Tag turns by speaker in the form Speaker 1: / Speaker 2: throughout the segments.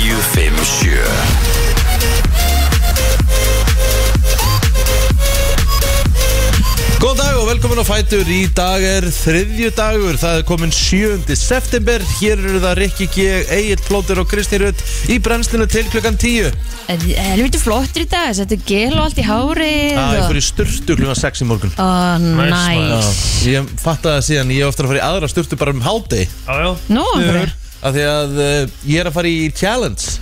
Speaker 1: 957
Speaker 2: Góðan dag og velkomin á Fætur Í dag er þriðju dagur Það er komin 7. september Hér eru það Rikki G, Egil Plóter og Kristi Rutt Í brennslinu til klukkan 10
Speaker 3: Helviti flottur í dag, settu gel og allt í hárið
Speaker 2: Það er
Speaker 3: og...
Speaker 2: fyrir sturtu klukkan 6 í morgun
Speaker 3: Ó, næs
Speaker 2: Ég fatt að það síðan Ég er ofta að fara í aðra sturtu bara um hádegi
Speaker 4: Jájá
Speaker 3: Nú, bara-
Speaker 2: Af því að uh, ég er að fara í challenge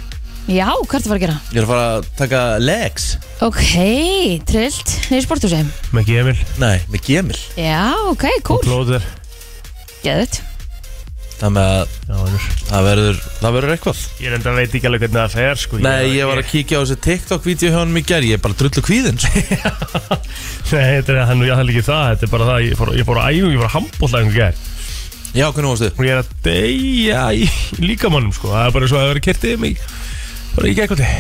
Speaker 3: já, hvað ertu að fara að gera?
Speaker 2: Ég er að fara að taka legs
Speaker 3: Ok, trillt, niður sporthúsi
Speaker 4: Með gemil
Speaker 2: Nei, með gemil
Speaker 3: Já, ok, cool,
Speaker 4: Plóður
Speaker 3: geðut
Speaker 2: Þannig að það verður, það verður eitthvað
Speaker 4: Ég enda veit ekki alveg hvernig það fer sko
Speaker 2: Nei, ég var að kíkja á þessi TikTok-vídeó hjá hann í gerð Ég er bara drullu kvíðin sko.
Speaker 4: Nei, þetta er hann og ég held ekki það Þetta er bara það Ég fór, ég fór að æfum, ég fór að handbólla einhver gær
Speaker 2: Já, hvernig varstu?
Speaker 4: Og ég er að deyja í líkamannum sko Það er bara svo að það verið kertið um mig Bara í gekkvöldi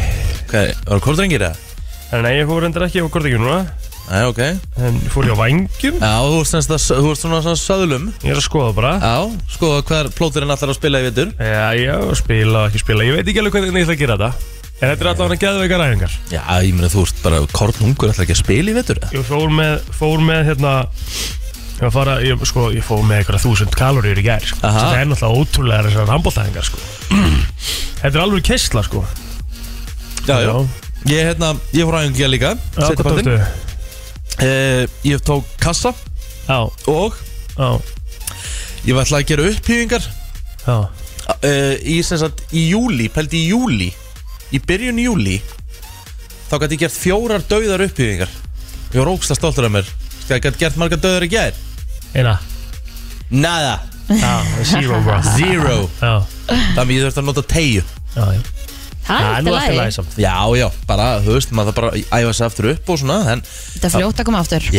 Speaker 2: Hvað, var það kóldrengir eða?
Speaker 4: En nei, ég fór reyndar ekki, ég fór kortið ekki núna
Speaker 2: Nei, ok
Speaker 4: En ég fór ég á vængjum
Speaker 2: Já, þú ert semst að, þú ert svona svona söðlum
Speaker 4: Ég er að skoða bara
Speaker 2: Já, sko, hvað er plóturinn allar að spila í vetur?
Speaker 4: Já, já, spila og ekki spila Ég veit ekki alveg hvernig ég ætla að gera þetta En þetta er allavega geðveikar æfingar
Speaker 2: Já, ég meina, þú ert bara kórnungur allar ekki að spila í vetur eða?
Speaker 4: Ég fór með, fór með hérna Ég, var að fara, ég, sko, ég fór með eitthvað þúsund kaloríur í gær sko.
Speaker 2: Aha.
Speaker 4: Þetta er náttúrulega ótrúlega þessar handbóltæðingar sko. Þetta er alveg kessla sko.
Speaker 2: Já, já Ég, hérna, ég fór aðeins ekki líka
Speaker 4: Já,
Speaker 2: seinni
Speaker 4: hvað
Speaker 2: partinn.
Speaker 4: tóktu?
Speaker 2: Eh, Ég tók kassa
Speaker 4: Já,
Speaker 2: og
Speaker 4: já,
Speaker 2: ég var alltaf að gera upphýfingar
Speaker 4: já
Speaker 2: uh, í, sem sagt, í júli, pældi í júli í byrjun júli þá gæti ég gert fjórar dauðar uppbyggingar ég var ógsta stoltur af mér Sko, ég gæti gert marga dauðar í gær
Speaker 4: Eina,
Speaker 2: nada,
Speaker 4: já, zero bro Já,
Speaker 2: zero
Speaker 4: já,
Speaker 2: þannig ég þurfti að nota tegju
Speaker 4: já
Speaker 3: Það
Speaker 4: Það
Speaker 3: er
Speaker 4: er nú
Speaker 3: alltaf
Speaker 4: alltaf
Speaker 3: lægi,
Speaker 4: lægisamt
Speaker 2: já, já, bara, þú veist, maður það bara að æfa sig aftur upp og svona en,
Speaker 3: þetta er fljótt að koma aftur
Speaker 2: já,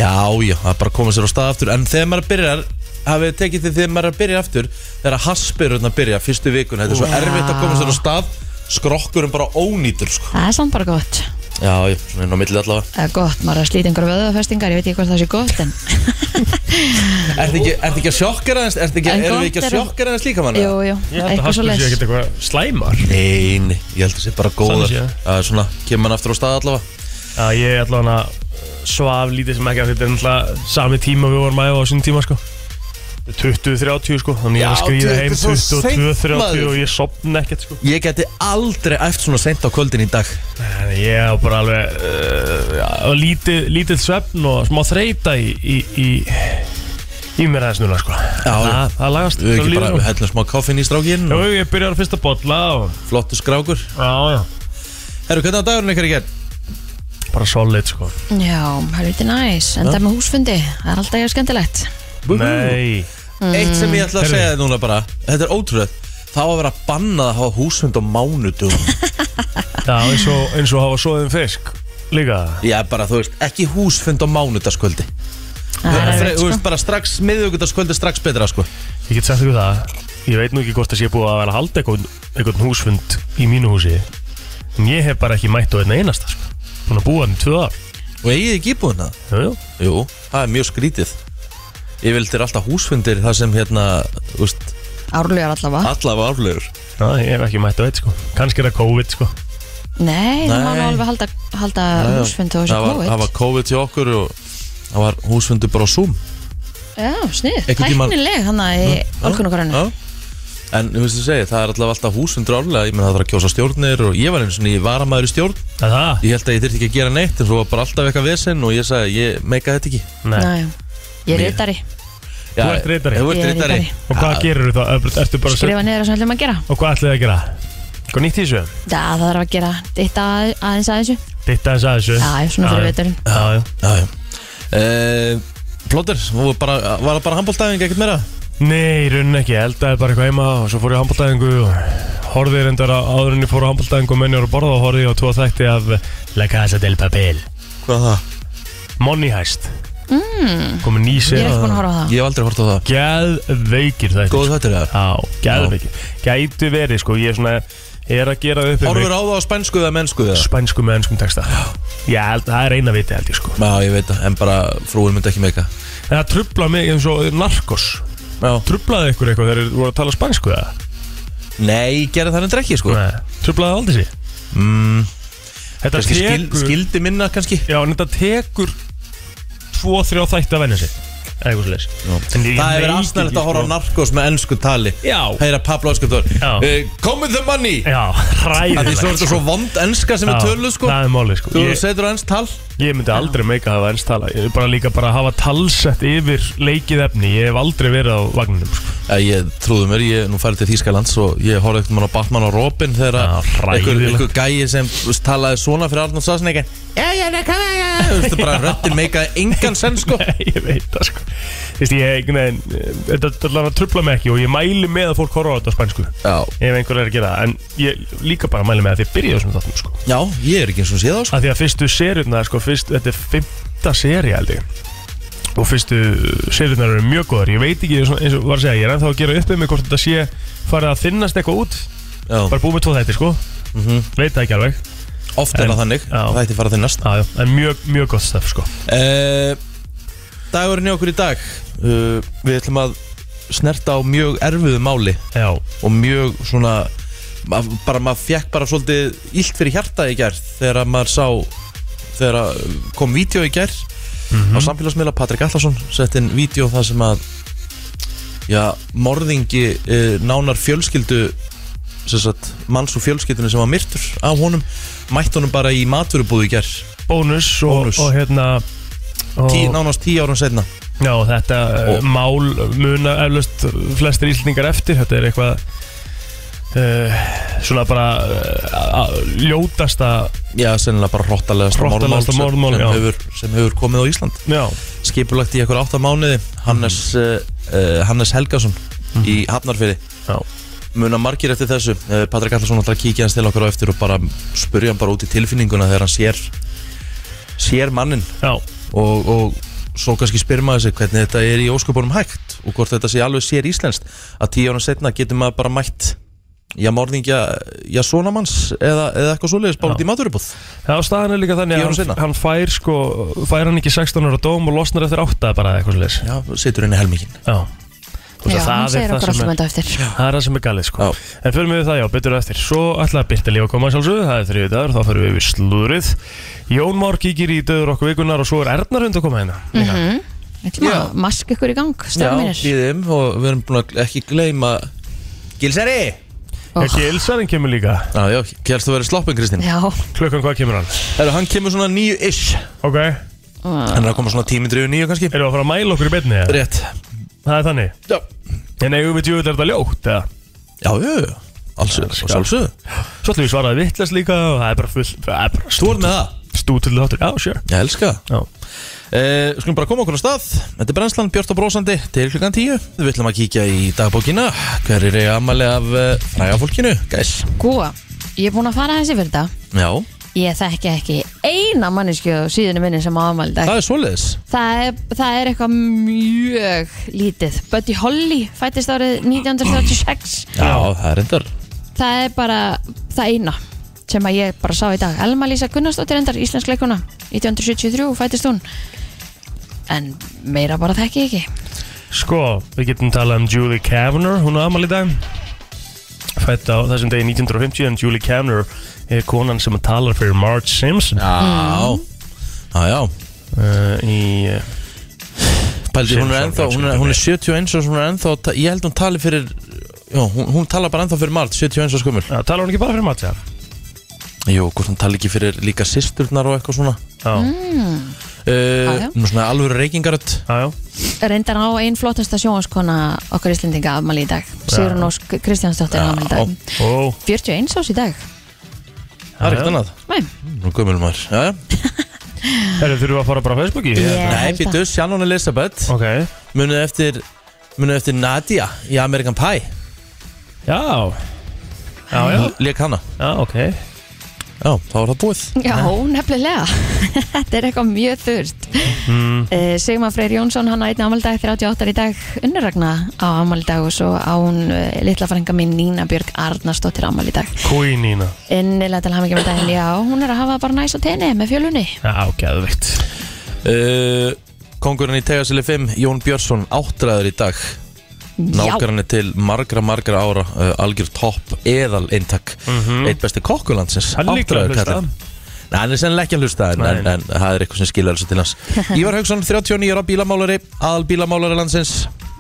Speaker 2: já, það bara koma sér á stað aftur en þegar maður byrjar hafið þið tekið því þegar maður er að byrja aftur þegar að haspirurna byrja fyrstu vikun þetta er svo
Speaker 3: Já.
Speaker 2: erfitt að koma sér á stað skrokkurum bara ónýtur sko.
Speaker 3: Það er samt bara gott
Speaker 2: já, já, svona inn á milli allavega
Speaker 3: Það er gott, maður er að slíta einhverja vöðafestingar, ég veit ekki hvort það sé gott en
Speaker 2: Ertu ekki, ertu ekki að sjokkera aðeins Ertu ekki,
Speaker 3: En
Speaker 2: erum við
Speaker 3: gott
Speaker 2: ekki að
Speaker 3: er-
Speaker 2: sjokkera aðeins líka manna?
Speaker 3: Jú, jú,
Speaker 4: Ég held að
Speaker 3: eitthvað
Speaker 4: haspur sé
Speaker 3: svo les
Speaker 4: ekkert eitthvað slæmar
Speaker 2: Nei, nei, ég held að sé bara góðar
Speaker 4: Þannig séð.
Speaker 2: Það er svona, kemur hann aftur á stað allavega
Speaker 4: Já, ég er allavega svaf lítið sem ekki að þetta er náttúrulega sami tíma við vorum aðeins á sinni tíma sko 20-30 sko, þannig ég er að
Speaker 2: Já,
Speaker 4: skrýða
Speaker 2: þetta er
Speaker 4: heim
Speaker 2: svo seint,
Speaker 4: 22-30
Speaker 2: maður.
Speaker 4: og ég sopna ekkert sko
Speaker 2: Ég geti aldrei æft svona seint á kvöldin í dag
Speaker 4: Þannig ég á bara alveg uh, já, og lítið, lítið svefn og smá þreita í, í, í, í mér aðeins núna sko.
Speaker 2: já.
Speaker 4: það, það lagast sko.
Speaker 2: Við
Speaker 4: það
Speaker 2: ekki
Speaker 4: líður
Speaker 2: bara
Speaker 4: á.
Speaker 2: hellum smá koffin í strákin
Speaker 4: Jú, ég byrjar á fyrsta bolla og
Speaker 2: Flottu skrákur
Speaker 4: já, já,
Speaker 2: Herru, hvernig á dagurinn ykkur í gerð?
Speaker 4: bara solid sko.
Speaker 3: Já, helviti næs, en það með húsfundi, það er alltaf jafn skemmtilegt
Speaker 4: Nei,
Speaker 2: Eitt sem ég ætla að
Speaker 4: Heyrðu.
Speaker 2: segja þér núna bara Þetta er ótrúlega Það á að vera bannað að hafa húsfund á mánudum
Speaker 4: já, eins, og, eins og hafa soðum fisk líka
Speaker 2: Já, bara, þú veist, ekki húsfund á mánudaskvöldi
Speaker 3: Það
Speaker 2: Fre-
Speaker 3: er
Speaker 2: Þú
Speaker 3: erfitt, sko.
Speaker 2: veist, bara strax miðugudaskvöldi strax betra, sko
Speaker 4: Ég get sagt ykkur það Ég veit nú ekki hvort þess ég er búið að vera að halda einhvern, einhvern húsfund í mínu húsi En ég hef bara ekki mætt á einn einasta sko. Búin að búa hann í tvö ár
Speaker 2: Og eigið ekki íbúðin það?
Speaker 4: Jú, jú.
Speaker 2: Jú, það er mjög skrítið Ég vildir alltaf húsfundir þar sem hérna úst,
Speaker 3: Árlegar allavega
Speaker 2: allavega árlegur
Speaker 4: Já, ég hef ekki mætt á einn sko. Kannski er það COVID sko.
Speaker 3: Nei, það má nú
Speaker 2: Nei.
Speaker 3: alveg halda, halda húsfundi og þessi
Speaker 2: Það var-
Speaker 3: COVID
Speaker 2: það var COVID hjá okkur og það var húsfundur bara á Zoom
Speaker 3: Já, snið,
Speaker 2: Einhvern tímann- Hm?
Speaker 3: tæknileg hann að í
Speaker 2: Já.
Speaker 3: Olkunokarinu
Speaker 2: En þú veist að segja, það er allavega alltaf húsfundur árlega Ég menn það þarf að kjósa stjórnir og ég var einu svona í varamæður í stjórn
Speaker 4: Það það?
Speaker 2: Ég held að ég þyrfti ekki að gera neitt en svo var bara alltaf eitthvað vesinn og ég sagði, ég meika þetta ekki
Speaker 4: Nei.
Speaker 3: Næ, ég er
Speaker 2: Mér-
Speaker 3: yttari
Speaker 2: Já,
Speaker 4: ert ritari.
Speaker 2: Þú
Speaker 3: Ég
Speaker 2: ert
Speaker 3: er
Speaker 2: reytari
Speaker 3: ritari.
Speaker 4: Og hvað gerir þú þá? Ertu bara að
Speaker 3: Skrifa niður það sem ætlum að gera
Speaker 4: Og hvað ætlið þið að gera? Hvað nýtt í þessu?
Speaker 3: Já, það þarf að gera ditta að- aðeins að þessu
Speaker 4: Ditta þess að þessu
Speaker 3: Já, já, svona fyrir veturinn.
Speaker 4: Já, já
Speaker 2: Já, já uh, Plóter, var bara, var það bara handbóltæðing ekkert meira?
Speaker 4: Nei, í rauninni ekki, ég eldaði bara eitthvað heima og svo fór ég á handbóltæðingu og horfið reyndar að áður en ég fór á handbóltæðingu og menn ég voru að borða og horfið ég á tvo þætti af La Casa del Papel
Speaker 2: Hvað það?
Speaker 4: Money Heist mm. komið ný
Speaker 3: Ég er
Speaker 4: sér
Speaker 3: ekki búin að horfa á það
Speaker 2: Ég hef aldrei hort á það
Speaker 4: Gæðveikir þetta
Speaker 2: Góð þetta er það
Speaker 4: Já, gæðveikir Gætu verið sko, ég er svona ég er að gera upp um
Speaker 2: Horfur á það á spænsku eða mennsku eða?
Speaker 4: spænsku með ennskum texta Já, held, það er eina viti held ég sko
Speaker 2: Já, ég veit það, en bara frúin myndi ekki meika
Speaker 4: En það trubla mig eins og narkos
Speaker 2: Já,
Speaker 4: Trublaði ykkur eitthvað þegar þeir voru að tala spænsku það?
Speaker 2: Nei, ég gerði það hendur ekki sko
Speaker 4: Nei, trublaði aldrei sér
Speaker 2: mm,
Speaker 4: Þetta
Speaker 2: kannski skil,
Speaker 4: tekur
Speaker 2: Skildi minna kannski
Speaker 4: Já, en þetta tekur Tvo, þrjá þætti að venja sér Eða eitthvað slags
Speaker 2: Það er verið afsnæðilegt að horfa á narkos með ennsku tali
Speaker 4: sko. Já.
Speaker 2: Heyra Pablo Öskjöldor
Speaker 4: Já.
Speaker 2: uh, Come with the money
Speaker 4: Já,
Speaker 2: Það er
Speaker 4: hræðilegt
Speaker 2: svo, er þetta svo vond ennska sem er
Speaker 4: Já,
Speaker 2: töluð sko
Speaker 4: Það er málið sko
Speaker 2: Þú
Speaker 4: ég,
Speaker 2: setur á ennsk tal
Speaker 4: ég myndi aldrei meika að hafa ennst tala Ég er bara líka bara að hafa talsett yfir leikið efni Ég hef aldrei verið á vagninum sko.
Speaker 2: Já, ég trúðu mér, ég nú færi til Þýskalands og ég horfði ekkert mann á Batman og Robin þegar
Speaker 4: Já,
Speaker 2: að einhver,
Speaker 4: hræðilegt.
Speaker 2: einhver gæi sem talaði svona fyrir Arnold Schwarzenegger Já, já, það kann ég Þú veist, bara röttin meikaði engan senn sko
Speaker 4: Ég veit það sko Þú veist, ég einhvern veginn eh, Þetta þetta allavega trubla mig ekki og ég mæli með að fólk horfa á þetta á spænsku
Speaker 2: Já,
Speaker 4: Ef einhver er að gera það En ég líka bara mæli með að þið byrja þessum þáttum sko
Speaker 2: já ég er ekki eins og séð á sko
Speaker 4: að því að fyrstu seriurnar sko, fyrst, þetta er fymta seri held ég og fyrstu seriurnar eru mjög góðar ég veit ekki, svona- eins og var að segja, ég er ennþá að gera upp með mig hvort þetta sé farið að þinnast eitthvað út
Speaker 2: Já, Mhm.
Speaker 4: bara búið með tvo þætti sko veit það ekki alveg
Speaker 2: oft er
Speaker 4: En-
Speaker 2: það þannig,
Speaker 4: já.
Speaker 2: það ætti að fara þinn næst
Speaker 4: já, já, en mjög, mjög gott stöf sko
Speaker 2: Eh, Dagurinn í okkur í dag uh, Við ætlum að snerta á mjög erfiðu máli
Speaker 4: já,
Speaker 2: og mjög svona ma- bara maður fekk bara svolítið illt fyrir hjarta í gær þegar að maður sá þegar að kom vídeo í gær
Speaker 4: Mhm.
Speaker 2: á samfélagsmiðla Patrik Allarsson sett inn vídeo þar sem að já, morðingi uh, nánar fjölskyldu sem sagt, manns og fjölskyldunni sem var myrtur af honum mætt honum bara í maturubúðu í gær
Speaker 4: bónus og,
Speaker 2: Bónus.
Speaker 4: og hérna og,
Speaker 2: Tí, nánast tíu árum setna
Speaker 4: já, og þetta og.
Speaker 2: Og-
Speaker 4: mál muna eflaust flestir íslningar eftir þetta er eitthvað Uh, svona bara uh, ljótasta
Speaker 2: Já, sennilega bara hróttalegasta
Speaker 4: Hrottalegasta morðmál,
Speaker 2: sem,
Speaker 4: já.
Speaker 2: hefur, sem hefur komið á Ísland
Speaker 4: já, Mhm.
Speaker 2: Skipulagt í eitthvað átta mánuði Hannes, mm. uh, Hannes Helgason í Hafnarfyrði
Speaker 4: já
Speaker 2: Muna margir eftir þessu uh, Patrik Allarsson ætlar að kíkja hans til okkar á eftir og bara spurja hann bara út í tilfinninguna þegar hann sér sér mannin
Speaker 4: Já,
Speaker 2: og, og svo kannski spyr maður sig hvernig þetta er í ósköpunum hægt og hvort þetta sé alveg sér íslenskt að tíu ára setna getur maður bara mætt já morðingja, já svona manns eða, eða eitthvað svoleiðis bara
Speaker 4: Já.
Speaker 2: út í maturubúð
Speaker 4: það á staðan er líka þannig
Speaker 2: Tíu árum
Speaker 4: að hann,
Speaker 2: seinna.
Speaker 4: hann fær sko, fær hann ekki 16 ára dóm og losnar eftir 8 eða bara eða eitthvað sliðis
Speaker 2: Já, situr henni helmingin
Speaker 4: Já, Þú veist
Speaker 3: Já,
Speaker 4: að það
Speaker 3: hann
Speaker 4: er
Speaker 3: segir
Speaker 4: það
Speaker 3: okkur alltaf
Speaker 4: sem
Speaker 3: með
Speaker 4: er
Speaker 3: þetta eftir
Speaker 4: Það er það sem er galið sko
Speaker 2: Já.
Speaker 4: En förum við það já, betur á eftir Svo ætlaði Birta lífa að koma að sjálfsögðu Það er þriðið dagur, þá förum við við slúrið Jón Már kíkir í döður okkur vikunar Og svo er Ernar hund að koma hérna mm -hmm.
Speaker 3: Ég Mhm. ætlum að mask ykkur í gang,
Speaker 2: Já,
Speaker 3: stráðum mínir
Speaker 2: býðum og við erum búin að ekki gleyma Gilsari
Speaker 3: Ó,
Speaker 4: Ekki Ilsarinn kemur líka
Speaker 2: Já, já, kjærst þú verið sloppin Kristín
Speaker 3: Já,
Speaker 4: Klukkan hvað kemur hann?
Speaker 2: Herru, hann kemur svona nýju ish
Speaker 4: Ok,
Speaker 2: Hann er að koma svona tímindri yfir nýju kannski
Speaker 4: erum við að fara að mæla okkur í beinni eða?
Speaker 2: Rétt
Speaker 4: Það er þannig
Speaker 2: Já,
Speaker 4: En eigum við djúvill er þetta ljótt eða?
Speaker 2: já, já, já Allsöðu,
Speaker 4: skal.
Speaker 2: sjálfsögðu
Speaker 4: Svo ætlum við svaraði vittlast líka og það er bara full það er bara
Speaker 2: Þú ert með það
Speaker 4: Stútill þáttur, já, sure
Speaker 2: Ég elska það
Speaker 4: Já,
Speaker 2: Eh, Skulum bara koma okkur á stað Þetta er brennslan Björn og Brósandi til klukkan 10 Við ætlum að kíkja í dagbókina Hver er ég ammali af uh, fræga fólkinu? Gæs
Speaker 3: góða Sko, Ég er búin að fara þessi fyrir þetta
Speaker 2: Já,
Speaker 3: Ég þekki ekki eina mannesku á síðunum minni sem á afmæli í dag
Speaker 2: það er svoleiðis
Speaker 3: það er, það er eitthvað mjög lítið Buddy Holly fættist árið 1936
Speaker 2: Já, það er endar
Speaker 3: Það er bara það eina sem að ég bara sá í dag Elma Lísa Gunnarsdóttir endar, íslensk leikuna 1973 fættist hún En meira bara þekki ég ekki
Speaker 4: Sko, við getum talað um Julie Kavner, hún á amal í dag Fætt á þessum degi 1950 en Julie Kavner er konan sem talar fyrir Marge Simpson
Speaker 2: Já, já, já
Speaker 4: uh, í, uh,
Speaker 2: Pældi, hún er
Speaker 4: Simpson,
Speaker 2: ennþá, hún er, hún er 71 og hún er ennþá, ta- ég held hún tali fyrir Já, hún, hún tala bara ennþá fyrir margt, 71 og skumul
Speaker 4: að tala hún ekki bara fyrir Marge, eða?
Speaker 2: Jú, hvort hún tali ekki fyrir líka sýsturnar og eitthvað svona
Speaker 4: Já,
Speaker 3: Mm.
Speaker 2: uh,
Speaker 3: já.
Speaker 2: Nú svona alvöru reykingaröld
Speaker 4: já, já,
Speaker 3: Reyndar á einn flottasta sjónvaskona okkar íslendinga afmæli í dag Sigrun Ósk Kristjánsdóttir afmæli í dag
Speaker 4: ó,
Speaker 3: 41 ás í dag
Speaker 2: Það er ekkert
Speaker 4: já.
Speaker 2: annað,
Speaker 3: Nei,
Speaker 2: nú gömul maður Já, já
Speaker 4: Herru, þurfum við að fara bara á Facebooki?
Speaker 3: Ég
Speaker 2: Nei,
Speaker 3: held að-
Speaker 2: býtu, Shannon Elizabeth
Speaker 4: Ok,
Speaker 2: Munið eftir, munið eftir Nadia í American Pie
Speaker 4: já Já, já,
Speaker 2: Lék hana
Speaker 4: já, ok
Speaker 2: Já, þá var það búið
Speaker 3: Já, nefnilega Þetta er eitthvað mjög þurft mm. Sigmar Freyr Jónsson, hann á einn ámaldag 38 í dag, unnurragna á ámaldag og svo á hún uh, litla frænga mín Nína Björg Arnarsdóttir ámal í dag
Speaker 4: Queenina
Speaker 3: Innilega til hamingi með daginn, já hún er að hafa bara næs og tenni með fjölunni
Speaker 4: Já, geðvikt
Speaker 2: uh, Kongurinn í Tegasili 5, Jón Björnsson, áttræður í dag nákvæmni til margra, margra ára uh, algjör topp eðal eintak eitt besti kokkulandsins
Speaker 4: Mhm. Hann er líklega að
Speaker 2: áttræður
Speaker 4: hlusta.
Speaker 2: kallinn. Nei, hann er sennilega ekki að hlusta en,
Speaker 4: Nei,
Speaker 2: en,
Speaker 4: nei.
Speaker 2: en það er eitthvað sem skilur þessu til hans Ívar Haugsson, 39 ára bílamálari aðal bílamálari landsins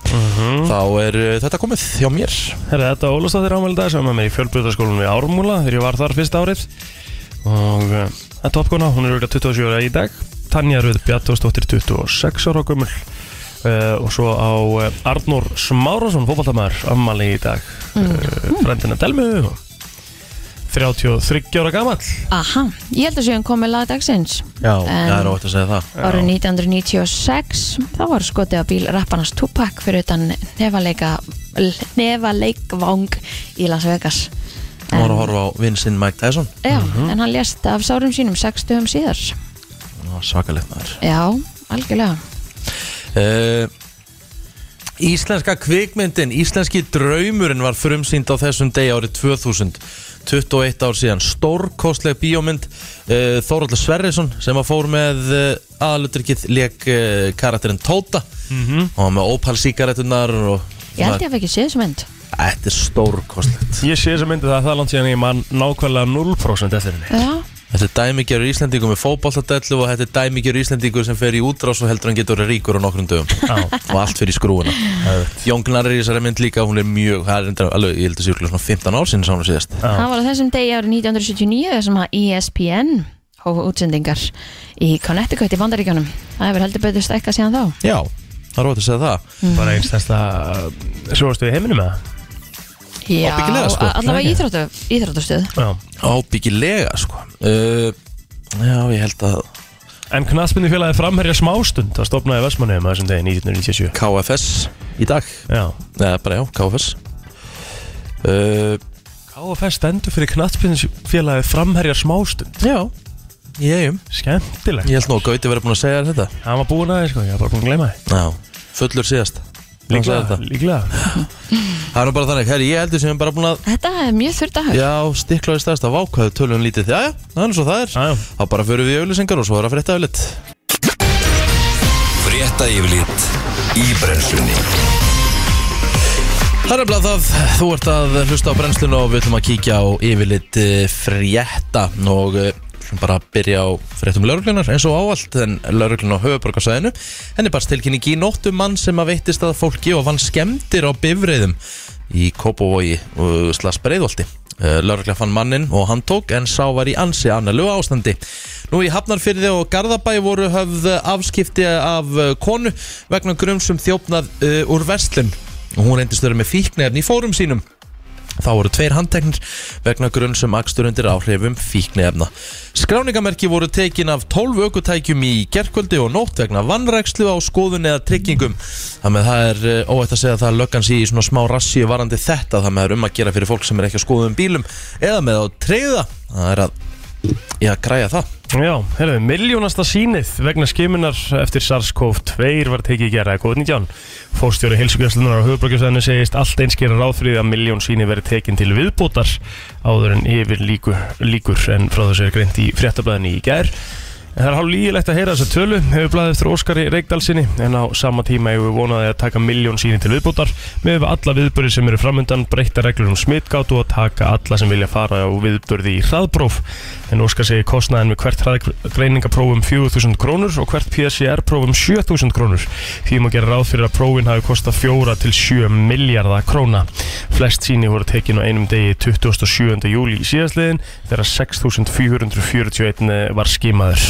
Speaker 4: Mhm.
Speaker 2: þá er uh, þetta komið hjá mér
Speaker 4: Herra, þetta Ólafsdóttir ámæli dag sem er með í fjölbrutaskólanum í Ármúla þegar ég var þar fyrst árið og eh, þetta er toppkona, hún er auðvitað 27 ára í dag Tanja Röð Bjartósdóttir 26 ára gömul uh, og svo á uh, Arnór Smárasson fótballtamæður ámæli í dag uh, frendina Delmu 33 ára gamall
Speaker 3: Aha, ég held að séu hann komið lagdagsins
Speaker 2: Já,
Speaker 3: En-
Speaker 2: það er óvægt að segja það
Speaker 3: Árið 1996 þá var skotið á bíl rapparnas Tupac fyrir utan nefaleika nefaleikvang í Las Vegas
Speaker 2: Hún var að
Speaker 3: en,
Speaker 2: horfa á vinn sinn Mike Tyson
Speaker 3: já,
Speaker 2: Mhm.
Speaker 3: en hann lést af sárum sínum 60 um síðar
Speaker 2: Það var svakalegt maður
Speaker 3: Já, algjörlega
Speaker 2: uh, Íslenska kvikmyndin, íslenski draumurinn var frumsýnd á þessum degi árið 2000 21 ár síðan stórkostleg bíómynd uh, Þóraldur Sverrisson sem að fór með uh, aðalutrykkið leik uh, karakterinn Tóta
Speaker 4: Mhm.
Speaker 2: og hann með Opal síkaretunar og
Speaker 3: Ég held ég að ekki séð þessu mynd
Speaker 2: Þetta er stórkostlegt
Speaker 4: Ég sé þess að myndi það það er langt síðan ég man nákvæmlega 0% eftir henni
Speaker 3: Já,
Speaker 2: Þetta er dæmigerur Íslendingu með fótballtadellu og þetta er dæmigerur Íslendingu sem fer í útrás og heldur hann getur að vera ríkur á nokkrum dögum og allt fyrir skrúuna Jón Gnar er í þessari mynd líka, hún er mjög það er reyndar alveg, ég held að sé örugglega svona 15 ár sinni sána síðast
Speaker 4: Já.
Speaker 3: Það var á þessum degi árið 1979 sem að E ESPN hófa útsendingar í Connecticut í Vandaríkjónum. Það hefur heldur betur stækkað síðan þá.
Speaker 2: Já, það er rót að segja það
Speaker 4: Bara eins þess að sjóðastu í heiminum eða?
Speaker 3: Já,
Speaker 2: Ábyggilega, sko.
Speaker 3: a- allavega
Speaker 4: Ekki?
Speaker 3: íþróttu, íþróttustöð.
Speaker 4: Já
Speaker 2: Ábyggilega, sko uh, Já, ég held að
Speaker 4: En knaspinni félagi framherja smástund að stopnaði Vestmannheim að þessum degi 1997
Speaker 2: KFS í dag
Speaker 4: Já
Speaker 2: Nei, bara já, KFS uh,
Speaker 4: KFS stendur fyrir knaspinni félagi framherja smástund
Speaker 2: Já, ég eigum
Speaker 4: Skemmtilegt
Speaker 2: Ég held nú að Gauti verið búin að segja þér þetta
Speaker 4: Hann var búin aðeins sko, ég var bara búin að gleyma þið
Speaker 2: Já, fullur síðast Hann sagði
Speaker 4: Líklega,
Speaker 2: þetta.
Speaker 4: líklega
Speaker 2: Það er nú bara þannig, herri, ég heldur sem bara búin að
Speaker 3: Þetta er mjög þurr dagur.
Speaker 2: Já, stiklaði stærsta vákvæðu tölum lítið Já, já, það er svo það er
Speaker 4: Æjá,
Speaker 2: Þá bara förum við í auðlýsingar og svo er að frétta auðlýtt
Speaker 1: Frétta yfirlit í brennslunni
Speaker 2: Það er bara það, þú ert að hlusta á brennslinu og við ætlum að kíkja á yfirlit eh, frétta og eh, ætlum bara að byrja á fréttum lauruglunar eins og áallt en lauruglun á höfuborgarsæðinu henni barst tilkynning í nóttum mann sem að veittist að fólki og vann skemmtir á bifreiðum í Kópavogi eh, og slags breiðolti. Lörgla Eh, fann mannin og hann tók en sá var í ansi annarlu ástandi. Nú í Hafnarfyrði og Garðabæ voru höfð afskipti af eh, konu vegna grumsum þjófnað uh, úr verslun og hún reyndist vera með fíknefni í fórum sínum. Þá voru tveir handteknir vegna grunn sem akstur undir áhrifum fíknefna. Skráningamerki voru tekin af 12 aukutækjum í gerkvöldi og nótt vegna vannrækslu á skoðun eða tryggingum. Þannig að það er eh, óætt að segja að það löggan sé í svona smá rassi varandi þetta þannig að það er um að gera fyrir fólk sem er ekki að skoða um bílum eða með á treyða. Það er að, já, græja það.
Speaker 4: já herðu, miljónasta sínið vegna skimunar eftir SARS-CoV-2 var tekið í gera COVID-19 Fórstjóri heilsugjastlunar á höfubrökkjusæðinu segist allt einskera ráðfrið að miljón sínið verið tekin til viðbótar áður en yfir líkur, líkur en frá þessu er greint í fréttablaðinu í gær En Það er hálf lígilegt að heyra þessa tölu, hefur blaðið eftir Óskari Reykdalsinni, en á sama tíma hefur við vonaði að taka miljón síni til viðbútar með alla viðbúri sem eru framöndan, breyta reglur um smittgátu og taka alla sem vilja fara á viðbúrði í hraðpróf. En Óskar segir kostnaðin við hvert hraðgreiningaprófum 4.000 krónur og hvert PCR-prófum 7.000 krónur. Því má gera ráð fyrir að prófin hafi kostað 4 til 7 miljardar króna. Flest síni voru tekin á einum degi 27. júli í síðastliðin þegar 6.441 var skimaður.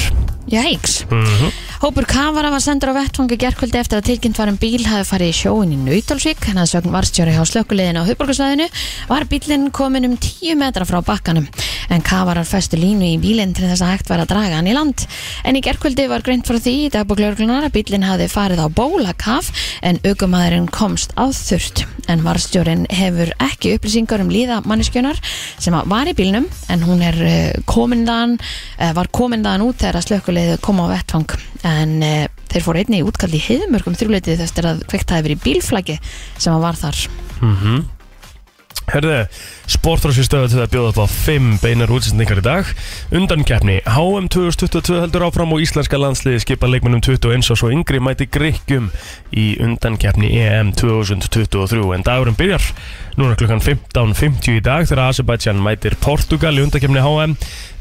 Speaker 3: Jæks.
Speaker 4: Mhm.
Speaker 3: Hópur kafara var sendur á vettfangi gerkvöldi eftir að tilkynnt var um bíl hafi farið í sjóin í Nautalsvík en að sögn varstjóri hjá slökkuleiðin á Hauðborgarslæðinu var bílinn komin um 10 metra frá bakkanum en kafarar festu línu í bílinn til þess að hægt var að draga hann í land en í gerkvöldi var greint frá því í dagboklörglunar að bílinn hafi farið á bólakaf en aukumæðurinn komst á þurft en varstjórin hefur ekki upplýsingar um líða manneskjönar sem að var í bílnum en hún er eh, komin þaðan eh, var komin þaðan út þegar að slökkuleið kom á vettvang en eh, þeir fóru einni í útkall í heiðumörkum þrjúleitið þess að kveikt hafi verið í bílflæki sem að var þar
Speaker 4: Mhm. Herðu, sportrási stöðu til að bjóða upp á 5 beinar útsendingar í dag Undan keppni, HM 2022 heldur áfram og íslenska landsliði skipa leikmennum 21 og svo yngri mæti Grikkjum í E undan keppni EM 2023 En dagurum byrjar, núna klukkan 15.50 í dag þegar Azerbaijan mætir Portugal í undan keppni HM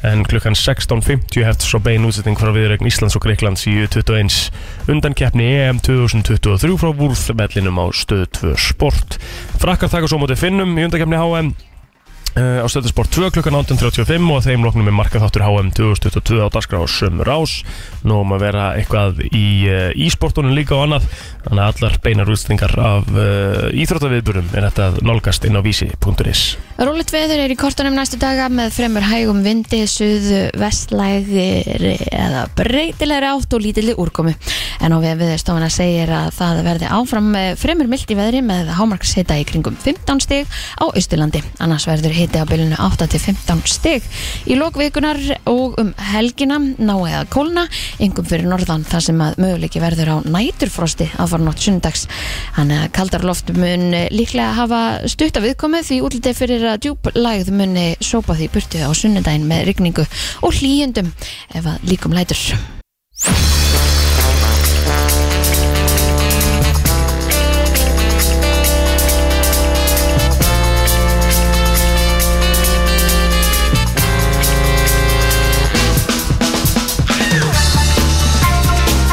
Speaker 4: En klukkan 16.50 hefst svo bein útsending frá viðregn Íslands og E Grikklands í 21 undan keppni EM 2023 frá Wolfmellinum á stöðu 2 sport Frakkar taka svo á móti Finnum í undakefni HM uh, á stöðusport 2 klukkan 18.35 og að þeim loknum er markaþáttur HM 2022 á dagskrá og sömur ás nú um að vera eitthvað í uh, ísportunum líka og annað þannig að allar beinar útsendingar af uh, íþróttaviðburum er þetta að nálgast inn á vísi.is
Speaker 3: Rólit veður er í kortunum næstu daga með fremur hægum vindi, suðu, vestlægir eða breytilegri átt og lítilli úrkomu. En á við viðstofana segir að það verði áfram með fremur mildi veðri með hámarkshita í kringum 15 stig á Austurlandi. Annars verður hiti á bylunu 8 til 15 stig. Í lokvikunar og um helgina ná eða kólna, yngum fyrir norðan þar sem að möguleiki verður á næturfrosti að fara nótt sundags. Þannig að kaldar loft mun líklega hafa stutta viðkomið því útlitið fyrir að djúb lægð muni sópa því burtu á sunnudaginn með rigningu og hlýjendum ef að líkum lætur.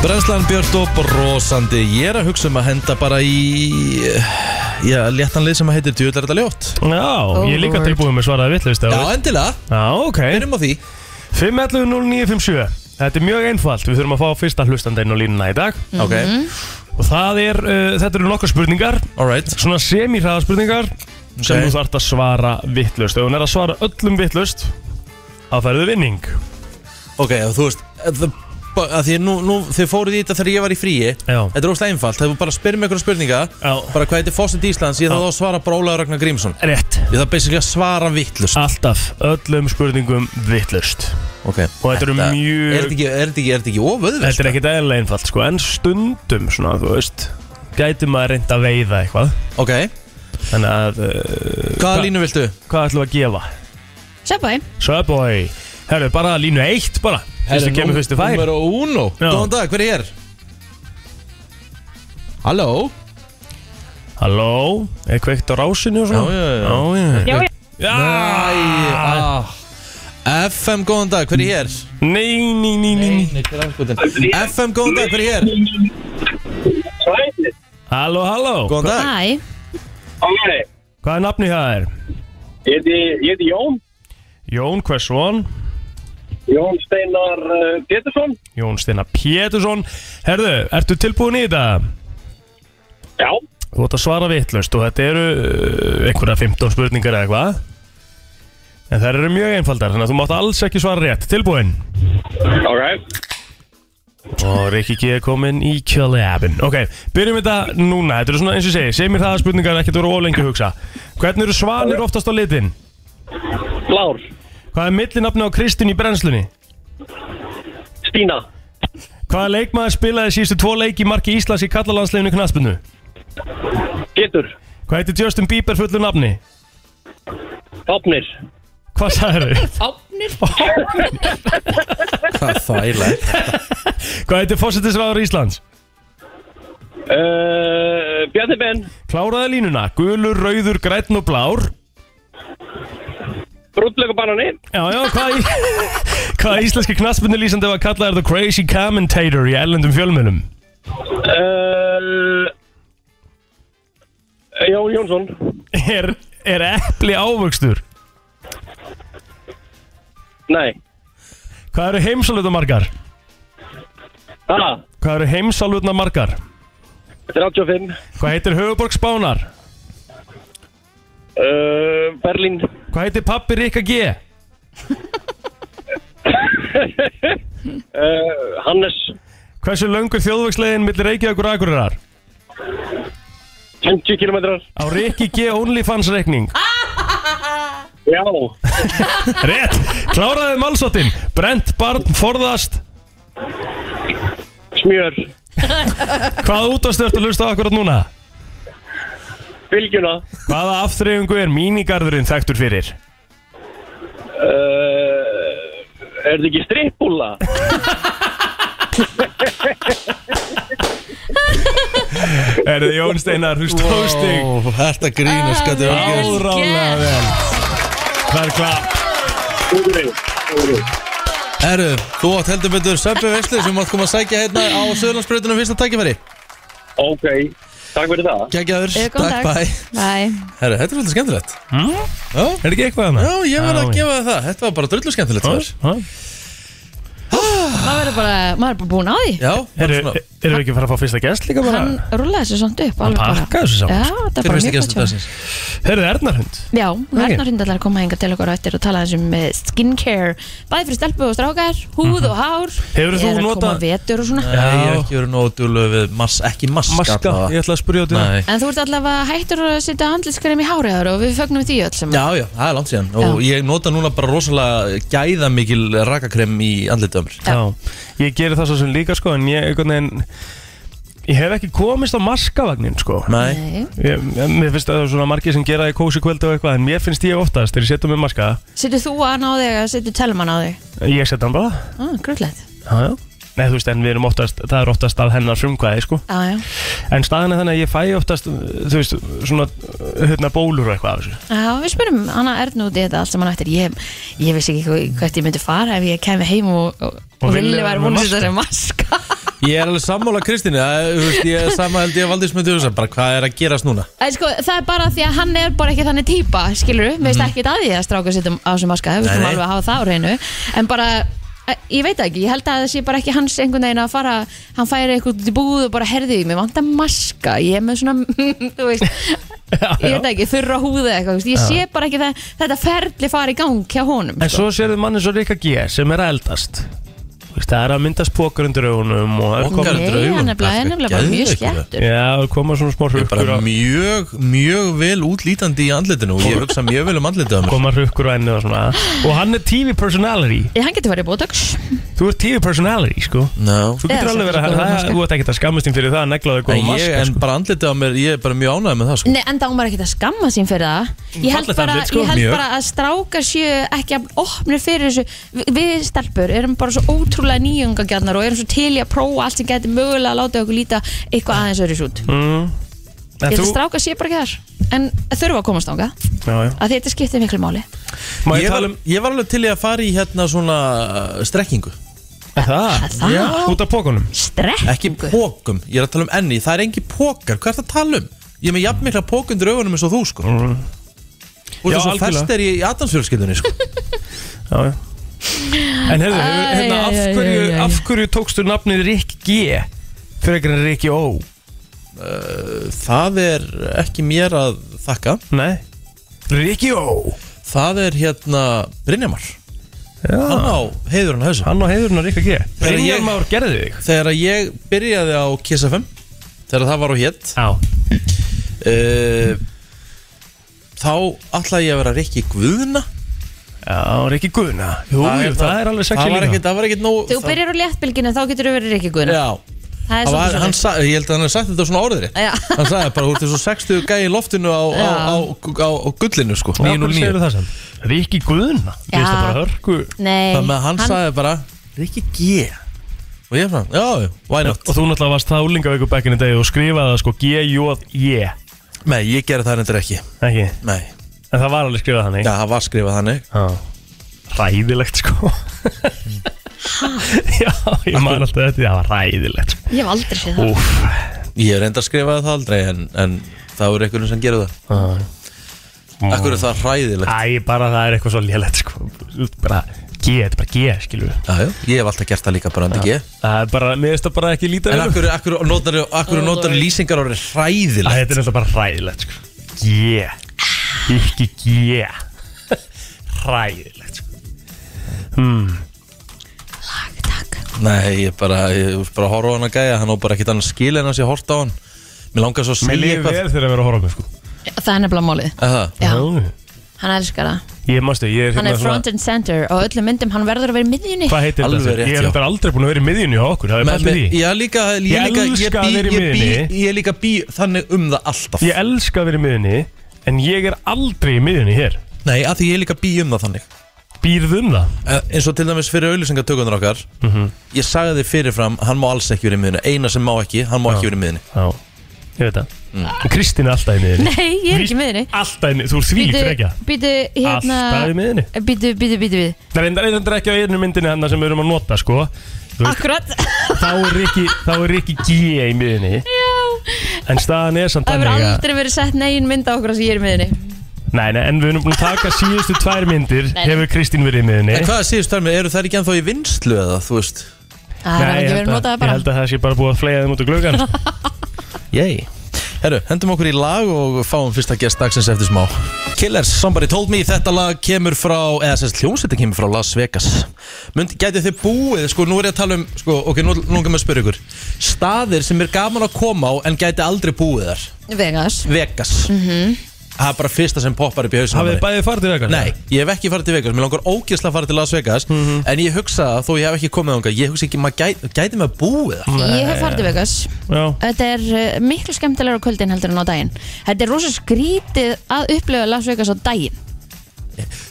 Speaker 2: Brænslan Björn og brosandi Ég er að hugsa um að henda bara í Já, léttanlið sem að heitir Djöðlar þetta ljótt
Speaker 4: Já, ég er líka
Speaker 3: Lord.
Speaker 4: tilbúið með svaraði vittlust
Speaker 2: Já, endilega,
Speaker 4: Já, ok
Speaker 2: byrjum á því
Speaker 4: 5.11.09.57 Þetta er mjög einfalt, við þurfum að fá fyrsta hlustandinn á línuna í dag
Speaker 2: Ok,
Speaker 4: og það er, uh, þetta eru nokkar spurningar
Speaker 2: alright
Speaker 4: svona semi-hraða spurningar sem
Speaker 2: Ok.
Speaker 4: þú þarft að svara vittlust ef hún er að svara öllum vittlust þá færðu vinning
Speaker 2: Ok, og þú veist eh, the, að því, nú, nú, Þið fóruð í þetta þegar ég var í fríi
Speaker 4: Já.
Speaker 2: Þetta er óslega einfalt, þegar þú bara spyrir mig einhverja spurninga
Speaker 4: Já.
Speaker 2: Bara hvað heitir fósitt Íslands Ég þarf þá að svara bara Ólaður Ragnar Grímsson
Speaker 4: rétt
Speaker 2: Ég þarf basically að svara vittlust
Speaker 4: alltaf öllum spurningum vittlust
Speaker 2: Ok,
Speaker 4: og þetta eru
Speaker 2: er þetta
Speaker 4: mjög
Speaker 2: ekki, er þetta ekki, er þetta ekki oföðvist?
Speaker 4: þetta er ekkit eðlilega einfalt sko en stundum svona þú veist gæti maður reynd að veiða eitthvað
Speaker 2: Ok,
Speaker 4: þannig að uh,
Speaker 2: hvaða
Speaker 4: Hva-
Speaker 2: línu viltu?
Speaker 4: hvað ætlum við að gefa
Speaker 3: Söpæ,
Speaker 4: Subway herru bara línu eitt bara fyrstu kemur fyrstu fær
Speaker 2: Númer og uno
Speaker 4: Já.
Speaker 2: Góðan dag, hver er hér? Halló?
Speaker 4: halló er kveikt á rásinu og svona
Speaker 2: Já, já, já.
Speaker 4: já, já. já.
Speaker 2: Æ, ah. FM, góðan dag, hver er hér?
Speaker 4: Nei, nei, nei, nei, nei.
Speaker 2: FM, góðan dag, hver er hér?
Speaker 4: Halló, halló
Speaker 2: Góðan
Speaker 5: Ah.
Speaker 2: dag
Speaker 3: hæ,
Speaker 5: Hæ,
Speaker 4: Hvað er nafni það er?
Speaker 5: ég heiti, ég heiti Jón,
Speaker 4: Jón Kvessvon
Speaker 5: Jón Steinar uh, Pétursson.
Speaker 4: Jón Stina Pétursson Herðu, ertu tilbúin í þetta?
Speaker 5: Já,
Speaker 4: Þú ætti að svara vitlaust og þetta eru uh, einhverja 15 spurningar eða eitthvað En þær eru mjög einfaldar Þannig að þú mátt alls ekki svara rétt Tilbúin
Speaker 5: ok.
Speaker 4: Og Rikki G er komin í kjöleabin Ok, byrjum þetta núna Þetta eru svona eins og ég segi Segir mér það að spurningar ekkert voru ólengi að hugsa Hvernig eru svanir oftast á litin?
Speaker 5: Blár,
Speaker 4: Hvað er millinafni á Kristin í brennslunni?
Speaker 5: Stína,
Speaker 4: Hvaða leikmaður spilaði síðustu tvo leiki í marki Íslands í kallalandsleginu knaspinu?
Speaker 5: Pétur,
Speaker 4: Hvað heitir Justin Bieber fullu nafni?
Speaker 5: Hafnir,
Speaker 4: Hvað sagður þau?
Speaker 2: Hvað þvæla er þetta?
Speaker 4: Hvað heitir fósættisráður Íslands?
Speaker 5: uh, Bjarni Ben,
Speaker 4: Kláraði línuna, gulur, rauður, grætn og blár
Speaker 5: Brúllökubanani,
Speaker 4: Já, já, hvað í... Hvaða íslenski knaspinu lýsandi var kallaður The Crazy Commentator í ellendum fjölmjölum?
Speaker 5: uh, Jón Jónsson,
Speaker 4: Er, er e- epli ávöxtur?
Speaker 5: nei,
Speaker 4: Hvað eru heimsálutna margar?
Speaker 5: ha,
Speaker 4: Hvað eru heimsálutna margar?
Speaker 5: 35,
Speaker 4: Hvað heitir höfuborg Spánar?
Speaker 5: uh, Berlín,
Speaker 4: Hvað heitir pappi Rikka G?
Speaker 5: uh, Hannes,
Speaker 4: Hversu löngur þjóðvegslegin millir Reykjavíkur og Akureyrar?
Speaker 5: 50 kilometrar,
Speaker 4: Á Rikki G. OnlyFans reikning
Speaker 5: já,
Speaker 4: Rétt, kláraði málsóttin Brent barn forðast
Speaker 5: Smjör,
Speaker 4: Hvað útastöður að hlusta á akkurat núna?
Speaker 5: bylgjuna
Speaker 4: Hvaða aftreyfingu er mínigarðurinn þekktur fyrir?
Speaker 5: uh, Er þetta ekki strippbúla?
Speaker 4: Er það Jón Steinar, þú stóðst þig
Speaker 2: Ó, þetta grínast, hvað þetta er
Speaker 3: Vel
Speaker 2: algjör
Speaker 4: árálega
Speaker 3: gert.
Speaker 4: vel Það er klart
Speaker 2: Herru, þú átt heldur betur söpbu veislu sem átt koma að sækja hérna á Söðurlandsbröðunum fyrsta tækifæri
Speaker 5: Ok, takk fyrir það
Speaker 2: Gægjaður,
Speaker 3: Góðan dag.
Speaker 2: bæ
Speaker 3: Bye.
Speaker 2: Herru, þetta er svolítið skemmtilegt
Speaker 4: Mm?
Speaker 2: Já,
Speaker 4: Er ekki eitthvað hana?
Speaker 2: já ég verð að gefa þér það, þetta var bara drullu skemmtilegt þar
Speaker 4: Ah.
Speaker 3: Maður er bara, maður er bara búin á því
Speaker 2: Já, bara
Speaker 4: Erum
Speaker 2: svona
Speaker 4: við ekki að fara að fá fyrsta gæst líka bara?
Speaker 3: Hann rúlaði þessu samt upp alveg bara.
Speaker 4: pakkaði þessu saman,
Speaker 3: Já, þetta er
Speaker 2: Hver
Speaker 3: bara
Speaker 2: finnst
Speaker 3: mjög
Speaker 2: ekki að
Speaker 3: gott saman.
Speaker 2: þetta
Speaker 4: Herðu Ernarhund
Speaker 3: Já, hún
Speaker 4: Ok.
Speaker 3: er náttúrulega að koma hinga til okkur á eftir og tala eins um eh, skincare bæði fyrir stelpu og strákar, húð og hár
Speaker 4: Hefur þú
Speaker 3: Er að
Speaker 4: notað-
Speaker 3: koma vetur og svona
Speaker 2: Nei, ég hef ekki verið nógu djúlu við mas, ekki maska
Speaker 4: Maska,
Speaker 2: allavega.
Speaker 4: ég ætla að spurja út í það
Speaker 2: Nei
Speaker 3: En þú ert allavega hættur að setja handliskrem í hárið þar og við fögnum því öll sem
Speaker 2: Já, já, það er langt síðan og ég nota núna bara rosalega gæða mikil rakakrem í andlitaðumur
Speaker 4: Já, ég geri það svo sem líka sko en ég, einhvern veginn ég hef ekki komist á maskavagnin sko
Speaker 2: Nei,
Speaker 3: Nei.
Speaker 4: ég, mér finnst að það er svona margir sem gera það í kósi kvöldu og eitthvað en mér finnst ég oftast þegar ég setja mig maska
Speaker 3: Setur þú að ná þig að setja telman á þig
Speaker 4: ég setja hann bara
Speaker 3: ah, Grullet
Speaker 4: já, já. Nei, þú veist, en við erum oftast, það er oftast að hennar frumkvæði, sko.
Speaker 3: Já, já,
Speaker 4: En staðan er þannig að ég fæ oftast, þú veist, svona, hérna, bólur og eitthvað af þessu.
Speaker 3: já við spyrum hana Ernu út í þetta allt sem hann eftir ég, ég vissi ekki hvað- hvert ég myndi fara ef ég kemi heim og, og, og villi
Speaker 4: Villi var
Speaker 3: var
Speaker 4: með
Speaker 3: búin að setja sér maska
Speaker 2: ég er alveg sammála Kristínu það, þú veist, ég er sama held ég að Valdís myndi hugsa bara hvað er að gerast núna
Speaker 3: En sko, það er bara því að hann er bara ekki þannig típa, skilur við, veist ekki að því að stráka sittum á sem maska, við
Speaker 2: Nei,
Speaker 3: skulum
Speaker 2: nei.
Speaker 3: alveg að hafa það á reynu, en bara, eh, ég veit það ekki, ég held að það sé bara ekki hans einhvern veginn að fara, hann færi eitthvað út í búð og bara herði, mér vantar maska, ég er með svona, þú veist, ég veit það ekki, þurra húðu eða eitthvað, þú veist, ég sé bara ekki það, þetta ferli fara í gang hjá honum, sko.
Speaker 4: En svo sérðu mann eins og Rikka G. sem er að eldast. Þú veist, það er að myndast pókur undir augunum og það er
Speaker 2: Pokar
Speaker 4: komið...
Speaker 3: Nei,
Speaker 2: undir augun,
Speaker 3: hann er bara- hann er bara
Speaker 2: geðveikur,
Speaker 3: mjög
Speaker 2: það.
Speaker 3: sléttur.
Speaker 4: Já, koma svona smá
Speaker 2: Ég er
Speaker 4: hrukkur
Speaker 2: bara
Speaker 4: á...
Speaker 2: mjög, mjög vel útlítandi í andlitinu og ég hugsa mjög vel um andlitaðumur
Speaker 4: koma hrukkur á enni og svona og hann er TV personality
Speaker 3: Ég, hann getur farið í botox,
Speaker 4: þú ert TV personality sko
Speaker 2: no.
Speaker 4: þú getur
Speaker 3: Eða
Speaker 4: alveg
Speaker 3: sem
Speaker 4: verið að
Speaker 3: góða
Speaker 4: það-
Speaker 3: maska.
Speaker 4: þú ert ekkert að skammast þín fyrir það að negla þau góða
Speaker 2: en, ég,
Speaker 4: maska
Speaker 2: en
Speaker 4: sko.
Speaker 2: bara andlitaðumur, ég er bara mjög ánægð með það sko.
Speaker 3: Nei, en þá maður ekki að skamma sín fyrir það Ég held,
Speaker 4: Fallegt
Speaker 3: bara,
Speaker 4: andlit, sko,
Speaker 3: ég held
Speaker 4: mjög.
Speaker 3: bara að strákar séu ekki að opna fyrir þessu Vi- Við stelpur erum bara svo ótrúlega nýjungagjarnar og erum svo til í að prófa allt sem getur mögulega að láta okkur líta eitthvað aðeins öðru út
Speaker 4: Mm,
Speaker 3: Ég
Speaker 4: en
Speaker 3: held
Speaker 4: þú
Speaker 3: að strákar séu bara ekki þar En þurfa að komast ánga að
Speaker 4: já, já.
Speaker 3: þetta skiptir miklu máli
Speaker 4: má
Speaker 2: ég,
Speaker 4: ég
Speaker 2: var,
Speaker 4: tala um
Speaker 2: ég var alveg til í að fara í hérna svona uh, strekkingu
Speaker 4: það
Speaker 3: Það
Speaker 2: Já.
Speaker 4: út af pókunum
Speaker 2: ekki
Speaker 3: strekkingu
Speaker 2: pókum, ég er að tala um enni það er engi pókar, hvað er það að tala um? Ég er með jafn mikla pókundur augunum eins og þú sko mm. Úr
Speaker 4: Já,
Speaker 2: þess að
Speaker 4: algjörlega.
Speaker 2: fest er ég í Adamsfjölskyldunni sko
Speaker 4: já, já. en heyrðu, hefur-
Speaker 3: Æ,
Speaker 4: hérna,
Speaker 3: æ,
Speaker 4: af
Speaker 3: æ,
Speaker 4: hverju
Speaker 3: æ, æ, æ.
Speaker 4: af hverju tókstu nafnið Rick G frekar en Ricky O
Speaker 2: Eh, Það er ekki mér að þakka
Speaker 4: nei Ricky O
Speaker 2: Það er hérna Brynjamar
Speaker 4: já.
Speaker 2: Hann á heiðurinn að þessu
Speaker 4: hann á heiðurinn að Rick G
Speaker 2: Þegar ég-
Speaker 4: Brynjar Már gerði þig
Speaker 2: Þegar að ég byrjaði á Kiss FM Þegar það var á hétt
Speaker 4: já
Speaker 2: uh, Þá ætlaði ég að vera Rikki Guðna
Speaker 4: já Ricky Guðna jú, jú, það er alveg sexy
Speaker 2: hérna- það var
Speaker 4: lína.
Speaker 2: ekkert, það var ekkert nóg
Speaker 3: Þegar þú
Speaker 2: það-
Speaker 3: byrjar á léttbylginu þá getur þú verið reykjagurinn
Speaker 2: Já,
Speaker 3: Það er
Speaker 2: það var, hann
Speaker 3: svolítið
Speaker 2: sa, ég held að hann hef sagt þetta svona orðri
Speaker 3: Já.
Speaker 2: Hann sagði bara, þú ert þessu 60 gæi í loftinu á, á, á, á, á gullinu sko
Speaker 4: Já,
Speaker 2: 9 og
Speaker 4: hvernig
Speaker 2: 9
Speaker 4: segirðu það sem? Ríkki Guðna Ég
Speaker 3: Já.
Speaker 4: veist það bara hörku
Speaker 3: Nei,
Speaker 2: Þannig að hann sagði bara, Rikki G Og ég fann, já, já, why not
Speaker 4: Og þú náttúrulega varst það úlingaveiku back in the day og skrifaði það sko G-J-E
Speaker 2: Nei, ég gerði það hendur ekki
Speaker 4: Ekki,
Speaker 2: Nei,
Speaker 4: en það var alveg skrifað þannig
Speaker 2: já, það var skrifað þannig
Speaker 4: Já Ræðilegt sko Já, ég man alltaf þetta Það var ræðilegt sko.
Speaker 3: ég hef aldrei séð það
Speaker 4: Úff
Speaker 2: Ég er enda að skrifa það aldrei en, en það voru einhvern sem gerði það
Speaker 4: Já.
Speaker 2: Akkur er það hræðilegt
Speaker 4: Æ, bara það er eitthvað svo lélegt sko Bara G, þetta er bara G, skilur við
Speaker 2: Já, já, Ég hef alltaf gert það líka bara en ekki
Speaker 4: Það er bara, mér finnst það bara ekki líta um.
Speaker 2: En akkur, akkur notar, akkur notar lýsingar orðið
Speaker 4: Æ,
Speaker 2: hræðilegt
Speaker 4: þetta er náttúrulega bara ræðilegt sko. G Ekki G Ræðilegt sko.
Speaker 3: Takk, takk
Speaker 2: Nei, ég bara, ég er bara að horfa á hann að gæja Hann á bara ekkert annað skil en að sé horta á hann Mér langar svo að
Speaker 4: Mér
Speaker 2: segja
Speaker 4: líður
Speaker 2: eitthvað
Speaker 4: vel þegar að vera að horfa á mig sko.
Speaker 3: Það er nefnilega málið
Speaker 2: Er það?
Speaker 3: Já,
Speaker 4: Já.
Speaker 3: hann elskar það
Speaker 4: Ég mástu, ég er
Speaker 3: Hann er
Speaker 4: hérna svona-
Speaker 3: front and center og öllum myndum, hann verður að vera í miðjunni
Speaker 4: Hvað heitir
Speaker 2: Alveg
Speaker 4: þetta? ég
Speaker 2: rétt, já.
Speaker 4: er þetta aldrei búin að vera í miðjunni hjá okkur, það er pælt í því.
Speaker 2: Já, líka, ég,
Speaker 4: Ég
Speaker 2: líka, ég,
Speaker 4: elska
Speaker 2: bý,
Speaker 4: að vera í
Speaker 2: ég, bý,
Speaker 4: miðjunni.
Speaker 2: ég líka bý þannig um það alltaf
Speaker 4: Ég elska að vera í miðjunni, en ég er aldrei í miðjunni hér.
Speaker 2: Nei, af því ég líka bý um það þannig
Speaker 4: Býrðu um það? Mhm.
Speaker 2: Eh, eins og til dæmis fyrir auðlýsingatökunar okkar ég sagði þið fyrirfram, hann má alls ekki verið í miðinu eina sem má ekki, hann má ekki verið í miðinu
Speaker 4: Já, ég veit það. Mm. Kristín er alltaf í miðjunni.
Speaker 3: Nei, ég er ekki í miðjunni
Speaker 4: Alltaf í miðjunni, þú er því líkt ekki.
Speaker 3: býtu, hérna
Speaker 4: Alltaf í miðjunni.
Speaker 3: Býtu, býtu, býtu, býtu
Speaker 4: Það er reyndar- reyndar ekki á einu myndinni hann sem við erum að nota, sko. Þú veist,
Speaker 3: Akkurat
Speaker 4: Þá er ekki, þá er ekki G í miðjunni, en staðan er samt
Speaker 3: Það hefur
Speaker 4: þannig að...
Speaker 3: aldrei verið sett negin mynd á okkur sem ég er í miðjunni
Speaker 4: Nei, nei, en við erum búin að taka síðustu tvær myndir,
Speaker 3: Nei, nei.
Speaker 4: hefur Kristín verið í miðjunni.
Speaker 2: en hvað séðist þar með, eru þær ekki ennþá í vinslu eða, þú veist
Speaker 3: Það hefur
Speaker 4: Nei, ég
Speaker 3: ekki
Speaker 4: held
Speaker 3: verið
Speaker 4: að-
Speaker 3: notað
Speaker 4: Ég
Speaker 3: bara
Speaker 4: held að það sé bara búið að flega þeim út úr sko. glögan
Speaker 2: Yay. Herru, hendum okkur í lag og fáum fyrsta gest dagsins eftir smá Killers, Somebody Told Me, þetta lag kemur frá eða sérst hljómsveitin kemur frá Las Vegas Mynd, gæti þið búið, sko, nú er ég að tala um sko, ok, nú langar mig að spyrja ykkur staðir sem er gaman að koma á en gæti aldrei búið þar,
Speaker 3: Vegas Mhm.
Speaker 2: Vegas það er bara fyrsta sem poppar upp í hausnum
Speaker 4: Hafið þið bæðið farið til Vegas?
Speaker 2: Nei, ég hef ekki farið til Vegas, mér langar ógeðslega að fara til Las Vegas
Speaker 4: Mhm.
Speaker 2: En ég hugsa það, þó ég hef ekki komið þangað Ég hugsa ekki, maður gæti, gæti með að búi það
Speaker 3: Ég hef farið til Vegas
Speaker 4: Já,
Speaker 3: Þetta er uh, miklu skemmtilegur á kvöldin heldur en á daginn Þetta er rosa skrítið að upplifa Las Vegas á daginn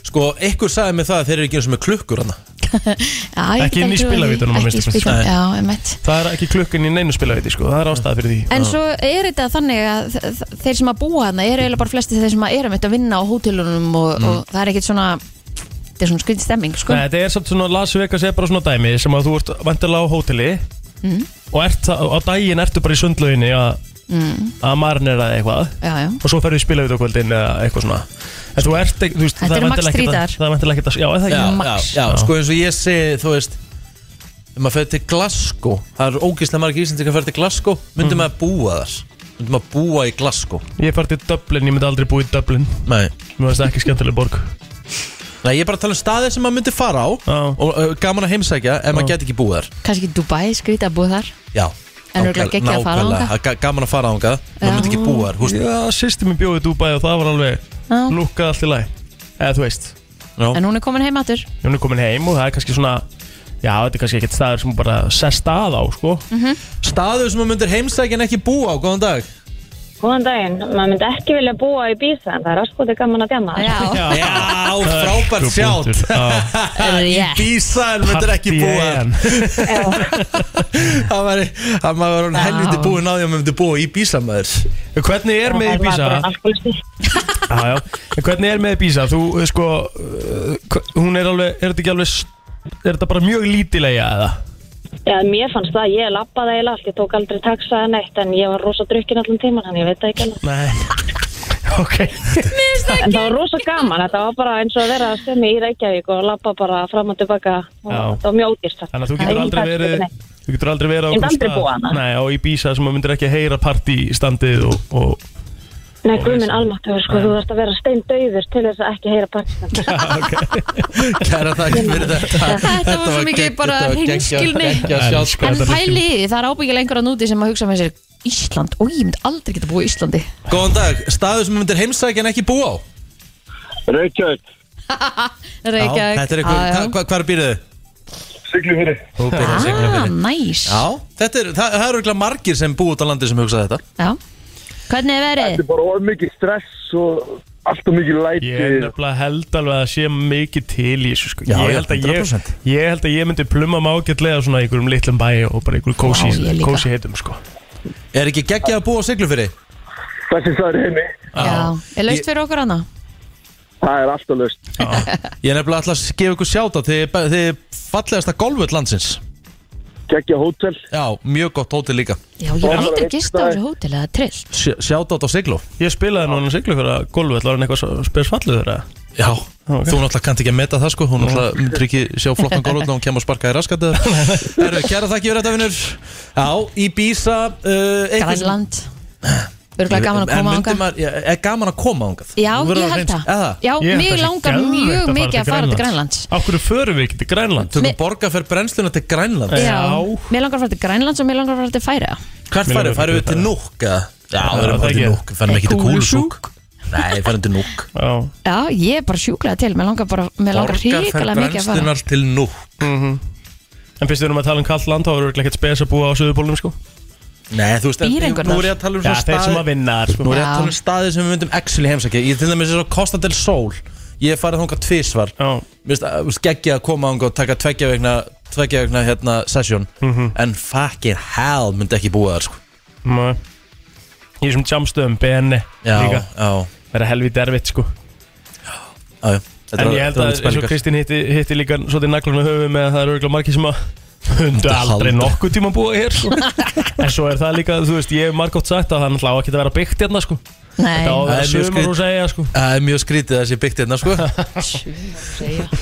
Speaker 2: Sko, ykkur sagði mig það að þeir eru ekki eins og með klukkur hana
Speaker 3: Já, ég
Speaker 4: Ekki
Speaker 3: get
Speaker 4: inn í
Speaker 3: trúað því.
Speaker 4: spilavítunum að
Speaker 3: Ekki
Speaker 4: minnsta
Speaker 3: í
Speaker 4: kosti.
Speaker 3: spilavítunum, já, emmitt
Speaker 4: það er ekki klukkan í neinu spilavíti sko, það er ástæða fyrir því
Speaker 3: En svo er þetta þannig að þ- þ- þeir sem að búa hana eru eiginlega bara flesti þeir sem að eru meitt að vinna á hótelunum og, og það er ekkit svona þetta er svona skrýtt stemming sko.
Speaker 4: Nei, þetta er samt svona, Las Vegas er bara svona dæmi sem að þú ert vantilega á hóteli
Speaker 3: Mm.
Speaker 4: og ert, það- á daginn ertu bara í sundlauginni að mm. að marinera þig eitthvað
Speaker 3: já, já.
Speaker 4: og svo ferðu í spilavíti á kvöldin eða eitthvað svona En þú ert ekki, þú veist,
Speaker 3: Þetta
Speaker 4: það
Speaker 3: eru
Speaker 4: væntanlega
Speaker 3: Max
Speaker 4: ekkert að-
Speaker 3: Strítar.
Speaker 4: Það er vantilega ekkert að, já, er það ekki
Speaker 2: já,
Speaker 3: Max.
Speaker 2: já, sko eins og ég segi, þú veist Ef maður fer til Glasgow Það er ógeðslega margir íslendingar að fer til Glasgow Myndum maður að búa þar Myndum maður að búa í Glasgow
Speaker 4: Mhm. Ég fært í Dublin, ég myndi aldrei búið í Dublin
Speaker 2: Nei,
Speaker 4: Mér finnst það ekki skemmtileg borg
Speaker 2: Nei ég er bara að tala um staðir sem maður myndi fara á
Speaker 4: Já.
Speaker 2: Og uh, gaman að heimsækja, en maður gæti ekki búið þar
Speaker 3: kannski Dubai skrýta að búa þar
Speaker 2: Já
Speaker 3: En örugglega
Speaker 2: nákvæmlega-
Speaker 3: geggjað að fara
Speaker 2: nákvæmlega.
Speaker 3: þangað.
Speaker 2: Það er ga- Gaman að fara þangað, maður myndi ekki búa þar húst-
Speaker 4: Já, sýsti mér bjóði í Dubai og það var alveg
Speaker 3: Já.
Speaker 4: lukkað allt í læ Eða þú veist,
Speaker 2: Já.
Speaker 3: en hún er komin heim aftur
Speaker 4: hún er komin heim og það er kannski svona Já, þetta er kannski ekkert staður sem bara sest að á, sko
Speaker 3: Mhm.
Speaker 2: Staður sem maður myndir heimsækja en ekki búa á, góðan dag
Speaker 6: Góðan daginn, maður myndi ekki vilja búa í Bísa en það er aðskoti gaman að djama.
Speaker 3: já,
Speaker 2: Já, frábært sjátt
Speaker 3: yeah.
Speaker 2: Bísa en myndir ekki búa þar. Það var, það var hann helviti búin á því að maður myndi búa í Bísa maður
Speaker 4: Hvernig er með í Bísa?
Speaker 6: Alkoholisti.
Speaker 4: Já, já, en hvernig er með í Bísa? Þú, eh, sko, eh, hva- hún er alveg, er þetta ekki alveg s- Er þetta bara mjög lítilega eða?
Speaker 6: Já, mér fannst það, ég lappaði eiginlega allt, ég tók aldrei taxa eða neitt en ég var rosa drukkin allan tíman hann, ég veit það ekki alveg.
Speaker 4: Nei Ok,
Speaker 6: En það var rosa gaman, þetta var bara eins og að vera að stemmi í Reykjavík og lappa bara fram og tilbaka og
Speaker 4: Já.
Speaker 6: þetta var mjög ódýrst.
Speaker 4: þannig að þú getur
Speaker 6: Nei,
Speaker 4: aldrei
Speaker 6: það er
Speaker 4: verið
Speaker 6: ekki neitt.
Speaker 4: Þú getur aldrei verið á
Speaker 6: Ég myndi
Speaker 4: einhverjum
Speaker 6: aldrei
Speaker 4: stað-
Speaker 6: búa hana.
Speaker 4: Nei, á í Bísa sem maður myndir ekki heyra partístandið og, og
Speaker 6: Nei, guðminn almáttur, sko, þú þarfst að vera steindauður til þess að ekki heyra partistandi.
Speaker 2: Kæra þakki fyrir þetta
Speaker 3: Hérna. Þetta var svo mikið bara hreinskilni
Speaker 2: hreinskilni
Speaker 3: En pæli, í því, það er ábyggilega einhver að núti sem að hugsa með sér Ísland, og ég myndi aldrei geta búið í Íslandi
Speaker 2: Góðan dag, staður sem maður myndir heimsækja en ekki búa á
Speaker 5: Reykjavík,
Speaker 2: Já,
Speaker 3: Reykjavík
Speaker 2: Þetta er eitthvað, hva- hva- hvar býrðu?
Speaker 5: siglu fyrir.
Speaker 2: Þú býrðu sig
Speaker 3: Ah, næs
Speaker 2: Já, þetta er, það, það eru ekki margir sem búa út á landi sem hugsa þetta
Speaker 3: Já. Hvernig er verið?
Speaker 5: er bara of mikið stress og allt og mikið læti.
Speaker 4: Ég er nefnilega held alveg að það sé mikið til í þessu sko. ég,
Speaker 2: Já, já,
Speaker 4: held að ég,
Speaker 2: 100%.
Speaker 4: ég held að ég myndi pluma mágætlega svona í einhverjum litlum bæi og bara einhverjum kósi,
Speaker 3: Já, ég líka.
Speaker 4: kósi heitum sko.
Speaker 2: Er ekki geggjað að búa á Siglufyrði?
Speaker 5: Þessi staður í heimi,
Speaker 3: Já, er laust fyrir okkur hana?
Speaker 5: það er alltaf löst.
Speaker 2: Ég er nefnilega alltaf að gefa ykkur sjáta Þið er fallegasta golfut landsins
Speaker 5: Kekja hótel.
Speaker 2: Já, mjög gott hótel líka
Speaker 3: Já, ég hef aldrei gist á þessu hótel, það er trillt
Speaker 2: Sjáta á Siglu
Speaker 4: Ég spilaði núna siglu fyrir að golfi Það var hann eitthvað spesfallið þeirra
Speaker 2: Já,
Speaker 4: ok.
Speaker 2: þú náttúrulega kannt ekki að meta það sko Hún náttúrulega myndir ekki sjá flottan gólvöld og hún kemur að sparka í raskat eða- Herru, kæra þakki fyrir þetta vinnur Já, í Bísa uh, eitthvað sem-
Speaker 3: Grænland Örgulega gaman að koma
Speaker 2: En myndi
Speaker 3: ánga
Speaker 2: maður- já, Er gaman að koma ánga
Speaker 3: Já, ég held það Já,
Speaker 4: Ég
Speaker 3: mig
Speaker 4: held að sé
Speaker 3: langar
Speaker 4: geðveikt
Speaker 3: mjög mikið að fara til Grænlands
Speaker 4: Akkur förum við ekki til Grænland?
Speaker 2: Tökum
Speaker 3: Mi-
Speaker 2: borga fyrir brennsluna til Grænland
Speaker 4: Já.
Speaker 3: Mér langar að fara til Grænlands og mér langar að fara til Færa
Speaker 2: Hvert
Speaker 4: Mér langar ekki
Speaker 2: færðu? Færðu við til Núk? eða? Já,
Speaker 4: Já,
Speaker 2: við erum
Speaker 4: það
Speaker 2: bara til
Speaker 4: ekki.
Speaker 2: Núk Færðum ekki til Kúlusúk Nei, það er endur núk
Speaker 4: Já,
Speaker 3: Já, ég er bara sjúklega til, mér langar bara, mér langar hrikalega mikið að fara Mhm.
Speaker 2: brennslunar til núk
Speaker 4: en fyrst við erum að tala um kallt land þá eru örugglega ekkert spes að búa á söðupólunum sko
Speaker 2: Nei, þú veist, en
Speaker 3: Býrengunar.
Speaker 2: nú er ég að tala um
Speaker 4: Já,
Speaker 2: svona
Speaker 4: þeir sem
Speaker 2: staði
Speaker 4: að vinna þar
Speaker 2: Nú
Speaker 4: sko
Speaker 2: er ég að
Speaker 3: Já.
Speaker 2: tala um staði sem við myndum actually heimsækja Ég til dæmis er svo Costa del Sol Ég hef farið þangað tvisvar
Speaker 4: Já,
Speaker 2: Mér finnst að- veist, geggja að koma þangað og taka tveggja vegna tveggja vegna hérna session
Speaker 4: Mhm.
Speaker 2: En fucking hell myndi ekki búa þar sko
Speaker 4: maður Í þessum jamstöðum, BN
Speaker 2: Já,
Speaker 4: líka
Speaker 2: já,
Speaker 4: Það er helvítið erfitt sko
Speaker 2: já, já Þetta
Speaker 4: En
Speaker 2: er-
Speaker 4: ég held að
Speaker 2: þetta er alveg
Speaker 4: eins og
Speaker 2: spælingar.
Speaker 4: Kristín hitti, hitti líka svolítið naglunum höfu með að það eru örgulega margir sem að hundu
Speaker 2: Þetta
Speaker 4: aldrei
Speaker 2: halda.
Speaker 4: nokkuð tíma að búa hér sko. en svo er það líka, þú veist, ég hef margótt sagt að það náttúrulega á ekki að vera byggt hérna sko.
Speaker 3: Nei,
Speaker 4: það á að
Speaker 2: Það
Speaker 4: vera
Speaker 2: er mjög
Speaker 4: sömur hús eiga sko.
Speaker 2: Það er mjög skrítið að þessi byggt hérna sko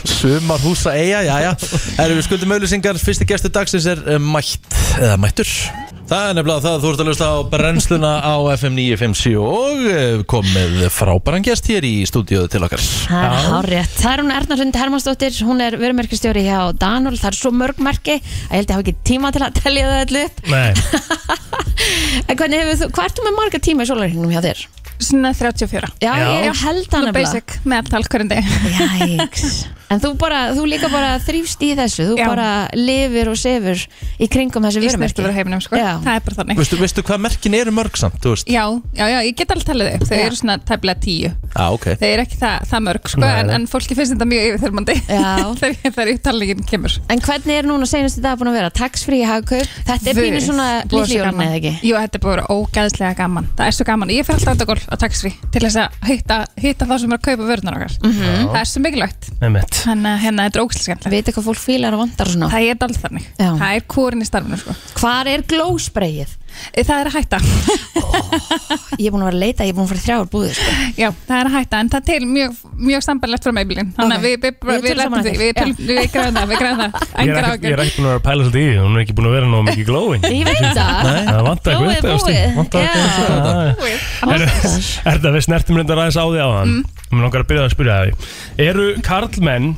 Speaker 2: Sumar húsa eiga, já já Erum við skuldum auðlýsingar, fyrsti gestur dagsins er eh, mætt, eða mættur Það er nefnilega það, þú ert að lusta á brennsluna á FM 957 og eh, komið frábæran gest hér í stúdíóðu til okkar
Speaker 3: það er hárétt Það er hún Erna Sund Hermannsdóttir, hún er vörumerkistjóri hjá Danul, það er svo mörg merki að ég held ég hafa ekki tíma til að telja það allu upp
Speaker 4: Nei,
Speaker 3: En hvernig hefur þú, hvað ertu með marga tíma í sólarhengnum hjá þér?
Speaker 7: Svona 34
Speaker 3: Já,
Speaker 4: Já.
Speaker 3: ég held það
Speaker 7: Svona
Speaker 3: nefnilega
Speaker 7: basic meðaltal hverjum deg
Speaker 3: Jæks En þú bara, þú líka bara þrýfst í þessu Þú
Speaker 7: Já.
Speaker 3: bara lifir og sefur í kringum þessi
Speaker 7: Í snert að vera
Speaker 3: vörumerki
Speaker 7: heiminum sko
Speaker 3: Já.
Speaker 7: Það er bara þannig
Speaker 2: Veistu, veistu hvað merkin eru mörg samt, þú veist?
Speaker 7: Já, já, já, ég get alveg talið þau Þau
Speaker 3: Já.
Speaker 7: eru svona tæplega tíu
Speaker 2: Já, ok
Speaker 7: Þau eru ekki það, það mörg sko
Speaker 4: Nei,
Speaker 7: en,
Speaker 4: nei.
Speaker 7: en fólki finnst þetta mjög yfirþyrmandi
Speaker 3: Já.
Speaker 7: Þegar þegar upptalningin kemur
Speaker 3: En hvernig er núna senastu dag búin að vera? Taxfrí í hagkaup? Þetta er pínu
Speaker 7: Guð,
Speaker 3: svona
Speaker 7: búið að
Speaker 3: litli
Speaker 7: vera
Speaker 3: jólun
Speaker 7: gaman.
Speaker 3: eða ekki?
Speaker 7: Jú, þetta er búið að vera ógæðslega gaman Það er svo gaman, ég fer alltaf að þetta golf á taxfrí til þess að hitta, hitta þá sem er að kaupa vörunar okkar Það er svo mikilvægt
Speaker 4: nefnitt
Speaker 7: Þannig að hérna, þetta er ógæðslega skemmtilegt
Speaker 3: Mhm. Veit hvað fólk fílar og vandar og svona?
Speaker 7: Það er dalt þannig,
Speaker 3: Já.
Speaker 7: það er kórin í starfinu sko.
Speaker 3: Hvar er glósbreið?
Speaker 7: Það er að hætta
Speaker 3: Ég er búin að vera að leita, ég er búin að fara í þrjár búðir sko.
Speaker 7: Já, það er að hætta, en það er til mjög, mjög sambarlegt frá meibling Þannig að
Speaker 3: Ok.
Speaker 7: við, við,
Speaker 3: Við
Speaker 7: við, við
Speaker 3: tölum saman
Speaker 7: lættum því,
Speaker 3: eftir.
Speaker 7: við, tölum- við græðum það, við græðum það
Speaker 4: Ég er ekkert-
Speaker 7: Engar
Speaker 4: ég
Speaker 7: ágjör
Speaker 4: er ekki búin að vera að pæla svolítið í því Hún er ekki búin að vera nóg mikið glóin
Speaker 3: Ég veit það
Speaker 4: Það vantar
Speaker 3: Glóið
Speaker 4: eitthvað upp eða stíð
Speaker 3: búið.
Speaker 4: Vantar
Speaker 3: Já.
Speaker 4: eitthvað upp Er það við snertum reyndar aðeins á því á
Speaker 3: Mm.
Speaker 4: þann Mér langar að byrja að spyrja það Eru karlmenn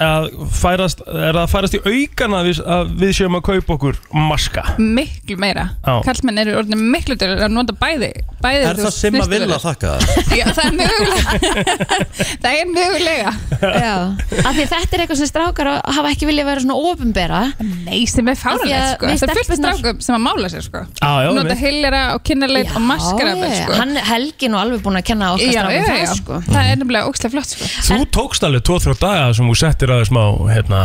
Speaker 4: að færast, er það að færast í aukana við, að við séum að kaupa okkur maska
Speaker 7: Miklu meira,
Speaker 4: Já.
Speaker 7: kallmenn eru orðin miklu til að nota bæði, bæði
Speaker 2: Er það sem að
Speaker 4: sko.
Speaker 2: vilja þakka það?
Speaker 7: Já, það er mögulega Það er mögulega
Speaker 3: Já. Af því þetta er eitthvað sem strákar hafa ekki viljað vera svona ofinbera
Speaker 7: Nei, sem er
Speaker 3: Af því að
Speaker 7: fáralegt sko Það
Speaker 3: við
Speaker 7: er fullt af
Speaker 3: stelpurnar-
Speaker 7: strákum sem að mála sér sko
Speaker 4: Já, já,
Speaker 7: Nota
Speaker 4: einmitt.
Speaker 7: hillera og kynnerleit og maskara
Speaker 3: Já,
Speaker 7: sko.
Speaker 3: Hann Helgi er nú alveg búin að kenna okkar
Speaker 7: já,
Speaker 3: strákum
Speaker 7: já, já.
Speaker 3: það sko
Speaker 7: Það er nefnilega ógstlega flott sko
Speaker 4: Þú tókst alveg 2-3 daga sem þú settir aðeins má hérna,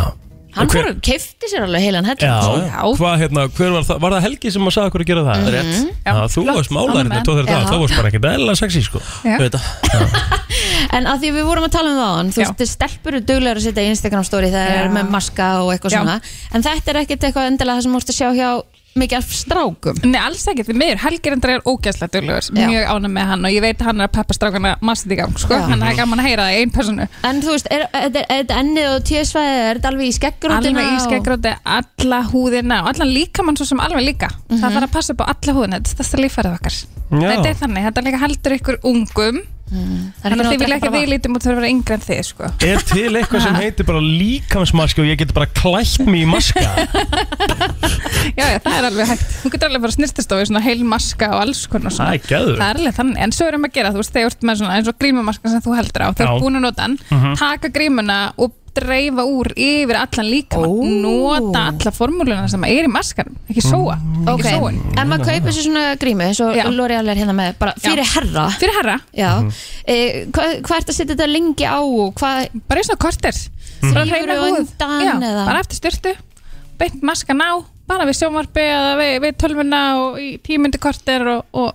Speaker 3: Hann
Speaker 4: hver-
Speaker 3: fór og keifti sér alveg heilan helling
Speaker 4: Já,
Speaker 3: sko.
Speaker 7: Já. Mhm.
Speaker 4: hvað hérna, hver var það, var það Helgi sem að sagði okkur að gera það?
Speaker 2: Rétt,
Speaker 4: Já, þú
Speaker 7: flott,
Speaker 4: varst hérna, málarinn í
Speaker 7: ánægð með.
Speaker 4: 2-3 daga,
Speaker 3: Já.
Speaker 4: þá varst bara ekkert eðla sexy sko
Speaker 7: Já.
Speaker 2: veit það
Speaker 3: En að því að við vorum að tala um það áðan, Þú
Speaker 7: Já.
Speaker 3: veist, stelpur eru duglegar að setja í Instagram story Það er
Speaker 7: Já.
Speaker 3: með maska og eitthvað
Speaker 7: Já.
Speaker 3: svona En þetta er ekkert eitthvað endilega það sem múst að sjá hjá Mikið af strákum
Speaker 7: Nei, alls ekkert, við meður, Helgi reyndar er ógæslega dölugur,
Speaker 3: Já.
Speaker 7: mjög ánum með hann og ég veit að hann er að peppa strákana massið í gang, sko,
Speaker 3: Já.
Speaker 7: hann er gaman að heyra það í einn personu.
Speaker 3: En þú veist, er er þetta er þetta ennið og tjösvæði Er þetta alveg í skeggrótina
Speaker 7: Alveg í skeggróti, alla húðina og allan líkamann svo sem alveg líka. Það
Speaker 3: Mhm.
Speaker 7: þarf að passa upp á alla húðina, þetta er stærsta lífærið okkar.
Speaker 4: Já.
Speaker 7: Þetta er þannig, þetta líka heldur ykkur ungum,
Speaker 3: Mm,
Speaker 7: þannig að þið vilja ekki að við lítum út fyrir að vera yngri en þið, sko.
Speaker 4: Er til eitthvað sem heitir bara líkamsmaski og ég get bara klætt mig í maska?
Speaker 7: Já, já, það er alveg hægt. Þú getur alveg að fara að snirtistofi, svona heil maska og alls konar svona.
Speaker 4: Það er gæður
Speaker 7: Það er alveg þannig, en svo erum að gera, þú veist, þegar þú ert með svona eins og grímumaska sem þú heldur á, þegar þú
Speaker 4: Já. Mhm.
Speaker 7: ert búin að nota hann, taka grímuna og dreifa úr yfir allan líka,
Speaker 3: Ó.
Speaker 7: nota alla formúluna sem er í maskanum, ekki sóa,
Speaker 4: Mm.
Speaker 3: Ok,
Speaker 7: ekki sóin.
Speaker 3: en maður kaupir
Speaker 7: hérna.
Speaker 3: sér svona grími Svo
Speaker 7: Já.
Speaker 3: L'Oreal er hérna með bara
Speaker 7: Já.
Speaker 3: fyrir herra
Speaker 7: Fyrir herra,
Speaker 3: Já, e, hvað hva ert að setja þetta lengi á og hvað
Speaker 7: bara í svona korter, bara að hreina
Speaker 3: Þrífur á
Speaker 7: húð,
Speaker 3: undan
Speaker 7: Já,
Speaker 3: eða?
Speaker 7: bara eftir styrtu, beint maskan á, bara við sjómarbi eða við, við tölvuna og í tímyndi korter og, og,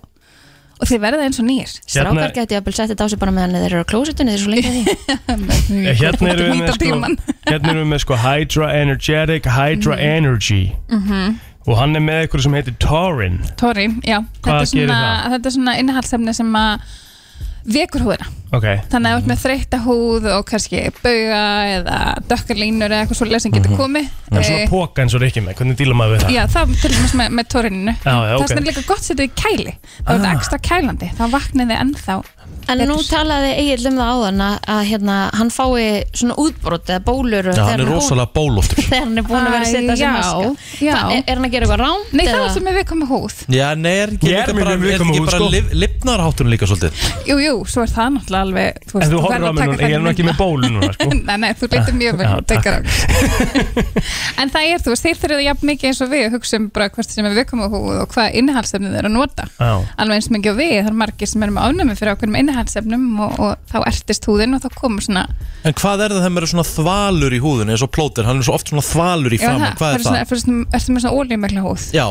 Speaker 7: og þið verða eins og nýjir.
Speaker 3: strákar
Speaker 4: Hérna-
Speaker 3: geti að byrja setja þetta á sig bara meðan þeir eru á klósitunni þeir eru svo lengi að því
Speaker 4: Hérna erum við með
Speaker 7: Nýta
Speaker 4: sko,
Speaker 7: tímann. Mhm.
Speaker 4: hérna erum við með sko Hydra Energetic, Hydra Energy
Speaker 3: Mhm.
Speaker 4: og hann er með eitthvað sem heitir Taurin
Speaker 7: Tóri, já,
Speaker 4: Hvað
Speaker 7: þetta er, svona,
Speaker 4: gerir það?
Speaker 7: þetta er svona innihaldsefni sem að vekur húðina
Speaker 4: Ok,
Speaker 7: þannig að þú ert með þreytta húð og kannski bauga eða dökkar línur eða eitthvað svo lesing getur komið
Speaker 4: en Mhm. svona
Speaker 7: Eh,
Speaker 4: póka eins og Rikki með, hvernig díla maður við það?
Speaker 7: Já, það til dæmis með, með tórininu
Speaker 4: Já, já, ok. Ah.
Speaker 7: Það er líka gott setið í kæli Það er þetta ekstra kælandi, þá vaknið þið ennþá
Speaker 3: En nú
Speaker 7: betur.
Speaker 3: talaði Egil um það áðan að, að hérna, hann fái svona útbrot eða bólur
Speaker 2: Já,
Speaker 3: þegar
Speaker 2: hann er
Speaker 3: búinn-
Speaker 2: rosalega bólóttur
Speaker 3: þegar hann er búin að vera að
Speaker 7: Æ,
Speaker 3: setja
Speaker 7: já,
Speaker 3: sér maska
Speaker 7: já.
Speaker 3: Hva, er, er hann að gera eitthvað rámt?
Speaker 7: Nei, það
Speaker 3: eða?
Speaker 7: var sem við komið húð
Speaker 2: Já, nei, er ekki
Speaker 4: Ég er
Speaker 2: líka
Speaker 4: mjög
Speaker 2: bara, er
Speaker 4: viðkvæmur
Speaker 2: ekki
Speaker 4: húð,
Speaker 2: bara
Speaker 4: sko.
Speaker 2: lif, lifnarháttunum líka svolítið
Speaker 7: Jú, jú, jú, svo er það náttúrulega alveg
Speaker 4: En þú horfir
Speaker 7: verður
Speaker 4: á
Speaker 7: að
Speaker 4: mig
Speaker 7: taka
Speaker 4: núna, ég er
Speaker 7: þennan
Speaker 4: nú ekki
Speaker 7: mynd.
Speaker 4: með bólu núna sko.
Speaker 7: Nei, nei, þú leytir mjög vel
Speaker 4: Já,
Speaker 7: þú tekur á. En það er, þú veist, þeir þurfið jafn mikið eins og við hugsaum bara hvert sem er viðkomahúð og hvað innihaldsefnið er að nota
Speaker 4: Já.
Speaker 7: alveg eins mikið og við, það er margir sem erum ánæmi fyrir okkur með innihaldsefnum og, og þá ertist húðin og þá komur svona
Speaker 2: En hvað er það þegar maður er svona þvalur í húðun eins og plóter, hann er svo oft svona þvalur í
Speaker 7: Já,
Speaker 2: framan, hvað er það?
Speaker 7: Ertu svona, ertu með svona ólíumekla húð?
Speaker 2: Já,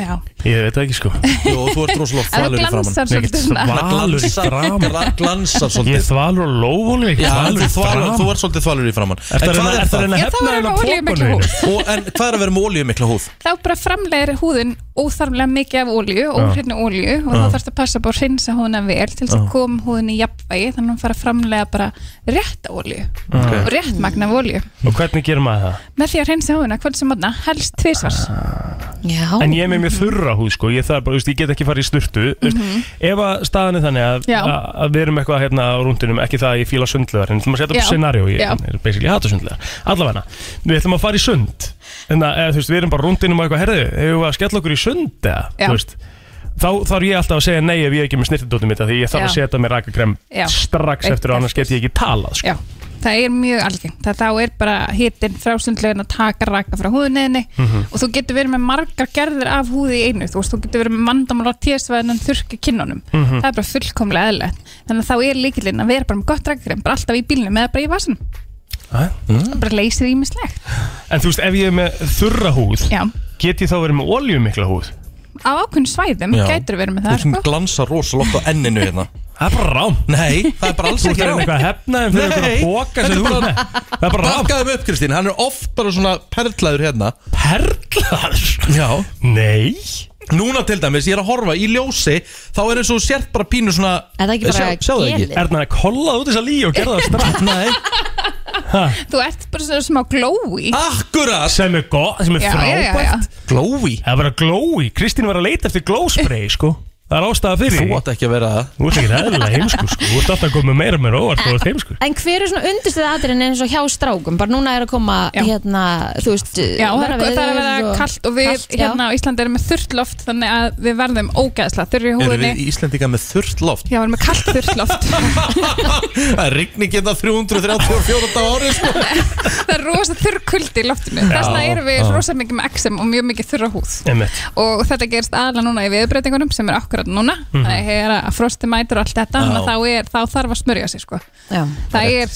Speaker 7: Já.
Speaker 4: Ég veit það ekki sko
Speaker 2: jú, og þú ert rosalega
Speaker 7: En þú
Speaker 2: þvalur í framan
Speaker 7: glansar
Speaker 4: Ég get þvalur. Þvalur í framan.
Speaker 2: Glansar, glansar
Speaker 7: svolítið svona
Speaker 4: Ég er
Speaker 2: svolítið
Speaker 4: þvalur og lófun Ég
Speaker 2: Já,
Speaker 4: er
Speaker 2: þú,
Speaker 4: þvalur í
Speaker 2: þvalur,
Speaker 4: framan
Speaker 2: þú ert svolítið þvalur í framan
Speaker 4: Ertu
Speaker 2: En
Speaker 4: að
Speaker 2: hvað
Speaker 4: reyna-
Speaker 2: er
Speaker 4: ertu að
Speaker 2: það?
Speaker 4: reyna að
Speaker 7: Ég er
Speaker 4: hefna
Speaker 7: þvalur
Speaker 4: þennan
Speaker 7: og olíumikla
Speaker 4: pokann
Speaker 7: húð.
Speaker 4: þinn?
Speaker 2: Og, en hvað er að vera með oljumikla húð?
Speaker 7: Þá bara framlegir húðin óþarflega mikið af ólíu, óhreinni ólíu og þá þarfst að passa bara að hreinsa húðina vel til þess að koma húðin í jafnvægi þannig að hún fara að framlega bara rétta ólíu og rétt magna af ólíu
Speaker 4: Og hvernig gerir maður það?
Speaker 7: með því að hreinsa húðina hvern sem mótna helst tvisvars
Speaker 3: Já,
Speaker 4: En ég er með mjög þurra húð sko Ég, það, bara, þú veist, ég get ekki farið í sturtu mm Ef að staðan er þannig að,
Speaker 7: Mhm. Já.
Speaker 4: að, að við erum eitthvað hérna á rúndinum Ekki það að ég fíla sundlegar En þú maður setja upp
Speaker 7: Já.
Speaker 4: scenarió Ég
Speaker 7: Já.
Speaker 4: er basically ég hata sundlegar Allavega, við ætlum að fara í sund En að, eða, þú veist, við erum bara á rúndinum og eitthvað herðu Hefur við að skella okkur í sund eða,
Speaker 7: Já.
Speaker 4: þú veist, Þá þarf ég alltaf að segja nei ef ég er ekki með snirtidótið mitt af Því ég þarf að
Speaker 7: Já.
Speaker 4: setja mér rakakrem
Speaker 7: Já.
Speaker 4: strax
Speaker 7: Beint
Speaker 4: eftir og annars get ég ekki talað sko.
Speaker 7: Já, það er mjög algengt það þá er bara hittin frásundlegin að taka raka frá húðinniðinni
Speaker 2: Mhm.
Speaker 7: og þú getur verið með margar gerðir af húði í einu þú, veist, þú getur verið með vandamála tíðsvæðinan þurrki kinnunum,
Speaker 2: Mhm.
Speaker 7: það er bara fullkomlega eðlilegt þannig að þá er líkilinn að vera bara með gott rakakrem bara alltaf í bílnum eða bara í vasan
Speaker 4: Æ?
Speaker 7: og bara leysir ímislegt
Speaker 4: En þú veist, ef ég er með þurra húð
Speaker 7: Já,
Speaker 4: Get ég þá verið með oljumikla húð?
Speaker 7: á ákveðn svæðum
Speaker 2: Já.
Speaker 7: gætur verið með
Speaker 2: Þú
Speaker 7: það
Speaker 2: ert sem
Speaker 7: sko.
Speaker 2: glansar rosalega oft á enninu hérna
Speaker 4: Það er bara rám
Speaker 2: Nei, það er bara alls
Speaker 4: Þú ert
Speaker 2: ekki
Speaker 4: að reyna
Speaker 2: rátt
Speaker 4: eitthvað að hefna þeim fyrir
Speaker 2: Nei.
Speaker 4: einhverja boka sem þú ert með Það er bara rám
Speaker 2: Bakkaðum upp Kristín, hann er oft bara svona perlaður hérna
Speaker 4: Perlar
Speaker 2: Já
Speaker 4: Nei
Speaker 2: Núna til dæmis, ég er að horfa í ljósi Þá er eins og þú sért bara pínu svona
Speaker 3: Er það ekki bara
Speaker 2: Sjáðu ekki
Speaker 3: gelið?
Speaker 4: Erna, kollaðu út þessa líu og gerða það strax
Speaker 2: Nei,
Speaker 7: Þú ert bara svona smá glói
Speaker 2: Ah! akkurat
Speaker 4: Sem er gott, sem er
Speaker 7: Já, já, já, já.
Speaker 4: frábært
Speaker 2: Glói
Speaker 4: Það er bara glói Kristín var að leita eftir glóspray, sko Það er ástæða fyrir
Speaker 2: Þú
Speaker 4: því.
Speaker 2: átt ekki að vera það
Speaker 4: Þú ert ekki eðlilega heimsku, sko Þú ert alltaf að koma meira meira óvart Þú ert sko. heimsku
Speaker 3: En hver er svona undirstuð aðrin eins og hjá strákum? Bara núna er að koma,
Speaker 7: Já.
Speaker 3: hérna, þú veist,
Speaker 7: Já, það er,
Speaker 3: veður
Speaker 7: það er að vera
Speaker 3: og-
Speaker 7: kallt og við
Speaker 3: Kalt, já.
Speaker 7: hérna á Íslandi erum með þurrt loft þannig að við verðum ógæðsla þurri
Speaker 2: Erum
Speaker 7: húðinni
Speaker 2: við Íslendinga með þurrt loft?
Speaker 7: Já, við erum með kallt þurrloft
Speaker 2: Það er rigning hérna 334 dagar árið sko
Speaker 7: Það er rosa þurr kuldi í loftinu Þess vegna erum við rosa mikið með exem og mjög mikið þurra húð
Speaker 4: Einmitt.
Speaker 7: Og þetta gerist aðla núna í viðbreytingunum sem er akkurat núna Það er að frosti mætur og allt þetta Þannig að þá, er, þá þarf að smörja sig sko.
Speaker 3: Já.
Speaker 7: Það er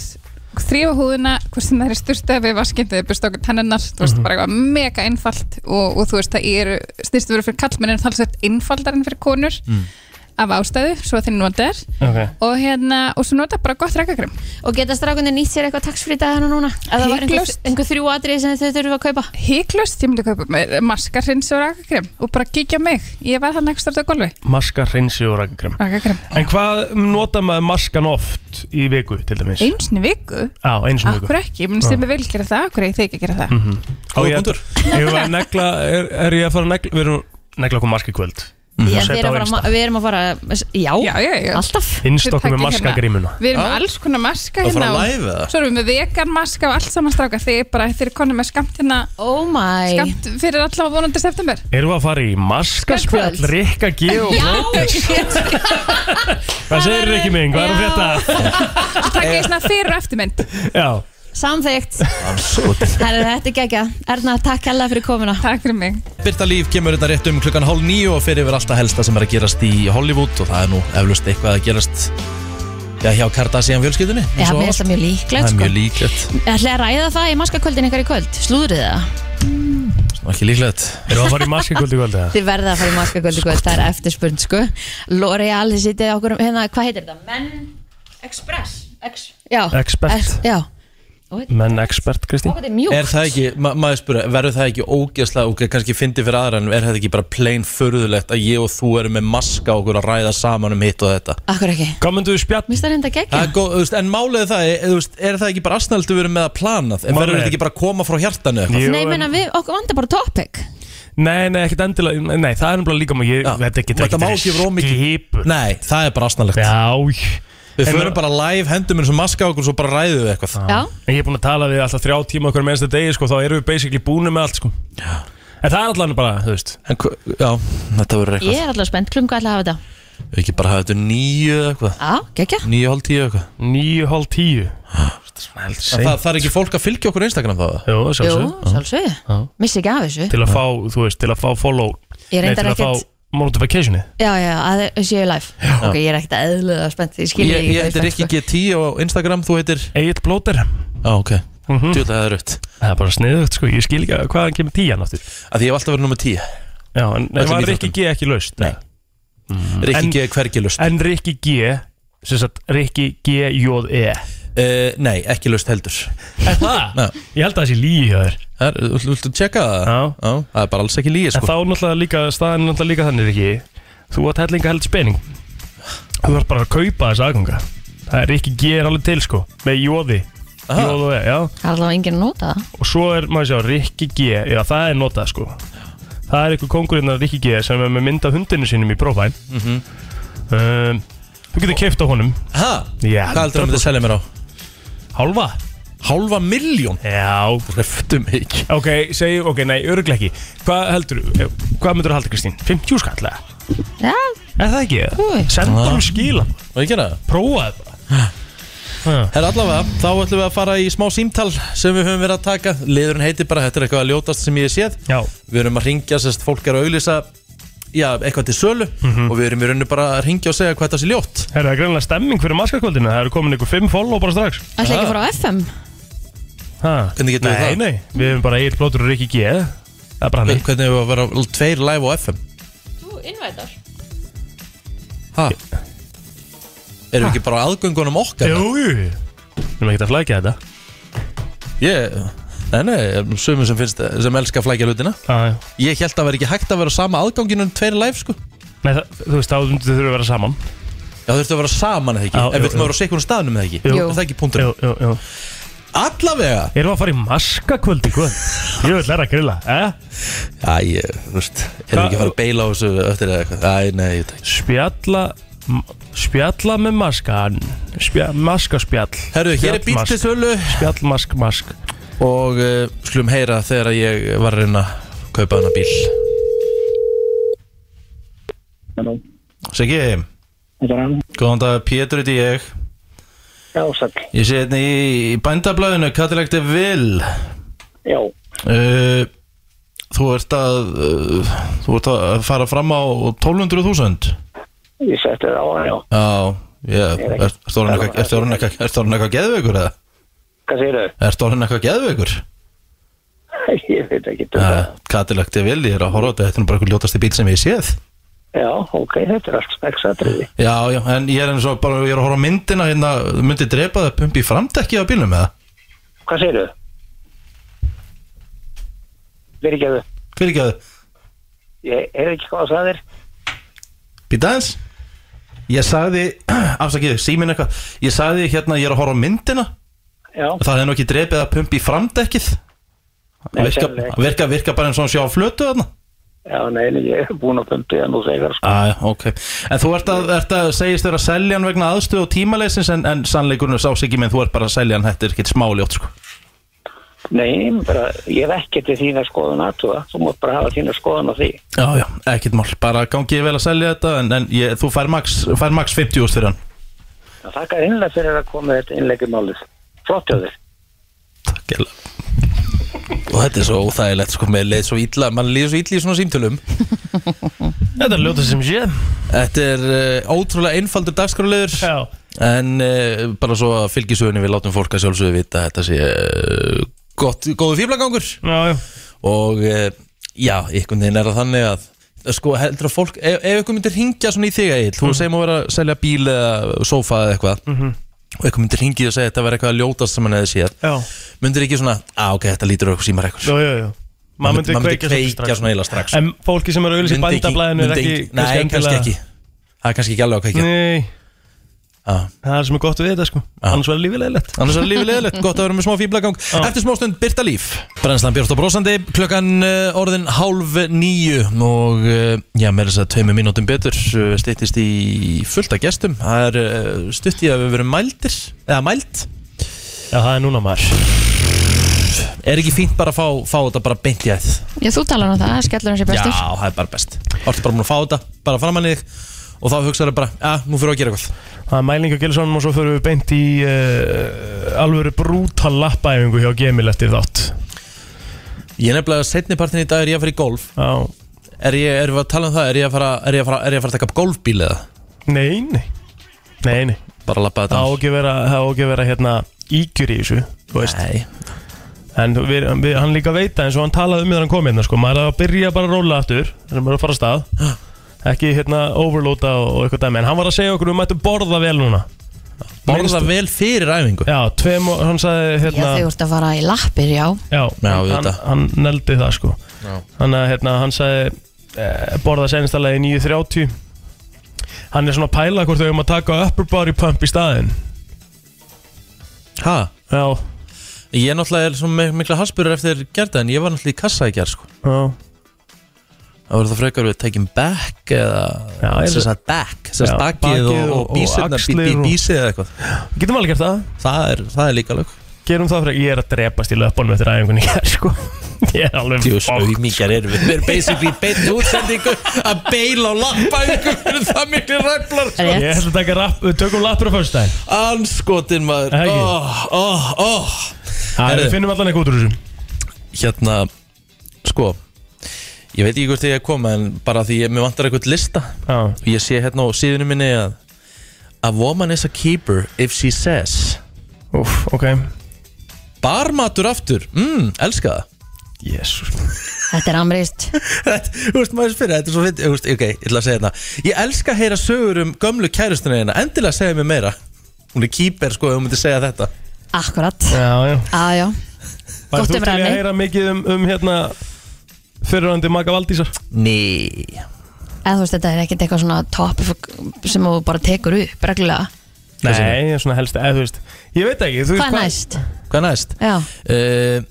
Speaker 7: þrýfa húðina hvort sem það er styrstu við vaskindi eða bursta okkur tenninnar þú veist bara eitthvað mega einfalt og, og þú veist það eru styrstu verið fyrir kallmennin talsett einfaldar en fyrir konur
Speaker 8: Mhm.
Speaker 7: af ástæðu, svo þeir nota er
Speaker 4: Ok.
Speaker 7: og hérna, og svo nota bara gott rækakrem
Speaker 3: Og geta strákunni nýtt sér eitthvað taxfree dagana núna? Að það var einhver,
Speaker 7: Hiklaust.
Speaker 3: einhver þrjú atrið sem þau þurfum að kaupa?
Speaker 7: híklaust, ég myndi kaupa með maskar, hreins og rakakrem og bara kíkja á mig, ég var þannig ekki stort á gólfi
Speaker 4: Maska, reynsi og rakakrem
Speaker 7: rakakrem,
Speaker 4: En hvað nota maður maskan oft í viku, til dæmis?
Speaker 7: einsni viku
Speaker 4: Á, eins og viku Ah.
Speaker 7: akkur ekki, ég myndi sem vil gera það akkur ég þykja gera það,
Speaker 2: Góða
Speaker 4: ég-
Speaker 2: punktur.
Speaker 4: Ég var að negla, er, er ég að fara að negla Við erum að negla okkur mask í kvöld
Speaker 3: Já,
Speaker 4: Setja
Speaker 3: við
Speaker 4: á
Speaker 3: erum að fara,
Speaker 4: Insta.
Speaker 3: við erum að fara já,
Speaker 7: Já, já, já.
Speaker 3: alltaf
Speaker 4: Finnst okkur með
Speaker 7: Takið
Speaker 4: maskagrímuna
Speaker 7: við erum
Speaker 2: Ah.
Speaker 7: með alls konar maska
Speaker 2: Að fara
Speaker 7: hérna
Speaker 2: að
Speaker 7: og-
Speaker 2: live eða?
Speaker 7: svo erum við með vegan maska og allt saman stráka þegar bara þeir eru konum með skamt hérna
Speaker 3: Oh my
Speaker 7: skamt fyrir allavega vonandi september
Speaker 4: Erum við að fara í maskaspjall,
Speaker 3: Kvöld.
Speaker 4: Rikka G og Hvað segir Rikki minn, hvað er þetta?
Speaker 7: svo
Speaker 2: Eh,
Speaker 7: takk ég svona fyrir og eftirmynd
Speaker 4: Já,
Speaker 3: Samþygt Herra, Þetta er gegja Erna, takk hella fyrir komuna
Speaker 7: takk fyrir mig
Speaker 2: Birta Líf kemur þetta rétt um klukkan hálf níu og fyrir yfir alltaf helsta sem er að gerast í Hollywood og það er nú eflust eitthvað að gerast já, hjá Kardashian fjölskyldunni
Speaker 3: Já,
Speaker 2: eins og ávallt.
Speaker 3: mér finnst það
Speaker 2: Það
Speaker 3: mjög líklegt
Speaker 2: er
Speaker 3: sko.
Speaker 2: mjög líklegt,
Speaker 3: Ætli að ræða það í maskakvöldin ykkar í kvöld Slúðrið það
Speaker 2: Svona ekki líklegt
Speaker 4: erum við að fara í maskakvöld í kvöld eða?
Speaker 3: Þið verða að fara í maskakvöld í kvöld Það er eftirspurn sko L'Oreal, þið sitið okkur um hérna, Hvað heitir þetta? Men Express Ex Já
Speaker 4: Expert.
Speaker 3: Ex- Já
Speaker 4: Menn expert, Kristín
Speaker 3: Ó, Þetta er mjúkt
Speaker 2: Er það ekki, ma maður spura, verður það ekki ógeðslega og kannski fyndi fyrir aðra en er þetta ekki bara plain förðulegt að ég og þú erum með maska okkur að ræða saman um hitt og þetta
Speaker 3: Akkur ekki
Speaker 4: Hvað myndu við spjall?
Speaker 3: Mér finnst það reynda
Speaker 2: Það
Speaker 3: gegja
Speaker 2: er góð, þú veist, En málið er það, er, þú veist, er það ekki bara asnaldu við erum með að plana en verður
Speaker 4: Málið er-
Speaker 2: þetta ekki bara að koma frá hjartanu eða eitthvað?
Speaker 4: Jú,
Speaker 3: Nei,
Speaker 4: en-
Speaker 3: ég meina við, okkur vantar bara topic
Speaker 4: Nei, nei, ekkert endilega Nei, það er nefnilega líka maður ég-
Speaker 2: Já.
Speaker 4: Þetta getur
Speaker 2: Þetta má ekki vera of mikið-
Speaker 4: skipur
Speaker 2: Nei, það er bara asnalegt
Speaker 4: Já,
Speaker 2: Við
Speaker 4: En-
Speaker 2: förum bara live, hendum eins og maska okkur og svo bara ræðum við eitthvað
Speaker 3: Já
Speaker 4: En ég er búin að tala við alltaf þrjá tíma okkur með einsta degi sko, þá erum við basically búinu með allt sko. En það er allan bara, þú veist
Speaker 2: en, hva- Já, þetta verður eitthvað
Speaker 3: Ég er alltaf spennt Klunga ætla að hafa þetta
Speaker 2: Við ekki bara hafa þetta nýju eða eitthvað
Speaker 3: Já, gekkja
Speaker 2: Nýju hálf tíu eða eitthvað
Speaker 4: Níu, hálf tíu
Speaker 3: Ah,
Speaker 4: Það er
Speaker 2: En
Speaker 4: seint
Speaker 2: það, það er ekki fólk að fylgja okkur á Instagram þá eða?
Speaker 4: Jú,
Speaker 3: Jú,
Speaker 4: sjálfsög
Speaker 3: sjálfsögðu,
Speaker 4: Já.
Speaker 3: missi ekki af þessu
Speaker 4: Til að fá, þú veist, til að fá follow Nei,
Speaker 3: Ég reyndar
Speaker 4: til að fá
Speaker 3: ekkert
Speaker 4: notificationi
Speaker 3: Já, já, að það séu live Ok, ég er ekkert eðlulega spennt Ég skil
Speaker 2: Ég, ég heitir ekki G10 á Instagram, þú heitir
Speaker 4: Egil blóter
Speaker 2: Já, ok,
Speaker 4: mm
Speaker 2: djúlega það er rutt
Speaker 4: Það er bara sniðugt, sko, ég skil ekki að- hvaðan kemur tían aftur
Speaker 2: Að því ég hef alltaf verið nummer 10
Speaker 4: Já, en en
Speaker 2: Öllum
Speaker 4: var Rikki
Speaker 2: íþróttum.
Speaker 4: G ekki laust? Mm.
Speaker 2: Nei. Rikki
Speaker 4: En-
Speaker 2: G er hvergi lust
Speaker 4: En Rikki G, sem sagt, Rikki G, J, E
Speaker 2: uh, Nei, ekki lust heldur
Speaker 4: Er það?
Speaker 2: Já.
Speaker 4: Ég held að það sé líi hjá þér
Speaker 2: Það er, viltu- Viltu tjekka það?
Speaker 4: Já.
Speaker 2: Það er bara alls ekki líið
Speaker 4: En
Speaker 2: sko
Speaker 4: þá náttúrulega líka, staðan er náttúrulega líka þannig ekki Þú átt hellinga held spening Þú þarf bara að kaupa þessa aðganga Það er ekki ger alveg til sko Með jóði,
Speaker 2: Aha.
Speaker 4: jóð og e, já
Speaker 3: Það er allavega enginn að nota það
Speaker 4: Og svo er, maður sjá, Rikki G Já, það er notað sko Það er einhver kongurinn að Rikki G sem er með mynda hundinu sínum í prófæn
Speaker 2: Mhm.
Speaker 4: um, Þú getur keift á honum
Speaker 2: Ha?
Speaker 4: Já,
Speaker 2: Hvað heldur það með þetta selja mér á?
Speaker 4: Hálfa?
Speaker 2: Hálfa miljón?
Speaker 4: Já,
Speaker 2: Reftu mig
Speaker 4: ok, segi, ok, nei, örugglega ekki Hvað heldur, eh, hvað myndur að halda Kristín? 50 skallega?
Speaker 3: Já,
Speaker 4: Er það ekki?
Speaker 3: Jú.
Speaker 4: Senda honum skila
Speaker 2: Og ég gera það
Speaker 4: prófa það bara.
Speaker 2: Herra allavega, þá ætlum við að fara í smá símtal sem við höfum verið að taka Liðurinn heitir bara, þetta er eitthvað að ljótast sem ég hef séð
Speaker 4: Já.
Speaker 2: Við erum að ringja, sérst, fólk er að auglýsa Já, eitthvað til sölu Og við erum í rauninu bara að ringja og segja hvað þetta sé ljótt
Speaker 4: Er Mhm. það greinlega stemming fyrir maskarkvöldinu? Það eru komin ykkur fimm follow bara strax
Speaker 3: ætla ekki að fara á FM
Speaker 4: ha.
Speaker 2: Hvernig getum
Speaker 4: nei,
Speaker 2: við
Speaker 4: Nei,
Speaker 2: það?
Speaker 4: nei, við erum bara Egil Plótur og Rikki G Það er bara hann
Speaker 2: Hvernig hefur að vera tveir live á FM?
Speaker 3: Þú innvætar
Speaker 2: Ha? Erum við ekki bara á aðgöngunum okkar?
Speaker 4: Jú, jú Við erum ekkert að flækja þetta
Speaker 2: Ég, nei, nei, sömur sem finnst sem elska að flækja hlutina
Speaker 4: ah,
Speaker 2: Ég held að vera ekki hægt að vera á sama aðganginum tveir live, sko
Speaker 4: Nei, það, þú veist, þá myndir þau þurfa að vera saman
Speaker 2: Já, þurftu að vera saman eða ekki
Speaker 4: Já,
Speaker 2: En
Speaker 4: jú,
Speaker 2: við ætlum
Speaker 4: jú.
Speaker 2: að vera á sikkunum staðnum eða ekki
Speaker 3: Jú.
Speaker 2: Er Það ekki punktur
Speaker 4: Jú, jú, jú
Speaker 2: Allavega
Speaker 4: Erum við að fara í maskakvöld í kvöld? Jú, það er að grilla eh?
Speaker 2: Æ, ég, þú veist Erum við
Speaker 4: Hva-
Speaker 2: ekki að fara að beila á þessu öttir eða eitthvað Æ, nei, ég veit ekki
Speaker 4: Spjalla m- Spjalla með maskan Spja, Maskaspjall
Speaker 2: Herru, hér er bíl til
Speaker 4: Spjallmask.
Speaker 2: sölu
Speaker 4: Spjallmask, mask
Speaker 2: Og uh, skulum heyra þegar ég var að reyna að kaupa hana bíl
Speaker 5: Halló.
Speaker 2: Siggi,
Speaker 5: Þetta er hann.
Speaker 2: góðan dag, Pétur heiti ég
Speaker 5: Já, sæll.
Speaker 2: Ég sé hérna í, í bændablaðinu Katalegt er vil
Speaker 5: Já.
Speaker 2: uh, Þú ert að uh, Þú ert að fara fram á 1200.000
Speaker 5: Ég setti það á hann, já.
Speaker 2: Já, já,
Speaker 5: Ég er
Speaker 2: er- ertu orðin eitthvað- ertu orðin eitthvað ertu orðin eitthvað geðveikur eða?
Speaker 5: Hvað segir þau?
Speaker 2: Ertu orðin eitthvað geðveikur?
Speaker 5: Ég veit ekki. um þetta.
Speaker 2: Já, Katilagt er vel, ég er að horfa á þetta, þetta er nú bara eitthvað ljótasti bíl sem ég hef séð
Speaker 5: Já, ok, þetta er allt speksatriði.
Speaker 2: Já, já, en ég er eins og bara, ég er að horfa á myndina hérna, myndi drepa það pumpi í framdekki á bílnum eða?
Speaker 5: Hvað segir þau? Virgjaðu,
Speaker 2: Fyrir ekki að,
Speaker 5: ég er ekki hvað það er.
Speaker 2: býta aðeins Ég sagði, afsakið, síminn eitthvað Ég sagði hérna, ég er að horfa á myndina
Speaker 5: Já,
Speaker 2: Það hefði nú ekki drepið að pumpi í framdekkið
Speaker 5: Nei,
Speaker 2: virka,
Speaker 5: sennilega ekki.
Speaker 2: virka, virka bara eins og hann sé á flötu þarna
Speaker 5: já, nei, nei, ég er búin að pumpi það nú þegar, sko.
Speaker 2: Æja, Ah, ok. En þú ert að, ert að segist þér að selja hann vegna aðstöð og tímaleysins en, en sannleikunum sás ekki minn, þú ert bara að selja hann, þetta er ekkert smáljótt sko.
Speaker 5: Nei, bara, ég er ekkert í þína skoðun aðtúða. Þú mátt bara hafa þína skoðun á því.
Speaker 2: Já, já, ekkert mál, bara gangi ég vel að selja þetta en, en ég, þú fær max, fær max 50 úrst fyrir hann.
Speaker 5: Það þakka innlega fyrir að koma með þetta innleggi málið. Flott hjá þér.
Speaker 2: Takk ég Og þetta er svo óþægilegt sko, með leið svo illa, mann líður svo illa í svona símtölum.
Speaker 4: Þetta er ljóta sem sé
Speaker 2: Þetta er uh, ótrúlega einfaldur dagskrálegur.
Speaker 4: Já
Speaker 2: En uh, bara svo að fylgisugunni við látum fólk að sjálfsögðu vita að þetta sé uh, gott, góðu fýblagangur
Speaker 4: Já, já
Speaker 2: og uh, já, einhvern veginn er það þannig að sko heldur að fólk, ef, ef einhver myndir hingja svona í þig eil, þú
Speaker 4: Mhm.
Speaker 2: segjum að vera að selja bíl eða sófa eða eitthvað og einhver myndir hingja og segja að þetta verði eitthvað að ljótast sem hann hefði séð,
Speaker 4: Já,
Speaker 2: myndir ekki svona að ok, þetta lítur okkur símar eitthvað
Speaker 4: já, já, já. Maður myndi kveikja svolítið
Speaker 2: kveikja
Speaker 4: strax
Speaker 2: svona eila strax
Speaker 4: En fólki sem eru auðvitað í
Speaker 2: Myndi ekki-
Speaker 4: bandablaðinu er
Speaker 2: myndi
Speaker 4: ekki
Speaker 2: ekki- nei, kannski ekki það er kannski ekki alveg að kveikja
Speaker 4: Nei,
Speaker 2: Já.
Speaker 4: það er sem er gott við þetta sko Annars verður lífið Ah. leiðilegt
Speaker 2: Ah. Annars er lífið leðilegt, gott að vera með smá fýblagang Eftir smá stund Byrta Líf Brennslan Björst og Brósandi, klukkan uh, orðin hálf nýju Og uh, já, með þess að tveimu mínútum betur uh, Styttist í fullt af gestum Það er uh, stutt í að við verum mældir Eða mæld
Speaker 4: Já, það er núna maður
Speaker 2: Er ekki fínt bara að fá, fá þetta bara beint í æð
Speaker 3: Já, þú talar um það, skellur hans í
Speaker 2: Já,
Speaker 3: bestur
Speaker 2: það er bara best Þú ertu bara búin að fá þetta, bara framan í þig og þá hugsaðu bara, að nú fyrir að gera eitthvað
Speaker 4: Það er mæling á Gilsonum og svo förum við beint í uh, alvöru brútal lappæfingu hjá Gemil eftir þátt.
Speaker 2: Ég er nefnilega setni partin í dag er ég að fara í golf
Speaker 4: Já,
Speaker 2: Er ég, erum við að tala um það, er ég að fara, er ég að fara, er ég að fara að taka upp golfbíl eða?
Speaker 4: nei, nei, nei, nei.
Speaker 2: Bara lappa
Speaker 4: Það
Speaker 2: þetta
Speaker 4: á ekki að vera, það á ekki að vera hérna ígjur í þessu, þú veist.
Speaker 2: Nei,
Speaker 4: En þú- við, við, hann líka veit það eins og hann talaði um þegar hann kom hérna, sko. Maður er að byrja bara að róla aftur, þannig að maður er að fara að stað. Ekki hérna overloada og, og eitthvað dæmi. En hann var að segja okkur, við mættum borða vel núna.
Speaker 2: borða
Speaker 4: Minnstu-
Speaker 2: vel fyrir æfingu
Speaker 4: Já, tveim, og- hann sagði
Speaker 3: Já,
Speaker 4: hérna...
Speaker 3: þau ert að fara í lappir, já
Speaker 4: Já,
Speaker 2: Já,
Speaker 4: hann,
Speaker 2: auðvitað.
Speaker 4: hann neldi það sko Þannig að hérna, hann sagði eh, borða senstalega í 9.30 Hann er svona að pæla hvort þau um að taka upper body pump í staðinn
Speaker 2: Ha?
Speaker 4: Já,
Speaker 2: Ég er náttúrulega er svona mik- mikla harspurur eftir gerða en ég var náttúrulega í kassa í gerð sko
Speaker 4: já,
Speaker 2: Það verður það frekar við taking back eða
Speaker 4: Já, er
Speaker 2: sem
Speaker 4: það-
Speaker 2: sagt back, sem sagt
Speaker 4: Já,
Speaker 2: bakið
Speaker 4: bakið
Speaker 2: og,
Speaker 4: og-
Speaker 2: og bísirna,
Speaker 4: og
Speaker 2: bí, bí,
Speaker 4: axlir og-
Speaker 2: bísið eða eitthvað
Speaker 4: getum alveg gert það
Speaker 2: Það er, það er líka lög
Speaker 4: Gerum það fyrir, ég er að drepast í löpunum eftir æfingunni hér sko Ég er alveg
Speaker 2: Djús,
Speaker 4: fucked.
Speaker 2: auðmíkjar erum við Við erum basically beint útsendingu að beila á lappæðingu fyrir það miklu ræflar sko.
Speaker 4: Ég
Speaker 3: Rétt.
Speaker 4: ætla að taka rapp, við tökum lappur á fyrst daginn
Speaker 2: Anskotin maður
Speaker 4: Ekki.
Speaker 2: oh, oh, oh.
Speaker 4: Það
Speaker 2: Herðu.
Speaker 4: finnum allan eitthvað út úr þessu
Speaker 2: Hérna, sko Ég veit ekki hvort ég er að koma En bara því ég, mér vantar eitthvað lista
Speaker 4: Já,
Speaker 2: Og ég sé hérna á síðunum minni að A woman is a keeper if she says
Speaker 4: úf, ok
Speaker 2: Barmatur aftur, mm, elska það
Speaker 4: Jésus
Speaker 3: Þetta er amrist
Speaker 2: Þetta- Þú veist, maður spyrir, þetta er svo fyndið, Þú veist, ok, ég ætla að segja þetta Ég elska að heyra sögur um gömlu kærustuna hérna Endilega segja mér meira Hún er kýper, sko, ef hún myndi segja þetta
Speaker 3: Akkurat
Speaker 4: Já, já
Speaker 3: Já, já
Speaker 4: Var
Speaker 3: Gott
Speaker 4: þú til í
Speaker 3: umræðni.
Speaker 4: að heyra mikið um, um hérna Fyrirhandi Maga Valdísar
Speaker 2: Ný
Speaker 3: Eða þú veist, þetta er ekkert eitthvað svona top sem þú bara tekur upp reglulega
Speaker 4: Nei, ég er svona helst, eða þú veist Ég veit ekki, þú veist
Speaker 3: Hvað er næst?
Speaker 2: Hvað næst?
Speaker 3: Já,
Speaker 2: Uh,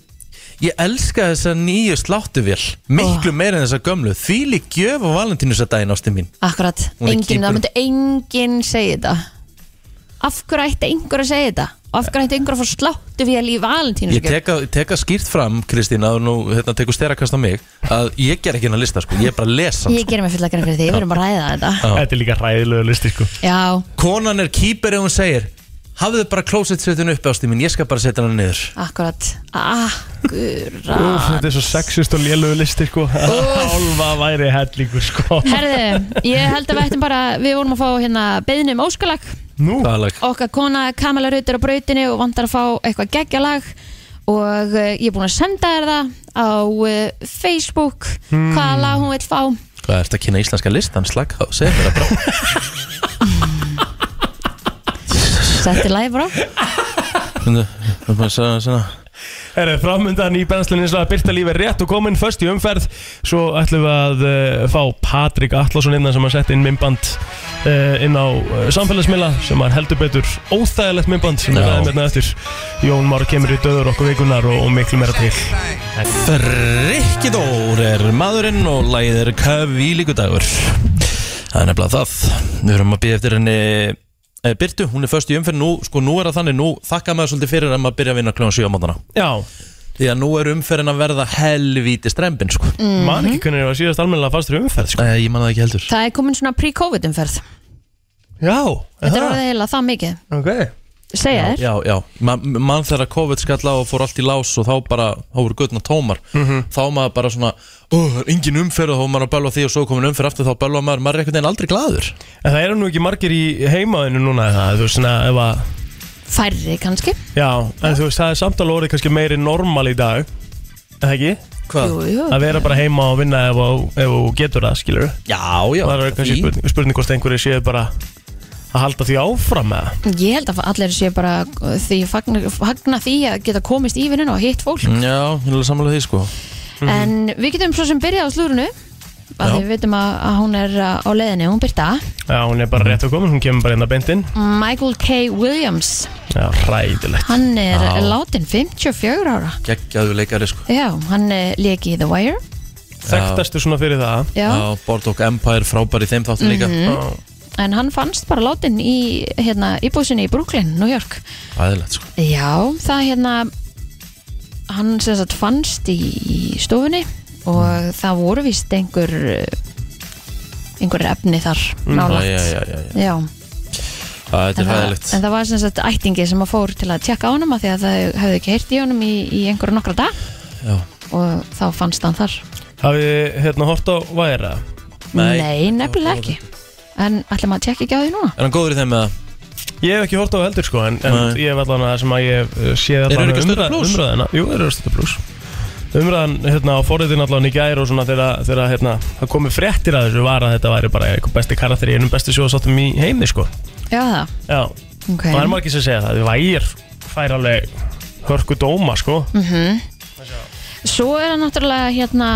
Speaker 2: ég elska þessa nýju sláttuvél Miklu meira en þessa gömlu Þvíli gjöf á valentínusadaginn ástu mín
Speaker 3: akkurat
Speaker 2: Hún er
Speaker 3: Engin,
Speaker 2: keeper.
Speaker 3: það myndi enginn segja þetta Af hverju ætti einhver að segja þetta? Og af hverju ætti einhver að fá sláttu vél í valentínu
Speaker 2: Ég teka, teka skýrt fram, Kristín að nú hérna, tekur sterakast á mig að ég ger ekki hennar lista, sko, ég er bara að lesa
Speaker 3: Ég gerir mig fulla grein fyrir því, við erum að ræða þetta
Speaker 4: Þetta er líka ræðilegu listi sko
Speaker 3: Já,
Speaker 2: Konan er kýper ef hún segir Hafðu bara klósettsettun upp ástu mín, ég skal bara setja hennar niður
Speaker 3: akkurat Ah, Akkurat
Speaker 4: Úf, þetta er svo sexist og lélegu listi sko Hálfa væri hellingur sko
Speaker 3: Herðu, ég held að við ættum bara Við vorum að fá hérna beðinu um óskalag
Speaker 4: Nú,
Speaker 2: Dalag.
Speaker 3: okkar kona Kamala Rutter á brautinu og vantar að fá eitthvað geggjalag og eh, ég er búin að senda þér það á eh, Facebook hvaða lag hún vil fá
Speaker 2: Hvað ertu að kynna íslenska listan, slag? Segð mér það bara
Speaker 3: setti lagi frá
Speaker 2: Myndu, það er bara að segja það svona.
Speaker 4: er það framöndan í benslinni eins og að byrta lífi rétt og komin Föst í umferð Svo ætlum við að uh, fá Patrik Atlasson innan sem að setja inn minnband uh, inn á uh, samfélagsmiðla sem var heldur betur óþægilegt minnband sem við
Speaker 2: Já.
Speaker 4: ræðum hérna eftir Jón Már kemur í döður okkur vikunar og, og miklu meira til
Speaker 2: Frikki Dór er maðurinn og lagið er Kavi líkudagur Það er nefnilega það Við erum að býða eftir henni e, Byrtu, hún er först í umferð nú, sko, nú er það þannig, nú þakka maður svolítið fyrir að maður byrja að vinna kljóðan 7 á mótana
Speaker 4: Já,
Speaker 2: Því að nú er umferðin að verða helvíti strembin sko.
Speaker 4: man ekki hvernig ég var síðast almennilega fastur í umferð sko
Speaker 2: Æ, Ég man það ekki heldur
Speaker 3: það er komin svona pre-covid umferð
Speaker 4: Já,
Speaker 3: þetta er orðið heila það mikið
Speaker 4: ok
Speaker 3: segja þér,
Speaker 2: Já, já, man, mann þegar COVID skall á og fór allt í lás og þá bara, þá voru guttna tómar
Speaker 4: Mhm.
Speaker 2: þá maður bara svona, ó, það er engin umferð og þá var maður að bölva því og svo komin umferð aftur þá bölva maður, maður er einhvern veginn aldrei glaður
Speaker 4: En það eru nú ekki margir í heimaðinu núna eða það, þú veist, svona, ef að,
Speaker 3: færri kannski
Speaker 4: já, en þú veist, það er samtala orðið kannski meiri normal í dag, eða ekki?
Speaker 2: Hvað?
Speaker 3: jú, jú.
Speaker 4: Að vera bara heima og vinna ef þú- ef þú getur það, skilur við?
Speaker 2: Já, já,
Speaker 4: Það er kannski
Speaker 2: fínt.
Speaker 4: spurning, spurning hvort einhverju séu bara að halda því áfram eða?
Speaker 3: ég held að allir sé bara uh, því fagna, fagna því að geta komist í vinnuna og hitt fólk
Speaker 2: Já, ég vil samanlega því sko
Speaker 4: Mhm.
Speaker 3: en við getum svo sem byrjað á slúrunu
Speaker 2: Já.
Speaker 3: að því við veitum að, að hún er uh, á leiðinni, hún byrta
Speaker 4: Já, hún er bara rétt að koma, hún kemur bara hérna inn að beintinn.
Speaker 3: Michael K. Williams
Speaker 4: Já, ræðilegt.
Speaker 3: Hann er
Speaker 2: Já.
Speaker 3: látin 54 ára
Speaker 2: Gekkjaðu leikari sko
Speaker 3: Já, hann leik í The Wire
Speaker 4: Þekktastu svona fyrir það?
Speaker 3: Já, Mhm.
Speaker 2: Já, Boardwalk Empire frábær í þeim þáttum líka
Speaker 4: Já.
Speaker 3: en hann fannst bara látin í hérna, íbúsinni í Brooklyn, New York
Speaker 2: Æðilegt sko
Speaker 3: Já, það hérna hann sem sagt fannst í, í stofunni og það voru vist einhver eh, einhverju efni þar nálægt
Speaker 2: Mm, já, já, já, já.
Speaker 3: Já,
Speaker 2: Æ, Þetta er
Speaker 3: en það,
Speaker 2: hæðilegt
Speaker 3: en það var sem sagt ættingi sem að fór til að tjekka á honum af því að það hefði ekki heyrt í honum í, í einhverju nokkra dag
Speaker 2: Já.
Speaker 3: og þá fannst hann þar
Speaker 4: Hafið hérna hort á væra
Speaker 2: Nei.
Speaker 3: nefnilega ekki En ætlum að tjekka ekki á því núna?
Speaker 2: Er hann góður í þeim með það?
Speaker 4: Ég hef ekki hort á heldur sko En, en
Speaker 2: Nei.
Speaker 4: ég hef allan að það sem að ég uh, sé
Speaker 2: Eru
Speaker 4: allan
Speaker 2: þeir ekki að stötta plús?
Speaker 4: umræðina Jú, þeir eru að stötta pluss Umræðan hérna á forriðin allan í gær og svona þegar, þegar hérna, það komi fréttir að þessu var að þetta væri bara einhver besti karakter í einum bestu sjóðsáttum í heimi sko
Speaker 3: Já, það,
Speaker 4: Já,
Speaker 3: ok
Speaker 4: það er margir sem segja það Þið vægir fær alveg hörku dóma sko
Speaker 3: Mhm. Svo er það náttúrulega hérna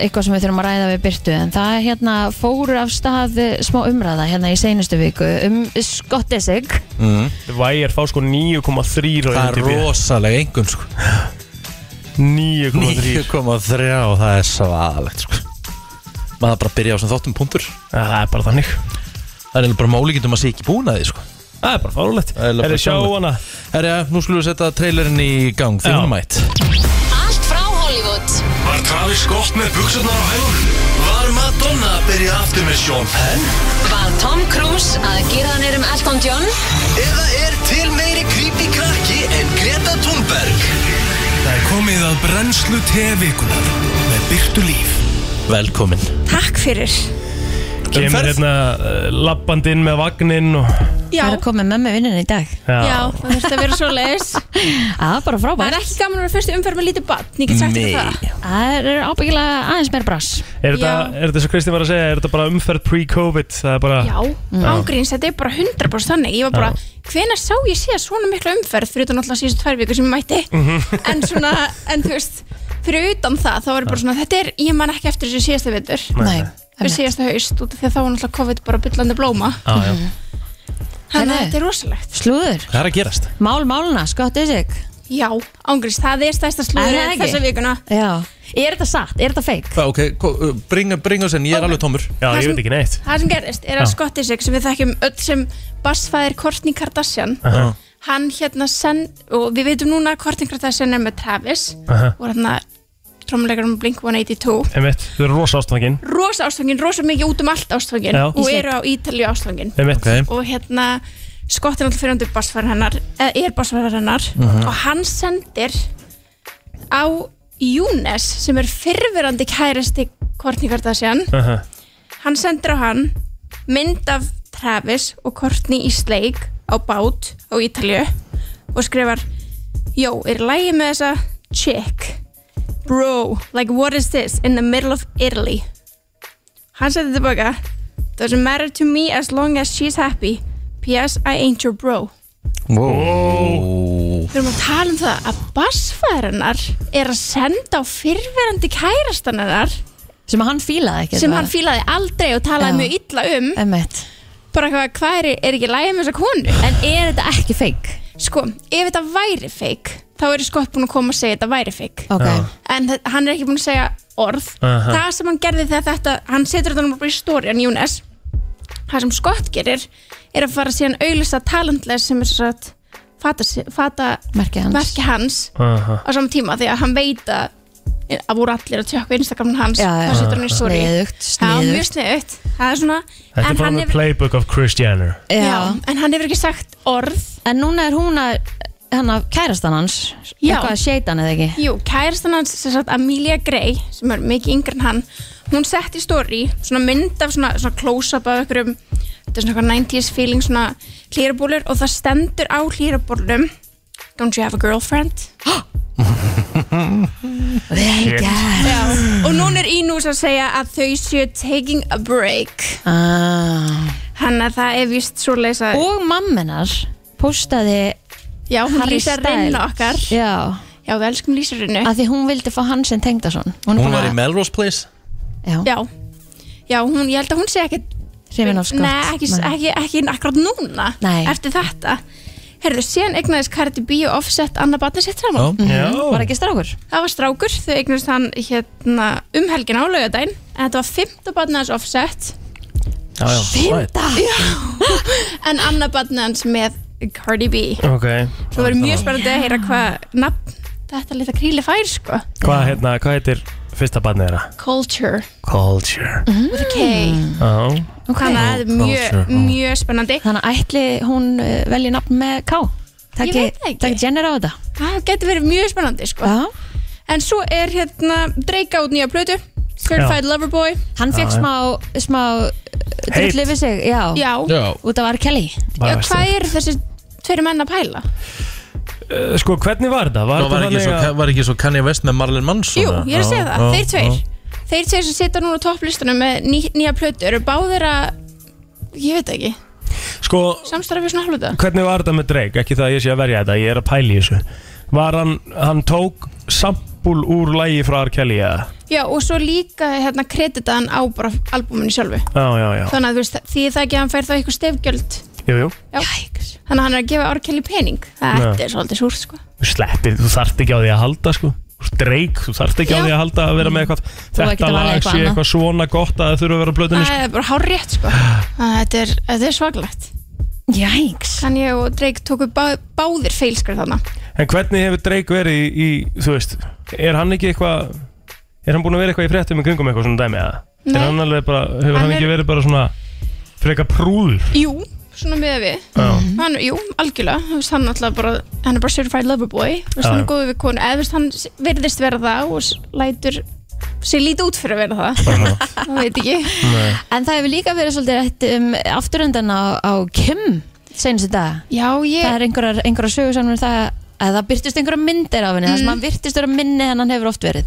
Speaker 3: eitthvað sem við þurfum að ræða við Byrtu en það hérna fóru af stað eh, smá umræða hérna í seinustu viku um Skottisig
Speaker 4: Þið vægir fá sko 9,3 á
Speaker 2: Mhm. Það er
Speaker 4: IMDb.
Speaker 2: rosalega engum sko
Speaker 4: 9,3
Speaker 2: 9,3 og það er svaðalegt sko maður þarf bara að byrja á sem þáttum punktur
Speaker 4: Ja, Það er bara þannig
Speaker 2: það er eiginlega bara málíkindum að sé ekki búin að því sko
Speaker 4: Það er bara fárulegt
Speaker 2: Það er
Speaker 4: Er
Speaker 2: bara
Speaker 4: þið sjá
Speaker 2: fáránlegt.
Speaker 4: hana
Speaker 2: Herja, nú skulum við setja trailerinn í gang því
Speaker 4: Já.
Speaker 2: hún er mætt
Speaker 9: Allt frá Hollywood
Speaker 1: Var Travis Scott með buksunar á hægum? Var Madonna að byrja aftur með Sean Penn?
Speaker 9: Var Tom Cruise að gera hann erum Elton John
Speaker 1: Eða er til meiri creepy krakki en Greta Thunberg? Það er komið að brennslu tevikunar með byrtu líf
Speaker 2: velkomin
Speaker 8: Takk fyrir
Speaker 4: Kemur
Speaker 2: Umferð?
Speaker 4: hérna uh, labbandi inn með vagnin og
Speaker 8: Já,
Speaker 3: Það er að koma með mömmu vinnin í dag
Speaker 8: já það þurfti að vera svo leiðis
Speaker 3: Það er bara
Speaker 8: Það er
Speaker 3: frábært
Speaker 8: ekki gaman að vera fyrst umferð með lítið batn Ég get sagt ekki það
Speaker 3: Það er ábyggilega aðeins meira brass
Speaker 4: Er þetta,
Speaker 8: Já.
Speaker 4: er þetta sem Kristi var að segja, er þetta bara umferð pre-covid? Það er bara,
Speaker 8: Já, ángríns, þetta er bara 100% þannig Ég var bara, hvenær sá ég sé svona mikla umferð fyrir utan alltaf síðustu tvær vikur sem ég mætti
Speaker 4: Mhm.
Speaker 8: en svona, en þú veist fyrir utan það, þá var ég bara svona þetta er, ég man ekki eftir þessu síðasta vetur
Speaker 3: Nei,
Speaker 8: fyrir síðasta haust, út af því að þá var náttúrulega COVID bara byllandi blóma
Speaker 4: Já, já.
Speaker 8: þannig að
Speaker 3: Heyrðu.
Speaker 8: þetta er rosalegt
Speaker 3: Slúður,
Speaker 2: hvað er að gerast?
Speaker 3: mál máluna, Skottisig
Speaker 8: Já, ángríns, það er stærsta
Speaker 3: Er það
Speaker 8: slúður
Speaker 3: ekki?
Speaker 8: þessa vikuna
Speaker 3: Já, er þetta satt? Er þetta feik?
Speaker 2: Hvað, ok, ko- uh, bringa, bringa oss inn, ég er alveg tómur
Speaker 4: já
Speaker 8: Það
Speaker 4: ég
Speaker 8: sem-
Speaker 4: veit ekki neitt.
Speaker 8: Það sem gerist er að Scottisig sem við þekkjum öll sem bassfæðir Kourtney Kardashian
Speaker 4: Aha.
Speaker 8: hann hérna sen, og við veitum núna að Kourtney Kardashian er með Travis
Speaker 4: Aha.
Speaker 8: og hérna trómuleikarum Blink-182
Speaker 4: Einmitt, þau eru rosa ástfangin.
Speaker 8: rosa ástfangin, rosa mikið út um allt ástfangin
Speaker 4: Já.
Speaker 8: og eru á Ítalju ástfangin
Speaker 4: Einmitt.
Speaker 2: ok,
Speaker 8: og hérna Scott er alltaf fyrirhundur bassfæðar hennar eða er bassfæðar hennar og hann sendir á Younes sem er fyrirverandi kærasti Kourtney Kardashian
Speaker 4: Aha.
Speaker 8: hann sendir á hann mynd af Travis og Courtney í sleik á bát á Ítalju og skrifar Jó, er lægi með þessa chick Bro, like what is this in the middle of Italy Hann sendi tilbaka Doesn't matter to me as long as she's happy P.S. I ain't your bro
Speaker 2: wow
Speaker 8: Við erum að tala um það að bassfæðarinnar er að senda á fyrrverandi kærastanarnar
Speaker 3: Sem að hann fílaði ekki
Speaker 8: sem hann fílaði aldrei og talaði
Speaker 3: Já.
Speaker 8: mjög illa um
Speaker 3: Emmett
Speaker 8: bara hvað, hvað er, er ekki lægið með þessa konu
Speaker 3: En er þetta ekki feik?
Speaker 8: sko, ef þetta væri fake þá er skott búin að koma að segja þetta væri fake
Speaker 3: Ok,
Speaker 8: en þe- hann er ekki búin að segja orð
Speaker 4: Aha.
Speaker 8: það sem hann gerði þegar þetta hann setur þetta nú bara í stóri en Júnes það sem skott gerir er að fara síðan auðlista talentless sem er svo að fata, fata
Speaker 3: merkið hans
Speaker 8: verki hans
Speaker 4: Aha.
Speaker 8: á saman tíma því að hann veit að að voru allir að tjökka Instagramin hans
Speaker 3: Já, já.
Speaker 8: þá setur hann í stóri
Speaker 3: Sniðugt,
Speaker 8: það er
Speaker 3: sniðugt
Speaker 8: mjög sniðugt það er svona
Speaker 4: Þetta er
Speaker 8: en
Speaker 4: bara
Speaker 8: hann,
Speaker 4: með
Speaker 8: hefur,
Speaker 4: playbook of Kris Jenner.
Speaker 8: já,
Speaker 3: Já,
Speaker 8: en hann hefur ekki sagt orð
Speaker 3: en núna er hún að hérna kærastan hans
Speaker 8: Já.
Speaker 3: eitthvað að séta hann eða ekki
Speaker 8: Jú, kærastan hans, sem sagt Amelia Gray sem er mikið yngri en hann hún sett í story, svona mynd af svona, svona close-up af einhverjum þetta er svona eitthvað 90s feeling, svona hlýrabólur og það stendur á hlýrabólum Don't you have a girlfriend?
Speaker 3: Vel gert
Speaker 8: Já, og núna er Ínús að segja að þau séu taking a break
Speaker 3: ah.
Speaker 8: hann að það er vist svo leys að
Speaker 3: Og mamminar postaði
Speaker 8: já, hún
Speaker 3: Harry
Speaker 8: lýsar reyna okkar
Speaker 3: Styles Já,
Speaker 8: já, við elskum lýsarinnu
Speaker 3: að því hún vildi fá hann sem tengdason
Speaker 2: hún var í Melrose Place
Speaker 3: Já,
Speaker 8: já, já, hún, ég held að hún sé ekkert
Speaker 3: hrifin af skott
Speaker 8: Nei, ekki, ekki, ekki akkurat núna
Speaker 3: Nei.
Speaker 8: Eftir þetta Herðu, síðan eignaðist Cardi B og Offset Anna Batna sitt saman
Speaker 2: Já.
Speaker 4: Já.
Speaker 3: Mhm. Var ekki strákur?
Speaker 8: Það var strákur, þau eignaðist hann hérna, um helgin á laugardaginn En þetta var fymta batna hans Offset
Speaker 4: Já, já.
Speaker 3: Fynda
Speaker 8: En Anna batna hans með Cardi B
Speaker 4: Ok.
Speaker 8: Það var mjög spennandi að heyra hvað nafn þetta litla kríli fær sko
Speaker 4: Hvað hérna, hvað heitir fyrsta barnið þeirra?
Speaker 8: Culture
Speaker 4: Culture
Speaker 3: Mhm.
Speaker 8: with a K
Speaker 4: Já,
Speaker 8: Þannig að það er mjög,
Speaker 4: Culture, já.
Speaker 8: mjög spennandi
Speaker 3: Þannig að ætli hún eh, velji nafn með K
Speaker 8: Ég
Speaker 3: Takki,
Speaker 8: veit það ekki.
Speaker 3: takki Jenner á þetta
Speaker 8: Það getur Ah, verið mjög spennandi sko
Speaker 3: Já.
Speaker 8: En svo er hérna Drake út nýja plötu Certified Loverboy
Speaker 3: Hann fekk
Speaker 4: Já, já.
Speaker 3: smá, smá eh,
Speaker 4: Heit.
Speaker 3: drullu við sig já,
Speaker 8: Já, já.
Speaker 3: Út af R. Kelly
Speaker 4: bara veist
Speaker 8: hvað eru þessi tveir menn að pæla?
Speaker 4: það. Sko, hvernig var þetta? Var
Speaker 2: Nú var
Speaker 4: þetta
Speaker 2: ekki, svo, var ekki svo Kanye West með Marlon Manson
Speaker 8: Jú, ég er að
Speaker 2: Já,
Speaker 8: segja það,
Speaker 2: já,
Speaker 8: þeir tveir
Speaker 2: já.
Speaker 8: Þeir tveir sem sita núna á topplistanum með ný, nýja plötu eru báðir að ég veit ekki,
Speaker 4: Sko,
Speaker 8: samstarfið svona hluta
Speaker 4: hvernig var þetta með Drake? Ekki það að ég sé að verja þetta, ég er að pæla í þessu Var hann, hann tók sampul úr lægi frá R. Kelly eða?
Speaker 8: Já, og svo líka hérna kreditaðan á bara albúminu sjálfu
Speaker 4: Já, já, já,
Speaker 8: Þannig að þú veist, því það ekki að hann fær þá eitthvað stefgjöld
Speaker 4: jú, jú
Speaker 8: Já. Þannig að hann er að gefa árkelli pening Það
Speaker 4: Já.
Speaker 8: er svolítið súrt sko
Speaker 4: Þú sleppir, þú þarft ekki á því að halda sko Þú ert Drake, þú þarft ekki á
Speaker 8: Já.
Speaker 4: því að halda að vera með eitthvað
Speaker 3: ekki
Speaker 4: Þetta
Speaker 3: að valið
Speaker 4: lag
Speaker 3: eitthvað
Speaker 4: sé
Speaker 3: annað.
Speaker 4: eitthvað svona gott að það þurfa að vera á blöðunni sko.
Speaker 8: Það er bara hár rétt sko Þannig að þetta er, þetta er svaglegt
Speaker 3: Jæks
Speaker 8: Kanye og Drake tóku bá, báðir feilskar þarna
Speaker 4: En hvernig hefur Drake verið í, í þú veist, er hann ekki eitthvað er hann búin að vera eitthvað í fréttum í kringum eitthvað svona dæmi eða?
Speaker 8: Nei.
Speaker 4: Er hann alveg bara, hefur
Speaker 8: Hann
Speaker 4: hann
Speaker 8: er-
Speaker 4: ekki verið bara svona freka prúður?
Speaker 8: Jú, svona með við
Speaker 4: Já,
Speaker 8: hann, Jú, algjörlega, Þú veist, hann, náttúrulega bara, hann er bara certified lover boy Þú veist,
Speaker 4: Já,
Speaker 8: hann
Speaker 4: já.
Speaker 8: er góður við konu eða þú veist, hann virðist vera það og s- lætur sér lítið út fyrir að vera það
Speaker 4: bara svona
Speaker 8: það veit ekki
Speaker 4: Nei.
Speaker 3: En það hefur líka verið svolítið rætt um afturöndan á, á Kim Seinustu dag
Speaker 8: Já, ég,
Speaker 3: Það er einhverjar, einhverjar sögur sem er það að það byrtist einhverjar myndir af henni Það sem hann byrtist vera minni en hann hefur oft verið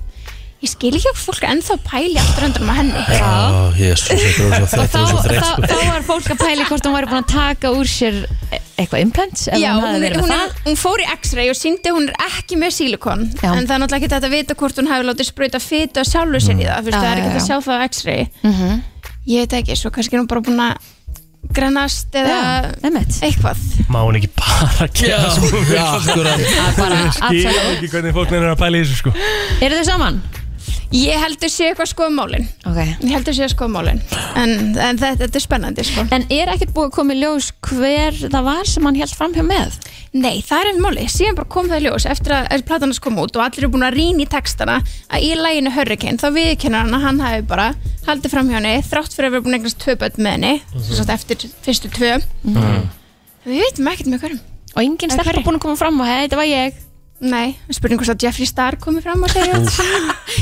Speaker 8: Mm. ég skil ekki að fólk ennþá pæli aftur undan með henni
Speaker 2: Já, jésús, þetta er svo
Speaker 3: Og
Speaker 2: þetta
Speaker 3: þá,
Speaker 2: er svo
Speaker 3: þá,
Speaker 2: þreytt sko.
Speaker 3: þá var fólk að pæli hvort hún væri búin að taka úr sér e- eitthvað implants ef
Speaker 8: Já,
Speaker 3: hún
Speaker 8: hún,
Speaker 3: hafði
Speaker 8: er,
Speaker 3: verið
Speaker 8: hún,
Speaker 3: með
Speaker 8: er,
Speaker 3: það
Speaker 8: hún fór í x-ray og síndi að hún er ekki með sílikon
Speaker 3: Já.
Speaker 8: en það er náttúrulega ekki þetta að vita hvort hún hafi látið spröyta fytu að sjálfu sér í það fyrst,
Speaker 3: Mm. Já,
Speaker 8: það er ekki
Speaker 3: já,
Speaker 8: hægt að
Speaker 3: já.
Speaker 8: sjá það á x-ray Mhm. ég veit ekki, svo kannski er hún bara búin að grannast eða
Speaker 3: Já, einmitt.
Speaker 8: eitthvað
Speaker 4: Má hún ekki bara gera það sem hún
Speaker 2: Já, akkurat
Speaker 3: Bara,
Speaker 4: Ég
Speaker 3: absolutt.
Speaker 4: veit ekki hvernig fólk neina að pæla í þessu sko
Speaker 3: Eru þau saman?
Speaker 8: ég heldur sé eitthvað skoðumálin
Speaker 3: Okay.
Speaker 8: ég heldur sé skoðumálin en, en þetta, þetta er spennandi sko.
Speaker 3: En er ekkert búið að koma í ljós hver það var sem hann held framhjá með?
Speaker 8: nei, það er einn máli, síðan bara kom það í ljós eftir að, að platanast kom út og allir eru búin að rýna í textana að í læginu Hurricane þá viðkennur hann að hann hafi bara haldið fram hjá henni þrátt fyrir að vera búin að eignast tvö börn með henni mm -hmm. eftir fyrstu tvö
Speaker 4: Mm.
Speaker 10: Ah.
Speaker 8: við veitum ekkert með hverjum
Speaker 3: Og enginn
Speaker 8: Með
Speaker 3: stelpa
Speaker 8: hverju?
Speaker 3: búin að koma fram og hei, þetta var ég
Speaker 8: nei, spurning hvort að Jeffree Star komi fram og segja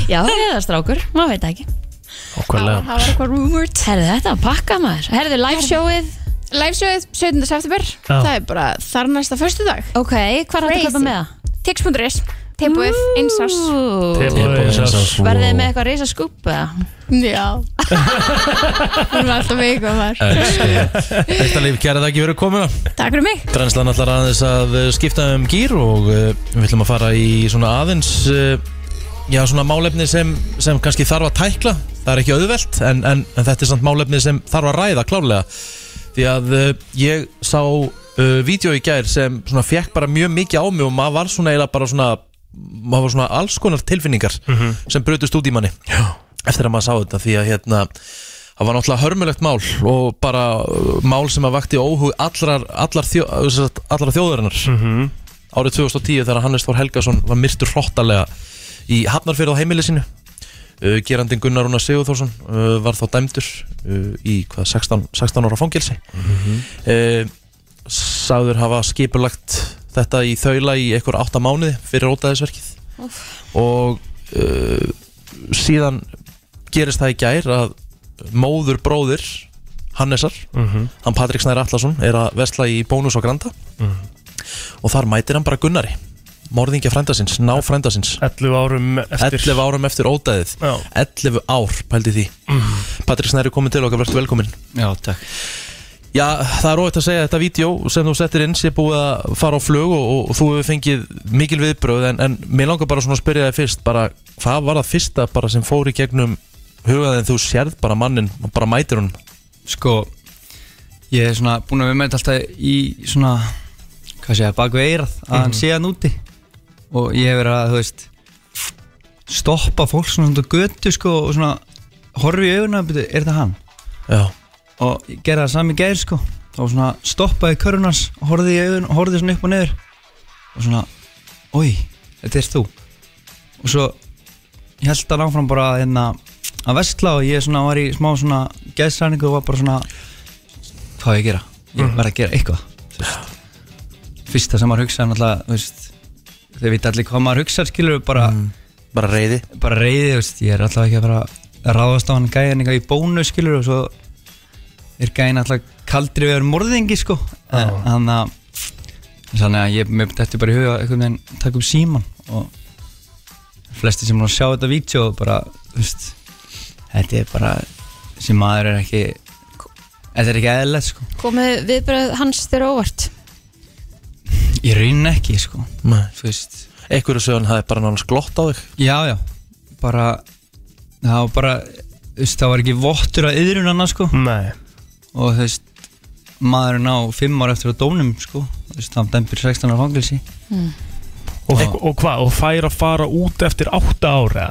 Speaker 3: Já, eða strákur, maður veit það ekki
Speaker 8: það
Speaker 4: Ókvæðlega
Speaker 8: var eitthvað rumored
Speaker 3: Herðu þetta, pakka maður Herðu live showið
Speaker 8: Livesjóið 17. september,
Speaker 4: Já.
Speaker 8: það er bara þar næsta förstu dag
Speaker 3: Ok, hvað er þetta að
Speaker 8: Crazy.
Speaker 3: kaupa með það?
Speaker 8: Tix.is, tilbúið, einsás
Speaker 3: Ú, Verðið þið með eitthvað reysa skúp eða?
Speaker 8: Já Hún var alltaf með ykkur þar
Speaker 2: Þetta líf, kæra það ekki verið komuna
Speaker 8: Takk fyrir mig
Speaker 2: Brennslan allar aðeins að eh, skipta um gýr og eh, við ætlum að fara í svona aðeins eh, já, svona málefni sem, sem kannski þarf að tækla það er ekki auðvelt en, en, en þetta er samt málefni sem þarf að ræða klárlega því að eh, ég sá uh, vídeo í gær sem svona fekk bara mjög mikið á mig og maður var svona eiginlega bara svona maður var svona alls konar tilfinningar sem brötust út í manni já. eftir að maður sá þetta því að hérna það var náttúrulega hörmulegt mál og bara uh, mál sem að vakti óhug allar, allar, þjó, uh, sem sagt, allar þjóðarinnar árið 2010 þegar Hannes Þór Helgason var myrtur hróttalega í Hafnarfjörð á heimili sinu uh, gerandin Gunnar Rúnar Sigurþórsson uh, var þá dæmdur uh, í hvað, 16, 16 ára fangelsi uh, sagður hafa skipulagt þetta í þaula í einhver 8 mánuði fyrir ótaðisverkið og uh, síðan gerist það í gær að móður bróðir Hannesar, hann Patrik Snær Atlasson er að vesla í bónus á Granda
Speaker 4: Mhm.
Speaker 2: og þar mætir hann bara Gunnari morðingja frændasins, ná frændasins
Speaker 4: 11 árum eftir
Speaker 2: 11 árum eftir ódæðið
Speaker 4: Já. Mhm.
Speaker 2: 11 ár, pældi því Patrik Snær er komin til okkar, verður velkomin
Speaker 11: Já, takk
Speaker 2: Já, það er óvægt að segja að þetta vídeo sem þú settir inn sé búið að fara á flug og, og þú hefur fengið mikil viðbröð en, en mér langar bara svona að spyrja þig fyrst bara, hvað var það fyrsta bara sem fór í gegnum hugaðin þú sérð bara mannin og bara mætir hún
Speaker 11: Sko, ég er svona búin að vera með þetta alltaf í svona Hvað segja, bak við eirað Að hann sé hann úti Og ég hef verið að, þú veist Stoppa fólk svona út á götu sko Og svona horfi í augun að byrja, er þetta hann?
Speaker 2: Já,
Speaker 11: Og ég gerði það sami í gær sko Og svona stoppaði körunars Horfið í augun, horfið svona upp og niður Og svona, oi, þetta er þú Og svo held hann áfram bara hérna að vestla og ég svona var í smá svona geðsræningu og var bara svona hvað á ég að gera? Ég
Speaker 12: Mhm.
Speaker 11: verð að gera eitthvað þú veist. Fyrsta sem maður hugsa er náttúrulega, þú veist þau veit allir hvað maður hugsa skilur bara
Speaker 2: bara reyði
Speaker 11: bara reyði, þú veist, ég er alltaf ekki að fara að ráðast á hann gæðan eitthvað í bónu skilur og svo er gæðin alltaf kaldri við morðingi sko En- þannig að þannig að ég mér dætti bara í huga einhvern veginn takk um síman og flesti sem nú sjá þetta vídeo bara, þú veist þetta er bara, sem maður er ekki þetta er ekki eðlilegt sko
Speaker 3: Komið viðbröð hans þér á óvart
Speaker 11: ég raun ekki sko þú veist
Speaker 2: einhverju sögum hafi bara nánast glott á þig
Speaker 11: Já, já, bara það var bara, þú veist, það var ekki vottur að yðrun annars, sko
Speaker 4: Nei
Speaker 11: Og þú veist, maðurinn á fimm ára eftir að dónum, sko Þú veist, hann dæmpir 16 ára fangilsi
Speaker 4: Mm. Og, og hvað, og fær að fara út eftir 8 ára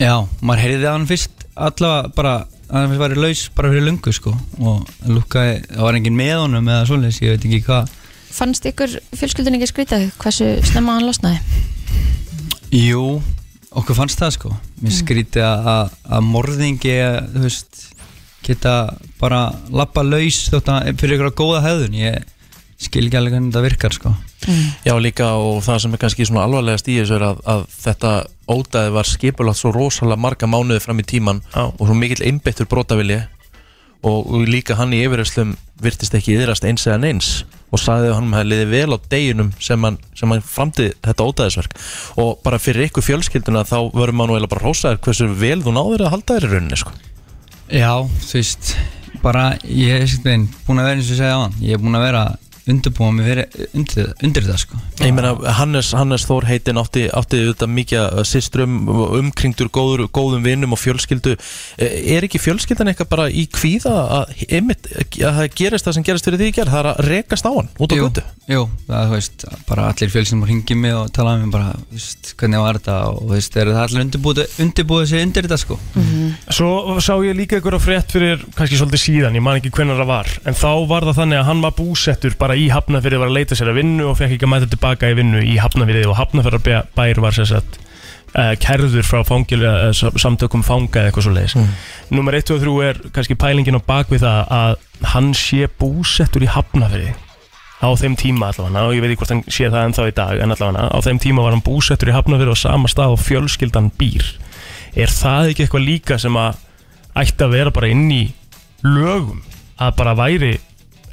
Speaker 11: Já, maður heyrði að hann fyrst allavega bara, að hann fyrst væri laus bara fyrir lungu, sko Og lukkaði, það var enginn með honum eða svoleiðis, ég veit ekki hvað
Speaker 3: Fannst ykkur fjölskyldun ekki skrýtað hversu snemma hann losnaði?
Speaker 11: Jú, okkur fannst það, sko Mér
Speaker 3: Mm.
Speaker 11: skrítið að, að, að morðingi, þú veist geta bara lappa laus þótt að fyrir ykkur að góða hefðun ég skil ekki alveg hvernig þetta virkar sko
Speaker 2: Já líka og það sem er kannski svona alvarlegast í þessu er að, að þetta ótaði var skipulagt svo rosalega marga mánuði fram í tíman og svo mikill einbeittur brotavili og, og líka hann í yfirherslum virtist ekki yðrast eins eða neins og sagði að hann hefði liðið vel á deginum sem hann, sem hann framdi þetta ótaðisverk og bara fyrir ykkur fjölskylduna þá verður maður nú eiginlega bara hrósaður hversu vel þú náður að halda þér í rauninni sko.
Speaker 11: Já, þú veist bara ég er sérstæðin búin að vera eins og ég segja á hann ég er búin að vera undirbúin mig fyrir, undir, undir það sko
Speaker 2: Ég meina, Hannes, Hannes Þór heitin átti, átti auðvitað mikið sýstrum, um, umkringdur góður, góðum vinnum og fjölskyldu. Eh, Er ekki fjölskyldan eitthvað bara í kvíða að, einmitt, að það gerist það sem gerist fyrir því í gerð? Það er að rekast á hann út á götu?
Speaker 11: Jú, það, þú veist, bara allir fjölsinn múr hingið mig og talaði mig bara, þú veist, hvernig var þetta og þú veist, er það allir undirbúið, undirbúið sig undir þetta sko
Speaker 4: Svo sá ég líka ykkur á frétt fyrir kannski svolítið síðan, ég man ekki hvenar það var en þá var það þannig að hann var búsettur bara í Hafnafyrði var að leita sér að vinnu og fekk ekki að mæta tilbaka í vinnu í Hafnafyrði og Hafnafyrðarbær var sér sagt uh, kerður frá fangil, uh, samtökum fanga eða eitthvað svo leiðis mm. Númer 1 og 3 er kannski pælingin á bakvið það að hann sé búsettur í Hafnafyrði á þeim tíma allavega og ég veit ekki hvort hann sé það ennþá í dag en allavega á þeim tíma var hann búsettur í Hafnafyrði á sama stað og fjölskyldan býr er það ekki eitthvað líka sem að ætti að vera bara inn í lögum að bara væri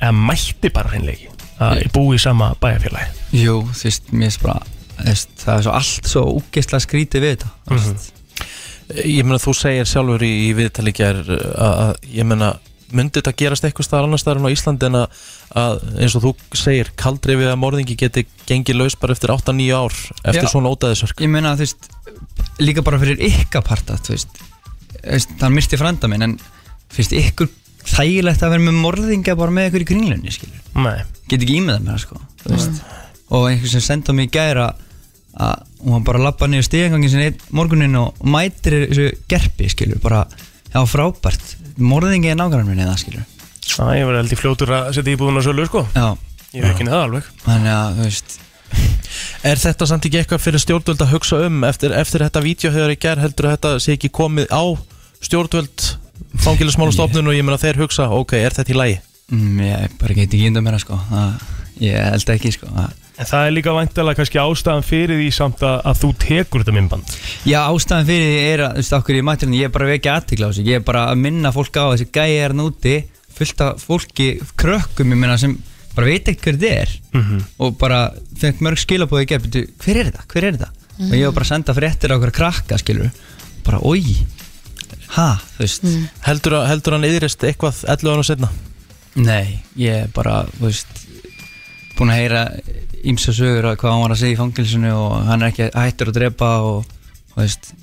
Speaker 4: eða mætti bara hreinleiki að búi í sama bæjarfélagi
Speaker 11: Jú, þú veist, mér finnst bara þú veist, það er svo allt svo úgeðslega skrítið við þetta mm -hmm.
Speaker 2: Mhm. Eh, Ég meina, þú segir sjálfur í, í viðtalíkjar að, að, ég meina, myndi þetta gerast eitthvað staðar annars staðar en á Íslandi en að, að eins og þú segir, kaldri við að morðingi geti gengið laus bara eftir 8-9 ár eftir
Speaker 11: Já.
Speaker 2: svona ótaðisverk?
Speaker 11: Ég meina, þú veist, líka bara fyrir ykkar parta, þú veist, þú veist hann myrti frænda minn, en finnst ykkur þægilegt að vera með morðinga bara með ykkur í kringlunni, skilur
Speaker 4: Nei.
Speaker 11: Get ekki ímyndað með það, sko, þú veist Og einhver sem senda mig í gæra að hún var bara að labba niður stíðangangin sinni einn morguninn og og mætir þessu gerpi, skilur, bara, já, frábært, morðingi er nákvæmlega minni það, skilur
Speaker 4: Æ, ég var heldur fljótur að setja íbúðun á sölu sko
Speaker 11: Já
Speaker 4: Ég veit ekki það alveg
Speaker 11: Þannig að, þú veist
Speaker 2: Er þetta samt ekki eitthvað fyrir stjórnvöld að hugsa um eftir, eftir þetta vídeo hefur í gerð heldur þetta sé ekki komið á stjórnvöld fangilismála stofnun og ég meina þeir hugsa ok, er þetta í lagi?
Speaker 11: Mm, ég bara get ekki índa meira sko það, Ég held ekki sko það.
Speaker 4: En það er líka væntalega kannski ástæðan fyrir því samt að, að þú tekur þetta minnband
Speaker 11: Já, ástæðan fyrir því er að, þú veist, okkur í mætturinn Ég er bara vekja aðtikla á þessu Ég er bara að minna fólk á þessi gæi er núti Fullt af fólki, krökkum ég minna sem Bara veit ekkert hver þetta er
Speaker 4: Mhm.
Speaker 11: Og bara fengt mörg skilabóði í gerð "Bíddu, Hver er þetta, hver er þetta
Speaker 4: Mhm.
Speaker 11: Og ég var bara að senda fréttir á okkur krakka skilur Bara, oi Ha, þú veist
Speaker 2: heldur, að- heldur hann yðrist eitthvað 11 ára setna?
Speaker 11: Nei, ég er bara, þú veist búin að heyra ímsa sögur að hvað hann var að segja í fangilsinu og hann er ekki hættur að drepa og, þú veist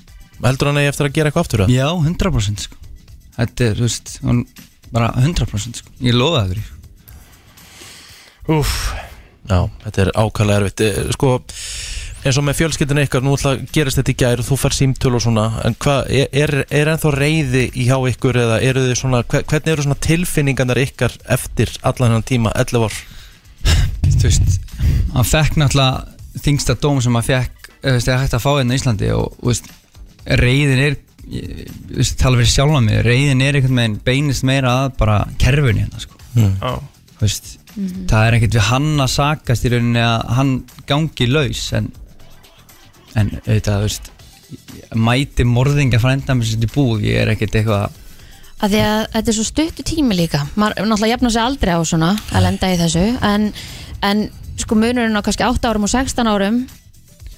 Speaker 2: Heldur hann eigi eftir að gera eitthvað aftur?
Speaker 11: Já, 100% sko Þetta er, þú veist, hún bara 100% sko, ég lofa það fyrir
Speaker 4: Úff
Speaker 2: Já, þetta er ákvæmlega erfitt Eh, Sko, eins og með fjölskyldinu ykkar nú ætla gerist þetta í gær og þú fær símtöl og svona en hvað, er, er, er ennþá reyði í hjá ykkur eða eru þið svona hve- hvernig eru svona tilfinningarnar ykkar eftir allan hennan tíma, 11 ár?
Speaker 11: Þú veist, eh, hann fekk náttúrulega þingsta dóm sem hann fekk, þú veist, eða hægt að fá hérna í Íslandi og, þú veist, reyðin er ég, þú veist, tala fyrir sjálfa mig, reyðin er einhvern veginn beinist meira að bara kerfinu hérna sko.
Speaker 4: Mm.
Speaker 11: Þú veist, það er ekkert við hann að sakast í rauninni að hann gangi laus en, en auðvitað, þú veist mæti morðinga frænda með sér í búð ég er ekkert eitthvað
Speaker 3: að því að þetta er svo stuttu tími líka maður náttúrulega jafna sig aldrei á svona að lenda í þessu en, en sko munurinn á kannski 8 árum og 16 árum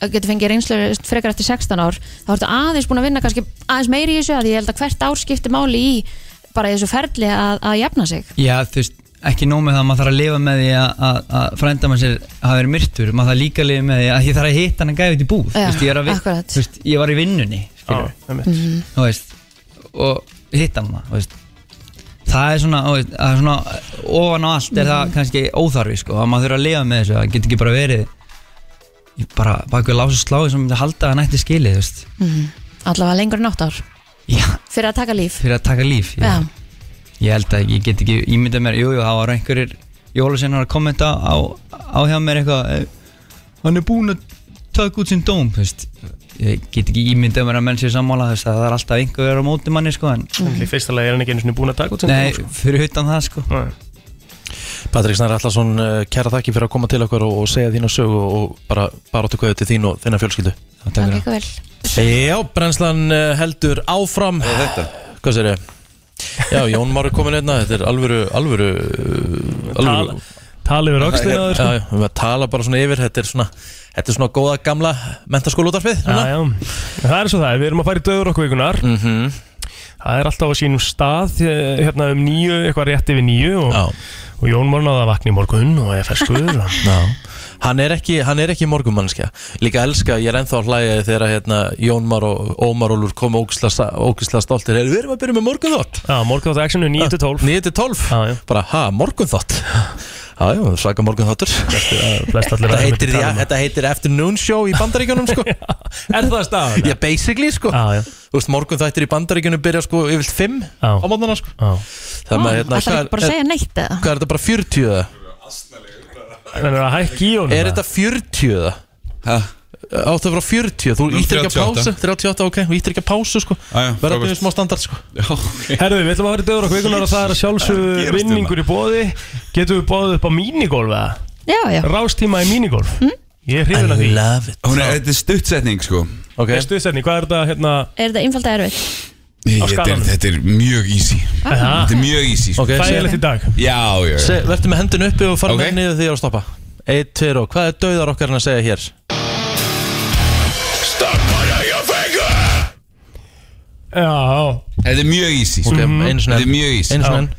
Speaker 3: að getur fengið reynslu frekar eftir 16 ár þá ertu aðeins búin að vinna kannski aðeins meiri í þessu að ég held að hvert ár skiptir máli í bara í þessu ferli að, að jafna sig
Speaker 11: Já, þú veist, ekki nóg með það að maður þarf að lifa með því að, að, að frænda maður sér hafa verið myrtur, maður þarf líka að lifa með því að ég þarf að hitta hann að gæfa út í búð þú
Speaker 3: Já,
Speaker 11: veist, ég, er að vi-
Speaker 3: akkurat.
Speaker 11: þú veist, ég var í vinnunni skilur,
Speaker 4: Já, einmitt. Mhm.
Speaker 11: þú veist og hitta hann það, þú veist Það er svona, þú veist, það er svona ofan á allt er það
Speaker 3: Mhm.
Speaker 11: kannski óþarfi sko, að maður þurfa að lifa með þessu, það getur ekki bara verið ég bara bakið lása sláði sem myndi halda að hann ætti skilið, þú veist
Speaker 3: mm. allavega lengur en 8 ár
Speaker 11: Já.
Speaker 3: fyrir að taka líf
Speaker 11: fyrir að taka líf ég,
Speaker 3: Já.
Speaker 11: ég held að ég get ekki ímyndað mér jújú, það var einhverjir jólaseinar að kommenta á, á hjá mér eitthvað eh, hann er búinn að taka út sinn dóm þú veist. ég get ekki ímyndað mér að menn sér sammála þú veist, að það er alltaf einhver að móti manni sko, en,
Speaker 4: Í fyrsta lagi er hann ekki einu sinni búin að taka út sinn
Speaker 11: nei,
Speaker 4: dóm,
Speaker 11: fyrir utan það sko.
Speaker 2: Patrik Snær Allarsson, eh, kæra þakki fyrir að koma til okkur og, og segja þína sögu og bara bara áttu til þín og þinna fjölskyldu
Speaker 3: Gangi ykkur vel
Speaker 2: Já, brennslan eh, heldur áfram Þetta Hvað sér ég? Já, Jón Már er komin einna, þetta er alvöru alvöru, uh, alvöru.
Speaker 4: Tala yfir öxlina á þér, sko.
Speaker 2: Já, já, við erum að tala bara svona yfir þetta er svona, þetta er svona góða gamla mentaskóluútarfið
Speaker 4: Já, já. Það er svo það, við erum að fara í döður okkur vikunar
Speaker 2: Mhm.
Speaker 4: Það er alltaf á sínum stað eh, hérna um nýju, eitthvað rétt yfir nýju og, og Jón Már náði að vakna í morgun og er feskuður og...
Speaker 2: Hann er ekki, hann er ekki morgumannskja Líka elska, ég er ennþá að hlæja þegar að, hérna, Jón Már og Ómar Úlur koma ógislega stoltir Heyrðu, Við erum að byrja með morgunþátt Ah,
Speaker 4: Já, morgunþátt actionu 9-12
Speaker 2: 9-12, bara ha, morgunþátt Já, já, svaka morgunþáttur
Speaker 4: flest allir
Speaker 2: Þetta
Speaker 4: að
Speaker 2: heitir,
Speaker 4: tala
Speaker 2: ja,
Speaker 4: um.
Speaker 2: þetta heitir afternoon show í bandaríkjunum sko.
Speaker 4: Er það staðan?
Speaker 2: Já, basically sko
Speaker 4: já, já.
Speaker 2: Þú veist, morgunþættir í bandaríkjunum byrja sko yfirlt 5
Speaker 4: já.
Speaker 2: á mótnana sko
Speaker 4: já.
Speaker 2: Þannig að hérna,
Speaker 3: alltaf
Speaker 2: hvað
Speaker 3: ekki bara að segja neitt eða
Speaker 2: Hvað er þetta bara 40 eða?
Speaker 4: Þannig að hækki í honum
Speaker 2: Er þetta 40 eða? Hæ? Áttu að vera 40, þú
Speaker 12: Nú,
Speaker 2: íttir ekki að
Speaker 12: 38.
Speaker 2: pásu 38, ok, þú íttir ekki að pásu sko Verða
Speaker 12: frábært.
Speaker 2: byrjuð smá standard sko
Speaker 4: Herðu, við ætlum að fara í döður okkur vikunar og það er að
Speaker 2: Það
Speaker 4: sjálfsögðu
Speaker 2: gerist
Speaker 4: vinningur í bóði Getum við bóðið upp á mínigolf eða?
Speaker 3: Já, já
Speaker 4: Rástíma í mínigolf Ég er hrifin af því
Speaker 12: Hún er, þetta er stuttsetning sko
Speaker 2: okay.
Speaker 4: Stuðsenni, hvað er þetta hérna
Speaker 3: Er þetta einfalda erfitt?
Speaker 12: þetta, er,
Speaker 4: skalanum.
Speaker 12: þetta er mjög easy
Speaker 4: Ah.
Speaker 12: Þetta er mjög easy sko.
Speaker 2: Ok, Þægilegt segðu- í
Speaker 4: dag
Speaker 12: Já, já, já.
Speaker 2: Verður með hendun uppi og fara
Speaker 12: Ok.
Speaker 2: okay. með niður því að stoppa 1, 2 og hvað er dauðar okkar en að segja hér?
Speaker 4: Já
Speaker 12: Þetta er mjög easy sko.
Speaker 2: Ok, einu sinni
Speaker 12: Þetta er mjög easy
Speaker 2: Einu sinni enn.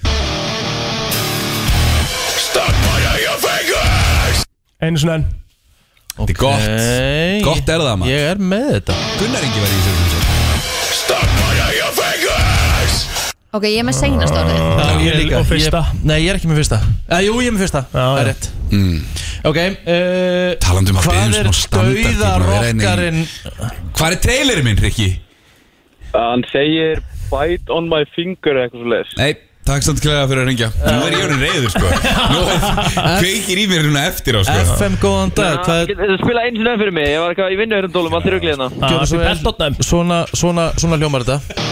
Speaker 4: Einu svona enn
Speaker 2: Þetta
Speaker 12: er gott Gott er það maður
Speaker 2: Ég er með þetta
Speaker 12: Gunnar Ingi var í þessu
Speaker 3: Ok, ég er með seinast orðið
Speaker 2: Já, ég líka
Speaker 4: Og fyrsta.
Speaker 2: ég, Nei, ég er ekki með fyrsta eh, Jú, ég er með fyrsta Það er rétt
Speaker 12: Mm.
Speaker 2: Ok uh,
Speaker 12: Talandi um að biðja um
Speaker 2: Hvað er
Speaker 12: smá standard, ég er búin að vera hérna í-
Speaker 2: dauðarokkarinn
Speaker 12: Hvað er trailerinn minn, Rikki?
Speaker 13: Hann segir bite on my finger eitthvað svo leiðis
Speaker 12: Nei, takk samt klæða fyrir að ringja Nú er ég orðin reyður sko Nú er- kveikir í mér núna eftir á sko
Speaker 2: FM, góðan dag Hvað er
Speaker 13: Þetta spila eins og nefn fyrir mig, ég var eitthvað í vinnu hérna tólum, allir ruglið hérna
Speaker 12: Ah.
Speaker 2: Gjörðu svo vel. Svona, svona, svona hljómar þetta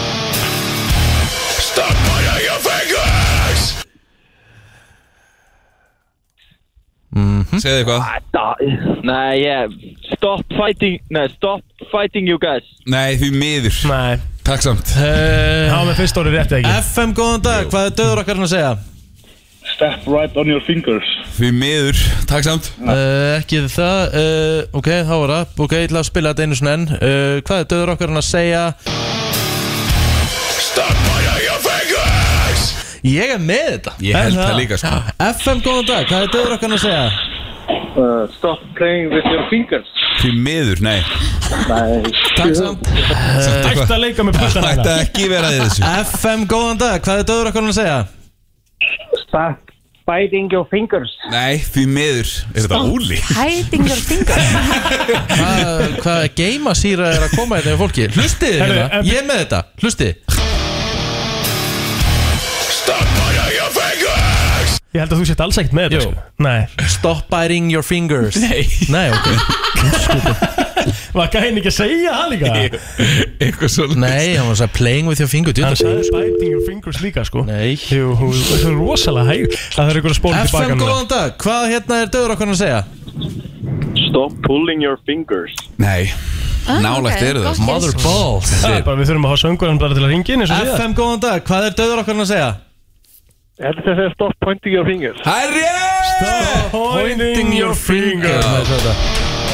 Speaker 2: Mhm.
Speaker 12: Segðu eitthvað
Speaker 13: Ah, Nei, ég, stop fighting, nei, stop fighting you guys
Speaker 12: Nei, því miður
Speaker 4: Nei
Speaker 12: Takk samt
Speaker 4: Já, með fyrst orðið rétt eða ekki
Speaker 2: FM, Eh, góðan dag Hvað er dauðarokkarinn að segja?
Speaker 13: Step right on your fingers
Speaker 12: Því miður Takk samt
Speaker 2: Uh, ekki það uh, Ok, þá var það Ok, ég ætla að spila þetta einu svona enn uh, Hvað er dauðarokkarinn að segja? Ég er með þetta
Speaker 12: Ég held
Speaker 2: Er
Speaker 12: það líka, sko.
Speaker 2: FM, góðan dag Hvað er dauðarokkarinn að segja?
Speaker 13: uh, Stop playing with your fingers
Speaker 12: Því miður, nei
Speaker 13: Nei
Speaker 2: Takk samt
Speaker 4: Ætti að leika með hérna. puttan
Speaker 12: Ætti ekki vera í þessu
Speaker 2: FM, góðan dag, hvað er döður okkur að segja?
Speaker 13: Stop biting your fingers
Speaker 12: Nei, því miður Er þetta Úli?
Speaker 3: Hiding your fingers
Speaker 2: Hvað, hvað geimasýra er að koma þetta með fólki? Hlustið þið
Speaker 4: Herru,
Speaker 2: hérna,
Speaker 4: em-
Speaker 2: ég er með þetta, hlustið
Speaker 4: Ég held að þú sett alls ekkert með þetta sko. Nei
Speaker 2: Stop biting your fingers Nei, ok
Speaker 4: Var gæðin ekki að segja það líka?
Speaker 12: Eitthvað svo
Speaker 2: Nei, hann var að segja playing with your finger djú,
Speaker 4: Hann
Speaker 2: þetta er
Speaker 4: sagði
Speaker 2: góð,
Speaker 4: biting your fingers líka sko
Speaker 2: Nei
Speaker 4: Jú, hún hún er rosalega hæg Það er eitthvað að spóla
Speaker 2: sko.
Speaker 4: tilbaka
Speaker 2: FM góðan dag, hvað hérna er döður okkur að segja?
Speaker 14: Stop pulling your fingers
Speaker 12: Nei
Speaker 2: Ah, Nálægt ok, eru þau. gott tips. Mother balls.
Speaker 4: Það er bara, við þurfum að hafa söngur bara til að ringa inn eins og síðast.
Speaker 2: FM góðan dag, hvað er döður okkur að segja?
Speaker 15: Þetta er þess að stopp pointing your fingers
Speaker 12: Herri!
Speaker 4: Stop pointing your finger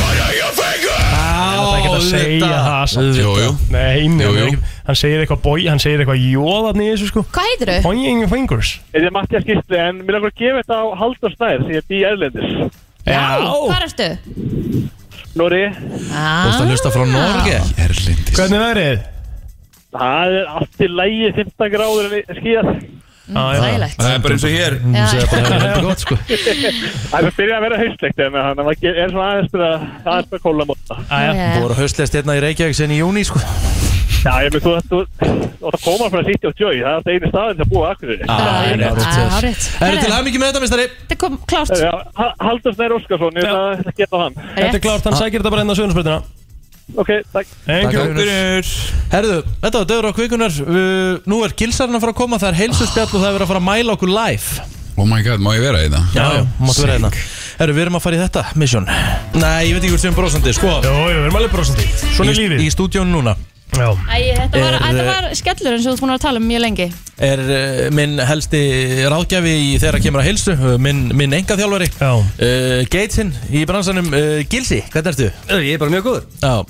Speaker 4: Það er ekki að segja það samt.
Speaker 12: Jú, jú
Speaker 4: Nei, nei,
Speaker 12: Jú, jú.
Speaker 4: nei, hann segir eitthvað bói, hann segir eitthvað jóðan í þessu sko
Speaker 3: Hvað heitir þau?
Speaker 4: Pointing your fingers
Speaker 15: Þetta er Mattias Gísli en mér langar að gefa þetta á Halldór Snær því ég bý erlendis
Speaker 3: Hvað ertu?
Speaker 15: Nóri
Speaker 2: Búst að
Speaker 15: Ah.
Speaker 2: hlusta frá
Speaker 3: Ah.
Speaker 2: Norge
Speaker 12: Erlindis
Speaker 4: Hvernig verið?
Speaker 15: Það er allt í lægi 15 gráður en skýjað
Speaker 4: Þægilegt
Speaker 12: Það er bara eins og hér
Speaker 15: Já. Það er bara
Speaker 2: heldur gott sko
Speaker 15: Það er byrjað að vera haustlegt en þannig að maður ge- er svona aðeins byrjað aðeins byrjað að kóla móta
Speaker 4: Ah,
Speaker 2: Búið að haustlest hérna í Reykjavík sen í júni sko
Speaker 15: Já, ég með þú þú og það koma frá City of Joy það er það einu staðin sem búið akkurir
Speaker 2: Ah,
Speaker 3: Ah, Árétt
Speaker 2: Erum til hamingi með þetta, mistari?
Speaker 3: Þetta kom klárt
Speaker 15: Haldur Snær Óskarsson, ég ætla að geta hann Ah.
Speaker 4: Þetta er klárt, hann sækir þetta bara enn á sjónusbrytina
Speaker 15: Ok, takk
Speaker 4: Thank you.
Speaker 2: Herðu, þetta var döður á kvikunar uh, Nú er gilsarinn að fara að koma, það er heilsuspjall og það er verið að fara að mæla okkur live
Speaker 12: Oh my god, má ég vera í það?
Speaker 2: Já, já, máttu vera hérna Herru, við erum að fara í þetta, mission Nei, ég veit ekki hvort sem brosandi, sko Jó,
Speaker 4: jó, við erum alveg brosandi
Speaker 2: Svona er lífið Í stúdjónu núna
Speaker 4: Já
Speaker 3: Æ, þetta var,
Speaker 2: Er-
Speaker 3: þetta var skellur eins og þú ert búin að tala um mjög lengi
Speaker 2: er uh, minn helsti ráðgjafi í þegar að kemur að heilsu, uh, minn, minn enga þjálfari uh, Gatesinn í bransanum uh, Gilsi, hvernig ertu?
Speaker 10: Ég er bara mjög góður
Speaker 2: Já,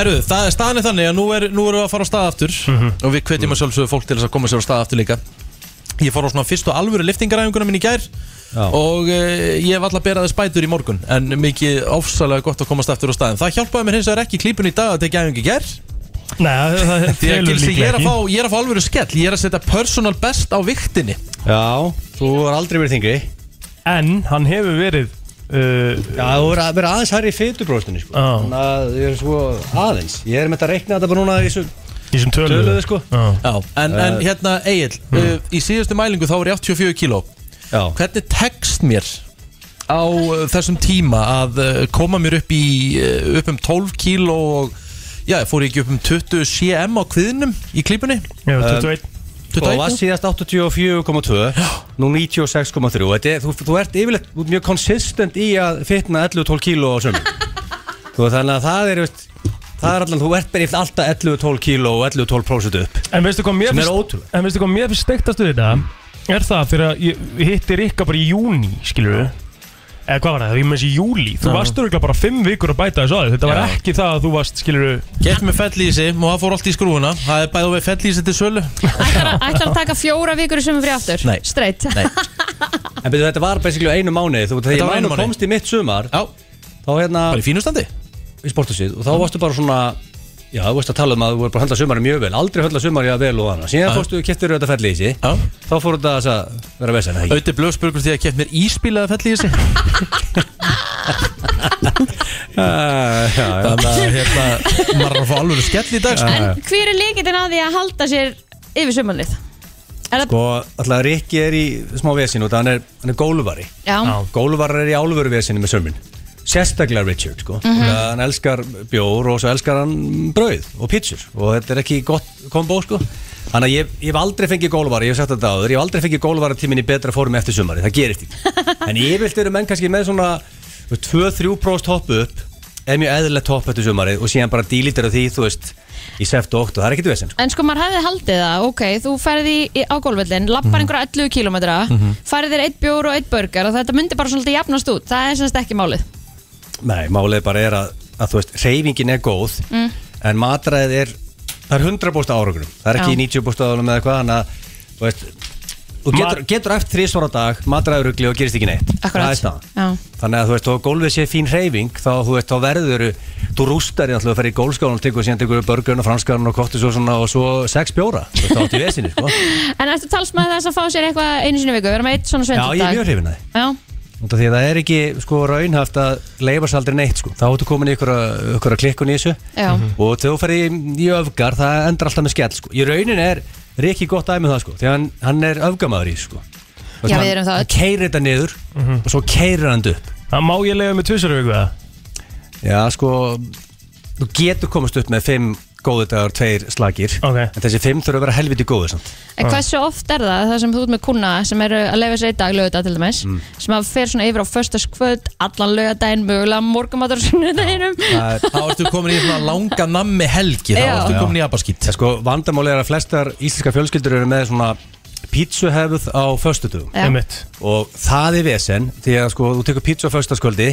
Speaker 2: herru, það er staðan er þannig að nú, er, nú erum við að fara á stað aftur og við hvetjum að sjálfsögðu fólk til þess að koma sér á stað aftur líka Ég fór á svona fyrstu alvöru liftingaræfinguna mín í gær og uh, ég var alltaf að bera þess bætur í morgun en mikið ofsalega gott að komast aftur á staðin Það hjálpaði mér hins vegar ekki klípun í dag að tekja æfingi gær
Speaker 4: Nei, það- það
Speaker 2: Því að
Speaker 4: telur
Speaker 2: Gilsi, ég er
Speaker 4: líklega
Speaker 2: að fá,
Speaker 4: ekki
Speaker 2: ég er að fá alvöru skell, ég er að setja personal best á viktinni
Speaker 10: Já, þú var aldrei verið þingri
Speaker 4: En hann hefur verið uh,
Speaker 10: Já, þú verið að vera aðeins hærri í fytubróstinni sko.
Speaker 4: Já.
Speaker 10: Þannig að ég er svo aðeins Ég er með þetta að reikna þetta bara núna í þessu
Speaker 4: Í þessum töluðu.
Speaker 10: töluðu sko.
Speaker 2: Já, en, en
Speaker 10: Eh.
Speaker 2: hérna Egil, uh, í síðustu mælingu þá var ég 84 kíló
Speaker 10: Já.
Speaker 2: Hvernig tekst mér á uh, þessum tíma að uh, koma mér upp í uh, upp um 12 kíló og já, fór ég ekki upp um 20 cm á kviðnum í klípunni?
Speaker 4: Já,
Speaker 10: Eh,
Speaker 4: 21
Speaker 10: Sko, það var
Speaker 2: 21?
Speaker 10: síðast 84,2 Nú 96,3 Þetta er- þú, þú ert yfirleitt þú ert mjög consistent í að fitna 11-12 kíló á sömum Þú veist, Þannig að það er veist, Það er allan, þú ert bara yfirleitt alltaf 11-12 kíló og 11-12% upp
Speaker 4: En veistu hvað mér
Speaker 10: Sem er
Speaker 4: finnst En veistu hvað mér finnst stektast við
Speaker 2: Mm.
Speaker 4: þetta Er það þegar að ég ég hitti Rikka bara í júni Skilur við Eða hvað var það, ég meins í júli Þú
Speaker 2: Já.
Speaker 4: varst örgulega bara fimm vikur að bæta þessu aðeins Þetta var
Speaker 2: Já.
Speaker 4: ekki það að þú varst, skilur við
Speaker 2: Gert með fellísi og það fór allt í skrúuna Það er bæðið við fellísi til sölu
Speaker 3: Ætlar að- ætlar að taka fjóra vikur í sömu frí aftur
Speaker 2: Nei.
Speaker 3: Streitt
Speaker 2: Nei.
Speaker 10: En betur þetta var basically á einu mánuði Þú veist
Speaker 2: Þetta
Speaker 10: þegar
Speaker 2: var
Speaker 10: ég
Speaker 2: einu
Speaker 10: man og
Speaker 2: mánuði.
Speaker 10: komst í mitt sumar
Speaker 2: Já
Speaker 10: Þá hérna Bara
Speaker 2: í fínustandi
Speaker 10: Í sportusið Og þá varstu bara svona Já, þú veist að tala um að þú voru bara að höndla sumarið mjög vel Aldrei höndla sumarið að vel og annað Síðan
Speaker 2: Já.
Speaker 10: fórstu, keftur þetta ferli í sig Þá fór þetta þess að vera vesen eða ekki?
Speaker 2: Auðvitað blöðspurgur því að kemd mér íspilaða fellísi
Speaker 10: Ah,
Speaker 2: Þannig að hérna maður er að fá alveg skell í dag sko.
Speaker 3: En hver er líkitinn að því að halda sér yfir sömannið? Er það
Speaker 10: Sko, alltaf Rikki er í smá vesinu og hann er, hann er gólvari
Speaker 3: Já. Já.
Speaker 10: Gólvarar er í álveru vesinu með sömmin Sérstaklega Richard, sko
Speaker 3: Mhm.
Speaker 10: Hann elskar bjór og svo elskar hann brauð og pítsur og þetta er ekki gott kombo, sko Þannig að ég, ég hef aldrei fengið gólvari, ég hef sagt þetta áður Ég hef aldrei fengið gólvari tíminn í betra formi eftir sumari, það gerist ekki En ég vilt eru menn kannski með svona 2-3 próst hoppu upp er mjög eðlilegt hopp eftir sumari og síðan bara dílítur af því, þú veist, í seft og 8 það er ekkit vesen, sko
Speaker 3: En sko maður hefði haldið það, ok, þú ferði í, á golfvöllin, lappar
Speaker 10: Mhm.
Speaker 3: einhverja 11 kílómetra,
Speaker 10: Mhm.
Speaker 3: farið þér eitt bjór og eitt burger og þetta myndi bara svolítið jafnast út, það er semst ekki málið.
Speaker 10: Nei, málið bara er að, að þú veist, reyfingin er góð
Speaker 3: Mm.
Speaker 10: en matræðið er það er 100% árangurum, það er ekki
Speaker 3: Já.
Speaker 10: 90% árangurum eða hvað, þannig að þú veist, þú getur, getur eftir þrísvara dag matræður rugli og gerist ekki neitt
Speaker 3: Akkurat.
Speaker 10: það er staðan.
Speaker 3: Já.
Speaker 10: þannig að þú veist, þó að gólfið sé fín reyfing þá, þú veist, þá verður þú rústar í alltaf að ferja í gólfskálan og tekur síðan tekur börgjörn og franskarn og kottis og svona og svo sex bjóra, þú veist, þá átt í vesinni sko.
Speaker 3: En ertu talsmaður þess að fá sér eitthvað einu sinni í viku, vera með eitt svona
Speaker 10: Já,
Speaker 3: svendur
Speaker 10: ég er mjög hrifin að því
Speaker 3: Já,
Speaker 10: Út af því að það er ekki sko raunhaft að leifa sér aldrei neitt sko. Þá ertu komin í ykkur að klikkun í þessu
Speaker 3: Já. Mhm.
Speaker 10: Og þegar þú ferði í, í öfgar það endur alltaf með skell sko. Í raunin er Rikki gott dæmið það sko Því að hann, hann er öfgamaður í þessu sko Þú veist,
Speaker 3: Já, við
Speaker 10: hann-
Speaker 3: erum það
Speaker 10: Hann
Speaker 3: öll.
Speaker 10: keirir þetta niður og svo keirir hann þetta upp
Speaker 4: Það má ég leiða með tvisar viku það?
Speaker 10: Já, sko, þú getur komast upp með fimm góðu dagar, tveir slagir okay. En þessi fimm þurfa að vera helviti góðu samt
Speaker 3: En hversu oft er það það sem þú ert með kuna sem eru að leifa sér í dag lögða til dæmis
Speaker 10: Mm.
Speaker 3: sem að fer svona yfir á föstaskvöld allan lögadaginn, mögulega morgumatur og sunnudaginum
Speaker 2: Þá ertu komin í svona langa nammi helgi Þá
Speaker 3: Já.
Speaker 2: ertu komin í abaskýtt
Speaker 10: Já, sko, vandamáli er að flestar íslenska fjölskyldur eru með svona pítsuhefð á föstudugum
Speaker 3: Já. Einmitt.
Speaker 10: Og það er vesen, því að sko, þú tekur pítsu á föstaskvöldi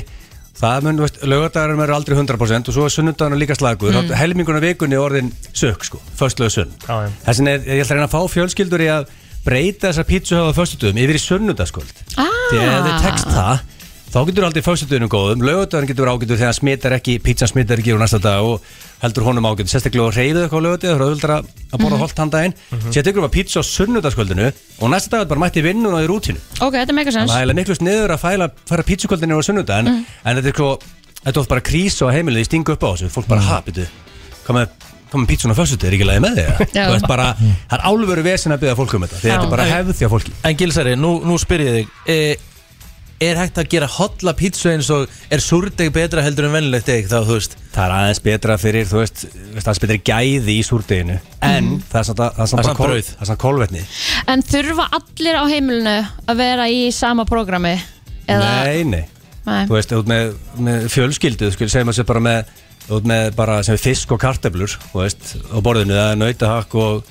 Speaker 10: Það mun, þú veist, laugardagarum eru aldrei 100% og svo er sunnudagarnum líka slagur
Speaker 12: Mm.
Speaker 10: mm. Helminguna vikunni er orðin sök, sko, föstlega sunn
Speaker 4: Já,
Speaker 10: Þess vegna er, ég ætla að reyna að fá fjölskyldur í að breyta þessa pítsuhefð á föstudugum yfir í sunnudaskvöld
Speaker 2: Ah.
Speaker 10: Því að ef þið tekst það þá getur aldrei föstutunum góðum lögutöðan getur ágætur þegar hann smitar ekki pítsan smitar ekki úr næsta dag og heldur honum ágætur sérstaklega reyðu eitthvað á lögutöð þá er auðvitað að borða mm -hmm. holdt handaginn mm -hmm. sér tekur bara pítsa á sunnudagskvöldinu og næsta dag er bara mætti vinnun og í rútinu
Speaker 3: Ok, þetta er megasens
Speaker 10: þannig að það er miklu sniður að fæla, fara pítsukvöldinu á sunnudag en,
Speaker 3: Mhm.
Speaker 10: en þetta er sko þetta er oft bara krís og heimilið stingu upp á þessu fólk bara mm. hapitu komið pítsun á föstutu er ekki lægi með þig
Speaker 2: Já.
Speaker 10: Þú veist bara, það er álveru vesen að byggja fólk um þetta því þetta er bara hefð því að fólki
Speaker 2: En Gilsari, nú, nú spyr ég þig e, Er hægt að gera hotla pítsu eins og Er súrdeg betra heldur en vennilegt deg þá, þú veist
Speaker 10: Það er aðeins betra fyrir, þú veist, veist aðeins betra gæði í súrdeginu En það er samt, að- það er samt,
Speaker 2: Það
Speaker 10: bara
Speaker 2: er samt
Speaker 10: kol,
Speaker 2: brauð.
Speaker 10: það er samt kolvetni
Speaker 3: En þurfa allir á heimilinu að vera í sama prógrami? Eða,
Speaker 10: Nei, nei,
Speaker 3: Nei.
Speaker 10: Þú veist, út með, með fjölskyldu, skil, segjum að sér bara með Út með bara sem fisk og karteblur, þú veist, á borðinu Það er nautahakk og,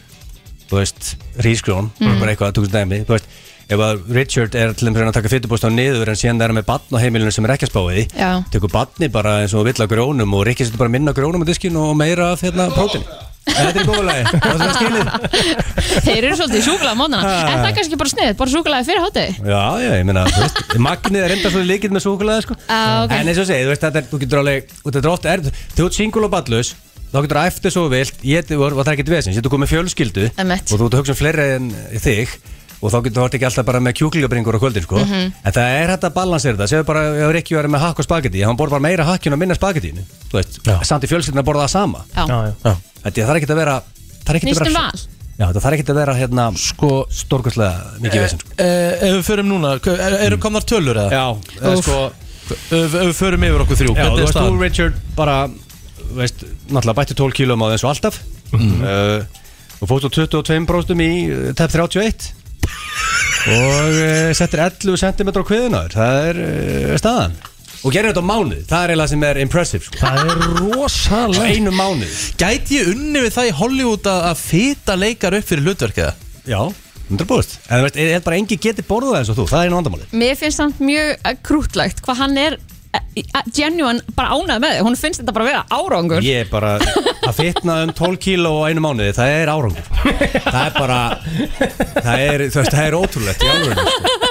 Speaker 10: þú veist, rísgrón
Speaker 12: Mm.
Speaker 10: Bara eitthvað að tókst dæmi, þú veist Ef að Richard er til þeim að taka fytubúst á niður En síðan er hann með batn á heimilinu sem er ekki að spá í því
Speaker 3: Já.
Speaker 10: Tekur batni bara eins og vill á grónum Og Rikki setur bara minna af grónum á diskinu og meira af hérna prótinu Þetta er góðulegi, það er svona skilið
Speaker 3: Þeir eru svolítið súkulega mótana
Speaker 10: Ha.
Speaker 3: En það er kannski bara snið, bara súkulega fyrir hátegi
Speaker 10: Já, já, ég meina, þú veist, magnið er enda svolítið líkið með súkulega, sko
Speaker 3: Já, Ah, ok.
Speaker 10: En eins og ég segi, þú veist, þetta er, þú getur alveg, og þetta er ofta erfið Þú ert singul og ballus, þá getur að eftir svo vilt, ég þetta var, það er ekkert vesins, ég getur komið fjölskyldu
Speaker 3: Emmett.
Speaker 10: Og þú ert að hugsa um fleiri en þig Og þá getur þú ert ekki alltaf bara með kjúklingabringur á kvöldin, sko
Speaker 3: Mhm.
Speaker 10: En það er hægt að balansera þetta, segðu bara, ef Rikki verið með hakk og spagetti Hann borð bara meira hakkjun og minna spagettinu, þú veist, samt í fjölskyldin að borða það sama
Speaker 3: Já. Já,
Speaker 10: Þetta það er ekkert að vera, það er ekkert að
Speaker 3: Nýstum
Speaker 10: vera
Speaker 3: val
Speaker 10: Já, þetta þarf ekki að vera hérna sko, stórkvæslega mikið vesen
Speaker 2: e, Ef við förum núna, hva- er- eru komnar tölur eða?
Speaker 10: Mm. Já, eða
Speaker 2: Úff.
Speaker 10: sko
Speaker 3: Eh,
Speaker 2: Ef ef við förum yfir okkur þrjú,
Speaker 10: Já, þú
Speaker 2: hvernig er
Speaker 10: veist,
Speaker 2: staðan?
Speaker 10: þú Richard bara veist, náttúrulega bætti 12 kílum á þessu alltaf uh, og fótt á 22 bróstum í uh, tep 31 og uh, settir 11 cm á kviðunar það er uh, staðan og gerir þetta á mánuð, það er eiginlega sem er impressive sko.
Speaker 4: það er rosalega
Speaker 10: einu mánuð
Speaker 2: Gæti ég unni við það í Hollywood að, að fita leikar upp fyrir hlutverkiða?
Speaker 10: Já, 100% En þú veist, ég held bara engi geti borðað eins og þú, það er einu vandamáli
Speaker 3: Mér finnst hann mjög eh, krútlegt hvað hann er eh, eh, genuine bara ánæð með þig Hún finnst þetta bara vera árangur
Speaker 10: Ég er bara að fitna um 12 kíló á einu mánuði, það er árangur Það er bara Það er, þú veist, það er ótrúlegt í alvöru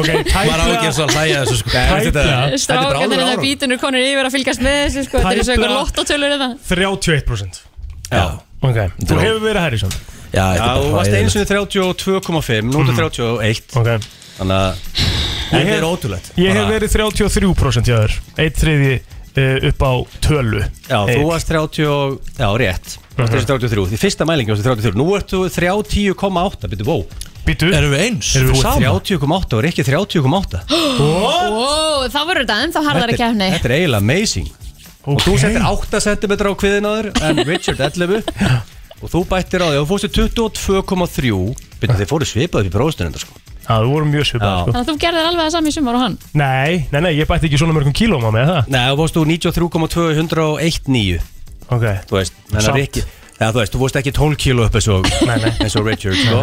Speaker 4: Ok, tæplega
Speaker 2: Maður á ekki eins og að hlæja þessu, sko.
Speaker 10: Nei, þetta- þetta er bara
Speaker 3: Strákarnir
Speaker 10: alvöru
Speaker 3: hérna
Speaker 10: árangur.
Speaker 3: bítunur konur yfir að fylgjast með þessu sko Þetta er svo eitthvað
Speaker 4: Tæplega-
Speaker 3: lottotölur eða
Speaker 4: 31%
Speaker 10: Já
Speaker 4: Ok, þú hefur verið herri svona
Speaker 2: Já,
Speaker 10: Já, þú varst eins og 32,5 Nú er 31
Speaker 4: Ok
Speaker 10: Þannig að
Speaker 4: Ég
Speaker 10: Þetta
Speaker 4: hef-
Speaker 10: er ótrúlegt
Speaker 4: Ég hef
Speaker 10: Bara-
Speaker 4: verið 33% hjá þér Eitt þriði uh, upp á tölu
Speaker 10: Já, þú
Speaker 4: Egill.
Speaker 10: varst 30 og- Já, rétt Þú varst
Speaker 4: Mhm.
Speaker 10: eins og 33 Því fyrsta mælingi varst 33 Nú ert þú 30,8 Býttu, wow
Speaker 4: Býttu
Speaker 2: Erum við eins?
Speaker 10: Erum við
Speaker 2: Þú
Speaker 10: saman?
Speaker 2: ert
Speaker 10: 30,8 og ekki 30,8
Speaker 3: Ó, Þá verður þetta ennþá
Speaker 10: Þetta
Speaker 3: harðari
Speaker 10: er-
Speaker 3: kefni
Speaker 10: Þetta er eiginlega amazing Og þú settir 8 cm á kviðin á þér En Richard 11 Og þú bættir á þig Og þú fórstu 22,3 Byrja þið fóru svipað upp í bróðstunum sko.
Speaker 4: Já, þú voru mjög svipað
Speaker 3: Þannig að þú gerðir alveg það sami í sumar og hann
Speaker 4: Nei, nei, nei, ég bætti ekki svona mörgum kílóma með það
Speaker 10: Nei, þú fórstu 93,219
Speaker 4: Ok
Speaker 10: Þú veist, þannig
Speaker 4: Samt.
Speaker 10: að Rikki Já, þú veist, þú fórst ekki 12 kíló upp eins og eins og Richard, sko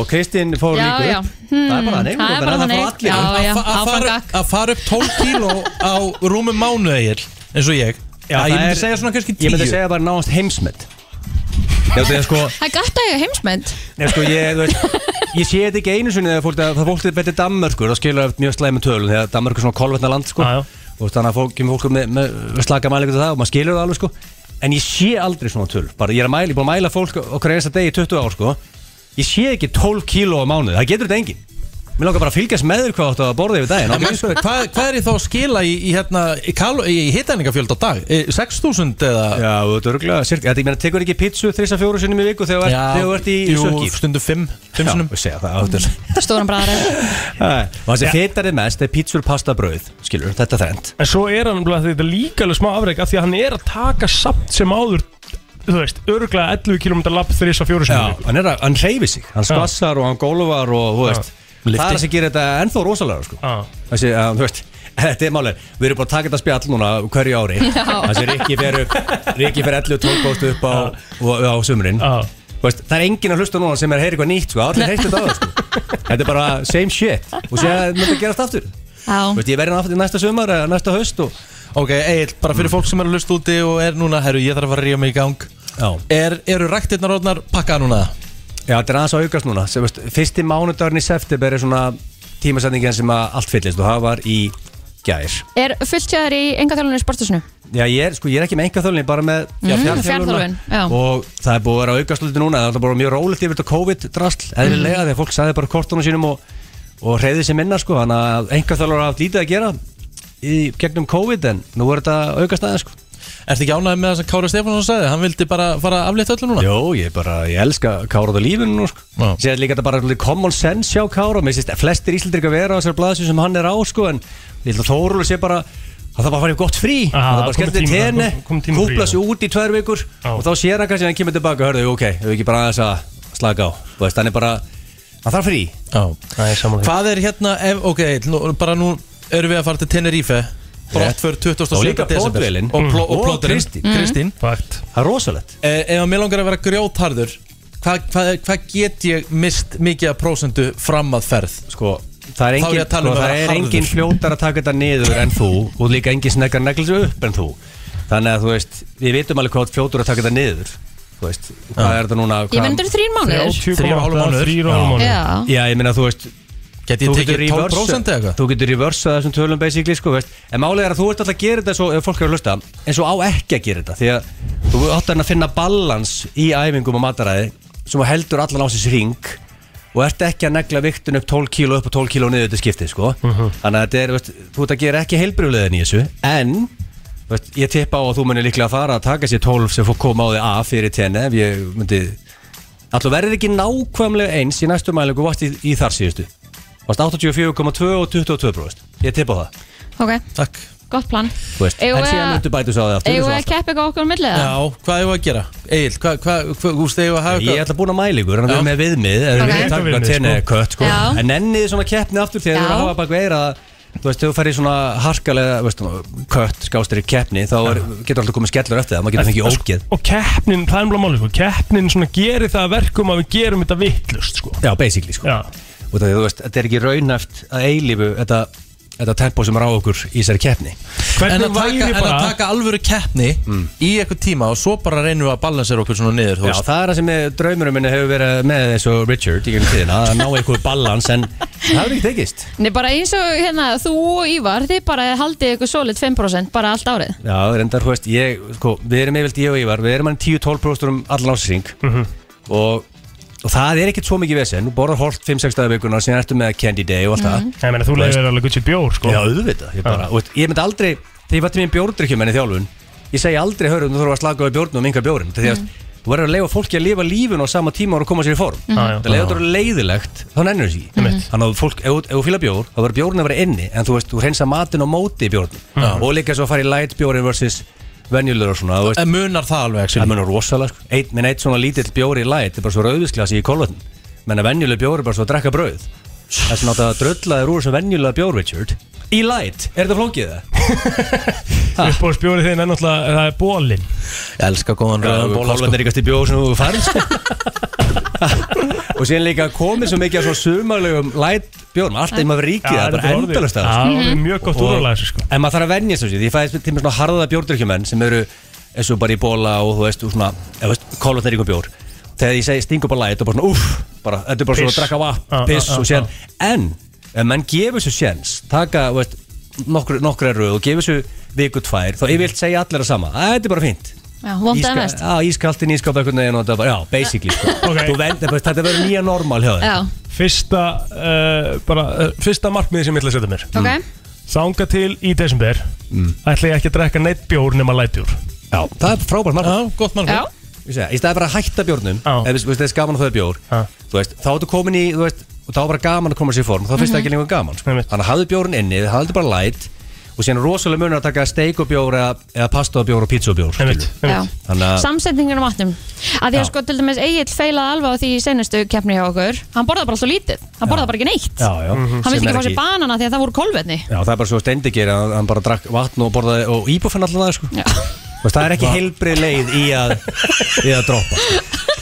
Speaker 10: Og Kristinn fór
Speaker 3: Já,
Speaker 10: líka
Speaker 3: já
Speaker 10: upp
Speaker 3: Hmm,
Speaker 10: Það er bara þannig,
Speaker 3: Það er bara
Speaker 10: þannig að
Speaker 3: þannig Já,
Speaker 2: Að
Speaker 3: já,
Speaker 2: fa- að
Speaker 3: áfram
Speaker 2: fara-
Speaker 3: gakk
Speaker 2: Að fara upp 12 kíló á rúmum mánuð Egil, eins og ég Já,
Speaker 10: það
Speaker 2: ég myndi
Speaker 10: er-
Speaker 2: segja svona kannski 10
Speaker 10: Ég myndi segja bara náðast heimsmet Já, þú veist, sko
Speaker 3: Það er gætt að ég heimsmynd
Speaker 10: Nei, sko, ég, þú veist, ég sé þetta ekki einu sinni þegar fólk, það fólk er betið Danmörkur og skilur það mjög slæmi tölun þegar Danmörkur er svona kolvetna land, sko og þannig að fólk kemur fólk með, með slaka mælingu til það og maður skilur það alveg, sko en ég sé aldrei svona töl, bara ég er að mæla, ég er búin að mæla fólk okkur einasta degi í 20 ár, sko ég sé ekki 12 kíló á mánuði, það getur þetta engin Mér langar bara að fylgjast með þér hvað áttu að borða yfir daginn
Speaker 2: En
Speaker 10: ok?
Speaker 2: menn, sko, hvað, hvað er ég þá að skila í, í, hérna, í, kal- í hittæningafjöld á dag? E, 6.000 eða?
Speaker 10: Já, þetta er örgulega sirka Þetta, ég meina, tekur ekki pítsu þrissa fjóru sinnum í viku þegar þú ert- þegar þú ert í, í sökki
Speaker 2: Jú, stundu 5
Speaker 10: Já, ég segja það áttur
Speaker 3: Stóran bræðar
Speaker 10: Það sem feitar þið mest er pítsur, pasta, brauð Skilur, þetta þrend
Speaker 4: En svo er hann nefnilega- þetta er líka alveg smá afreg af því að hann er að taka samt sem áður þú veist, örglega 11 km lapp þrís á fjóru
Speaker 10: Já, hann, er að, hann reyfi sig Hann
Speaker 4: Já.
Speaker 10: skvassar og hann gólfar og þú veist
Speaker 4: Lyfti.
Speaker 10: Það er það sem gerir þetta ennþá rosalega sko. Þessi, að, þú veist Þetta er málið, við erum búin að taka þetta spjall núna hverju ári
Speaker 4: Já.
Speaker 10: Þessi Rikki fer upp Rikki fer 11 og 12 bóst upp á, og, á sumrin veist, Það er enginn að hlusta núna sem er að heyra eitthvað nýtt sko. Allir heyrtu þetta á sko. Þetta er bara same shit Og sé að þetta gerast aftur Þú veist, ég verði aftur næsta sumar eða næsta haust og...
Speaker 2: Ok, Egil, bara
Speaker 10: Hmm.
Speaker 2: fyrir fólk sem er að hlusta úti og er núna, herru, ég þarf að fara að ríða mig í gang
Speaker 10: Já.
Speaker 2: er, Eru ræktirnar orðnar pakkaða núna?
Speaker 10: Já, þetta er aðeins að aukast núna sem, veist, Fyrsti mánudagurinn í september er svona tímasendingin sem að allt fyllist og það var í gær
Speaker 3: Er fullt jáður í engatjálunni sportusinu?
Speaker 10: Já, ég er, sko, ég er ekki með engaþjálun, bara með
Speaker 3: Mhm,
Speaker 10: fjárþjálfunina.
Speaker 3: fjárþjálfun, já.
Speaker 10: Og það er búið að vera að aukast svolítið núna Það er alltaf bara mjög rólegt yfir þetta COVID-drasl Eðlilega, þegar fólk sagði bara kortunum sínum og, og reyði sér minna, sko Þannig að engaþjálun hafa haft lítið að gera í gegnum COVID En nú er þetta að aukast aðeins, sko
Speaker 2: Ertu ekki ánægð með það sem Kára Stefánsson sagði? Hann vildi bara fara að aflétta öllu núna?
Speaker 10: Jó, ég bara, ég elska Kárað á lífinu nú, sko Sér líka þetta bara svolítið common sense hjá Kára Mér sést að flestir íslendingar vera á þessar blaðsum sem hann er á, sko En ég held að Þórólfur sé bara- það þarf bara að fara í gott frí. Það er bara
Speaker 4: komið
Speaker 10: skemmtilegt
Speaker 4: tími-
Speaker 10: tenni,
Speaker 4: kom- komið tími frí,
Speaker 10: kúpla
Speaker 4: já.
Speaker 10: sig út í tvær vikur og þá sér hann kannski að hann kemur tilbaka hörðu, ok, hefur ekki bara aðeins að slaka á þú veist, hann er bara, hann þarf frí
Speaker 2: Já,
Speaker 4: það er saman
Speaker 2: Hvað er hérna, ef, ok, Egill, nú, bara nú erum við að fara til Tenerife Brott fyrir 27.
Speaker 10: Og líka
Speaker 2: desember.
Speaker 10: plótvélin.
Speaker 2: Og, pló, og
Speaker 10: Og
Speaker 2: plóturinn.
Speaker 10: Kristín.
Speaker 2: Mhm. Kristín,
Speaker 4: Fakt
Speaker 10: Það er rosalegt
Speaker 2: eh, Ef að mér langar að vera grjótharður Hvað hva, hva get ég mist mikið af prósendu fram að ferð?
Speaker 10: Sko, það er
Speaker 2: Þá er ég
Speaker 10: engin,
Speaker 2: að tala
Speaker 10: sko,
Speaker 2: um að
Speaker 10: það
Speaker 2: vera
Speaker 10: er
Speaker 2: harður.
Speaker 10: engin fljótar að taka þetta niður en þú og líka engin sneggar neglisir upp en þú þannig að þú veist, við vitum alveg hvað þú ert fljótur að taka þetta niður þú veist, hvað er þetta núna
Speaker 3: Ég myndi þrýr mánuðir
Speaker 10: Þrjá hálf mánuður
Speaker 4: Þrír og hálf mánuður.
Speaker 3: Já.
Speaker 10: Já, ég meina þú veist
Speaker 2: Geti ég
Speaker 10: þú
Speaker 2: tekið
Speaker 10: getur
Speaker 2: 12% eða eitthvað?
Speaker 10: Þú getur reversað þessum tölum basically sko, veist. En málið er að þú ert alltaf að gera þetta svo, ef fólk er að hlusta, en svo á ekki að gera þetta Því að þú átt að finna balans í æfingum og mataræði sem þú heldur allan á sér ring og ert ekki að negla viktin upp 12 kíló upp og 12 kíló niður þetta skiptið sko. Þannig að þetta er, veist, þú ert að gera ekki heilbrjóðleðin í þessu En þú veist, ég tippa á að þú munir líklega að fara að taka sér 12 sem fór koma á því af fyrir tenni ef ég myndi Alltaf verður ekki nákvæmlega eins í næstu mælingu og varst í, í þar síðustu Varst 84,2 og 22 bróðist Ég tippa á það
Speaker 3: Ok,
Speaker 2: Takk
Speaker 3: gott plan
Speaker 10: Þú veist,
Speaker 3: Eigum
Speaker 10: En
Speaker 3: við
Speaker 10: síðan
Speaker 3: að-
Speaker 10: myndu bætu svo á því aftur eins
Speaker 3: Eigum
Speaker 10: og
Speaker 3: við að
Speaker 10: alltaf.
Speaker 3: keppa eitthvað okkur á millið?
Speaker 2: Já, hvað hefur að gera? Egil, hvað, hvað, hvað, þú stegið að hafa
Speaker 10: Ég er alltaf búin að mæla ykkur, en það er með viðmið Það
Speaker 2: Ok.
Speaker 10: er með takkum að
Speaker 2: Viðmið,
Speaker 10: tenni
Speaker 2: sko.
Speaker 10: kött sko.
Speaker 2: Já.
Speaker 10: En ennið svona keppni aftur þegar þú er
Speaker 2: Já.
Speaker 10: að hafa bak veira Þú veist, þegar þú ferð í svona harkalega veist, kött skástir í keppni þá er, getur alltaf komið skellur eftir það, maður getur fengið ógeð
Speaker 4: og keppnin, það er mjög máli sko. keppnin svona gerir það að verkum að við gerum þetta vittlust sko.
Speaker 10: Já, basically sko
Speaker 4: Já.
Speaker 10: Og það, þú veist, þetta er ekki raunæft að eilífu þetta, þetta tempo sem er á okkur í þessari keppni Mm.
Speaker 2: en að, taka, en að taka alvöru keppni í eitthvað tíma og svo bara reynum við að balansera okkur svona niður þú
Speaker 10: Já,
Speaker 2: veist.
Speaker 10: það er það sem eh, draumurum minni hefur verið með eins og Richard í gegnum tíðina að ná einhver balans en það hefur ekki tekist
Speaker 3: Nei, bara eins og hérna, þú og Ívar, þið bara haldið ykkur solid 5% bara allt árið.
Speaker 10: Já, reyndar, þú veist, ég, sko, við erum yfirlt ég og Ívar, við erum hann 10-12 próstur um allan ásýring
Speaker 4: Mhm.
Speaker 10: og, og það er ekkert svo mikið vesen, þú borðar holt 5-6 dagar vikuna og síðan ertu með Candy Day og allt það
Speaker 4: Mhm. Nei, ég meina, þú leiðir alveg gutt sér bjór sko.
Speaker 10: Já, auðvitað, ég bara, og veist, ég myndi aldrei, þegar ég var til mín bjórdrykkjum enn í þjálfun ég segi aldrei, hörðu, þú þurfum að slaka á bjórnum og minga bjórin, því að þú verður að leifa fólki að lifa lífun á sama tíma og koma sér í form
Speaker 4: Mhm. Já, já.
Speaker 10: það leiður þetta leiðilegt, þá nennur þessi ekki
Speaker 4: Einmitt.
Speaker 10: þannig að fólk, ef, þú- ef þú fýla bjór, þá verður bjórn að vera inni en þú veist, þú reynsa matin á móti í bjórnum
Speaker 2: Já.
Speaker 10: og líka svo að fara í light bjórin versus venjulur og svona, þú veist
Speaker 2: En munar það alveg,
Speaker 10: það munar rosalega, sko. eitt, minn eitt svona lítill bjór í light er bara svo rauðisglasi í kolvetn menn að venjuleg bjór er bara svo að drekka brauð þess að náttúrulega dröllaður úr sem venjulega bjór, Richard Í light, er þetta flókið það?
Speaker 4: uppbóðsbjórið þinn er náttúrulega það er bólin
Speaker 2: Ég elska góðan
Speaker 10: rauðan bóla, sko. Kolvetn er í bjór sem þú færð og síðan líka komið svo mikið af svona sumarlegum light bjórn, allt einnig maður ríkið,
Speaker 4: Já,
Speaker 10: það er bara sko.
Speaker 4: þetta er orðið-
Speaker 10: endalast
Speaker 4: Já, það er mjög gott úrval að þessu, sko.
Speaker 10: En maður þarf að venja þessu, því ég fæðist til með svona harða bjórdrykkjumenn sem eru eins og bara í bóla og þú veist, og svona, eða veist, kólvatn er ykkur bjór Þegar ég segi stingu bara light og bara svona, uff, bara, þetta er bara svona
Speaker 4: Piss.
Speaker 10: að drakka
Speaker 4: Já,
Speaker 10: vatn, piss
Speaker 4: já, já,
Speaker 10: og síðan En, ef menn gefur sér séns, taka, þú veist, nokkur, nokkur er röð og gefur sér viku tvær, þá yfirvilt segja allir að sama, "Æ, þetta er bara fínt
Speaker 3: Já, vondaði
Speaker 10: Íska-
Speaker 3: mest.
Speaker 10: Já, ískaltinn ískap eitthvað neginn og þetta bara, já, basically sko. okay. vend, þetta verður nýja normal hjá þér
Speaker 3: Já.
Speaker 4: fyrsta, uh, bara, uh, fyrsta markmiði sem ég ætla að setja mér
Speaker 10: mm.
Speaker 3: Ok.
Speaker 4: Þanga til í desember ætla ég ekki að drekka neitt bjór nema lætbjór Já,
Speaker 10: það er frábært markmið
Speaker 2: Já, gott
Speaker 3: Já.
Speaker 10: Ég segi, í staði bara að hætta bjórnum ef þú veist, það er gaman að það er bjór þú veist, þá ertu komin í, þú veist, og þá er bara gaman að koma sér í form, þá finnst það ekki lengur gaman sko. þannig að hafðu bjórn inni, það hafðu bara light og síðan er rosalega munur að taka steik og bjór eða, eða pasta og bjór og pizza og bjór einmitt, þannig að
Speaker 3: Samsetningur á matnum að því að
Speaker 10: Já.
Speaker 3: sko til dæmis Egil feilaði alveg á því í senustu keppni hjá okkur hann borðaði bara alltaf lítið, hann borðaði bara ekki neitt
Speaker 10: já, já.
Speaker 3: hann vildi ekki fá sér banana því að það voru kolvetni
Speaker 10: já, það er bara svo stendi gerir að hann bara drakk vatn og borðaði og íbúfenn allan það sko.
Speaker 3: Já.
Speaker 10: Þú veist, það er ekki heilbrið leið í að, í að droppa sko.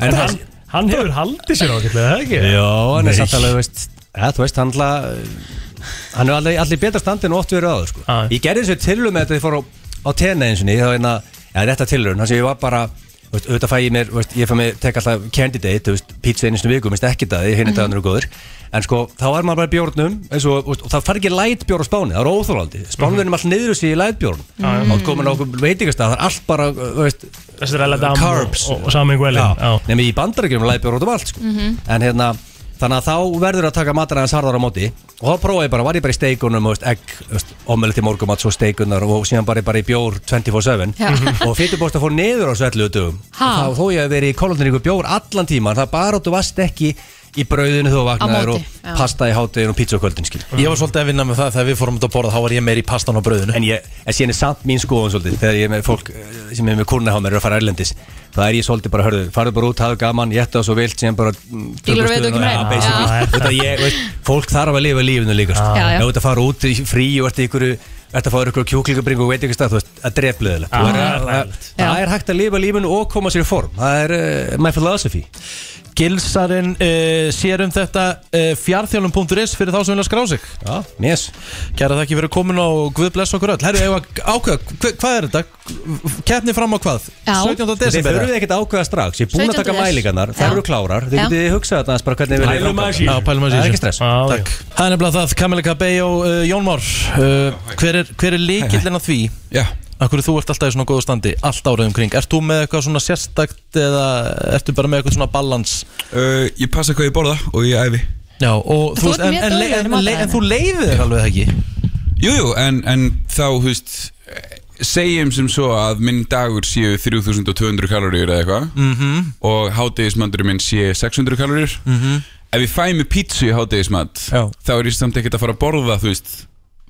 Speaker 10: en hann,
Speaker 4: hann hefur haldið sér ákveðlega, það ekki?
Speaker 10: Já, hann er
Speaker 4: Nei.
Speaker 10: samt alveg, þú veist, ja, þú veist, hann alltaf, hann er allir, allir betra standi en oft verið áður, sko. Ég gerði þessu tilhörlum með þetta, ég fór á, á tenni eins og niður, þá einna, já, þetta tilhörlum, þannig að ég var bara, þú veist, auðvitað fæ ég mér, þú veist, ég fæ mér, tek alltaf candidate, þú veist, pizza einu sinni í viku, minnst ekki það, hinn
Speaker 4: Mhm.
Speaker 10: er dagarnir og góður, en sko, þá er maður bara í bjórnum, eins og, þú veist, og það far ekki lætbjór á Spáni, það er óþólandi, Spánverðin er alltaf niður sig í lætbjórnum,
Speaker 4: Mhm. Já, já.
Speaker 10: þá er komin á okkur veitingastað, það er allt bara, þú veist,
Speaker 4: Dam
Speaker 10: carbs,
Speaker 4: og- og Samuel Ellin, já.
Speaker 10: nemi í bandaríkjum lætbjór út um allt, sko Mhm. en hérna þannig að þá verður að taka matar aðeins harðar á móti og þá prófaði ég bara, var ég bara í steikunum og veist, egg, omölu til morgumat svo steikunar og síðan bara, bara í bjór 24-7
Speaker 3: Já.
Speaker 10: og fyturbósta fór niður á svo 11 dögum
Speaker 3: Ha?
Speaker 10: og þá þó ég hef verið í kolundin ykkur bjór allan tíman það er bara að þú vast ekki í brauðinu þú vaknaður
Speaker 2: móti,
Speaker 10: og
Speaker 2: já.
Speaker 10: pasta í hátegin og pizza á kvöldin skil
Speaker 2: Ég var svolítið að vinna með það þegar við fórum út að borða þá var ég meir í pastan á bröðinu
Speaker 10: En ég, en síðan er samt mín skoðun svolítið Þegar ég er með fólk eh, sem er með kúrna hjá mér er að fara erlendis Það er ég svolítið bara, hörðu, farðu bara út, hafðu gaman Jættu það svo vilt, síðan bara mm, tökum
Speaker 3: Bílar og veit
Speaker 10: stöðuna.
Speaker 3: ekki meira.
Speaker 10: Já, basically.
Speaker 3: Já.
Speaker 10: Þú veit að ég, veist, Fólk þarf að lifa lífinu líka sko.
Speaker 3: Já, já.
Speaker 10: Ef þú ert að fara út í frí og ert í ykkur Þetta fáður ykkur kjúklingabring og veit ekki stað Þú veist, að drefliðilegt
Speaker 2: Já,
Speaker 10: Það er- það er hægt að lifa lífinu og koma sér í form Það er uh, my philosophy
Speaker 2: Gilsarinn uh, sér um þetta uh, fjarþjálum.is fyrir þá sem vilja skrá sig
Speaker 10: Já, yes
Speaker 2: Kæra þakki fyrir komin og Guð bless okkur öll Herru, eigum við að ákveða, hva, hvað er þetta? Kætni fram á hvað? 17.
Speaker 10: Þið
Speaker 2: desember
Speaker 10: þurfið ekkert að ákveða strax Ég er búin að
Speaker 2: 17.
Speaker 10: taka mælingarnar, þær
Speaker 2: Já.
Speaker 10: eru klárar Þið
Speaker 2: Já.
Speaker 10: getið hugsað þarna aðeins bara hvernig við
Speaker 2: Pælum aðeins í þessu. Já, pælum
Speaker 10: Það
Speaker 2: aðeins í
Speaker 10: er
Speaker 2: þessu.
Speaker 10: ekki stress
Speaker 2: Takk Það er nefnilega það, Kamila Cabey og uh, Jón Már uh, hver, er- hver er líkillin að því?
Speaker 12: Já
Speaker 2: Akkur þú ert alltaf í svona góðu standi, allt árið umkring Ert þú með eitthvað svona sérstakt eða ertu bara með eitthvað svona balans?
Speaker 12: Uh, ég passa hvað ég borða og ég æfi
Speaker 2: Já, og
Speaker 1: Þú ert
Speaker 2: en,
Speaker 1: mjög
Speaker 2: en,
Speaker 1: duglegur
Speaker 2: en,
Speaker 1: í
Speaker 2: en, en þú leiðir þér alveg ekki
Speaker 12: Jú, jú, en, en þá, þú veist segjum sem svo að minn dagur séu 3200 kaloríur eða eitthvað
Speaker 1: Mhm.
Speaker 12: og hátegismandurinn minn sé 600 kaloríur
Speaker 1: Mhm.
Speaker 12: ef ég fæ mig pítsu í hátegismat þá er ég samt ekkert að fara að borða þú veist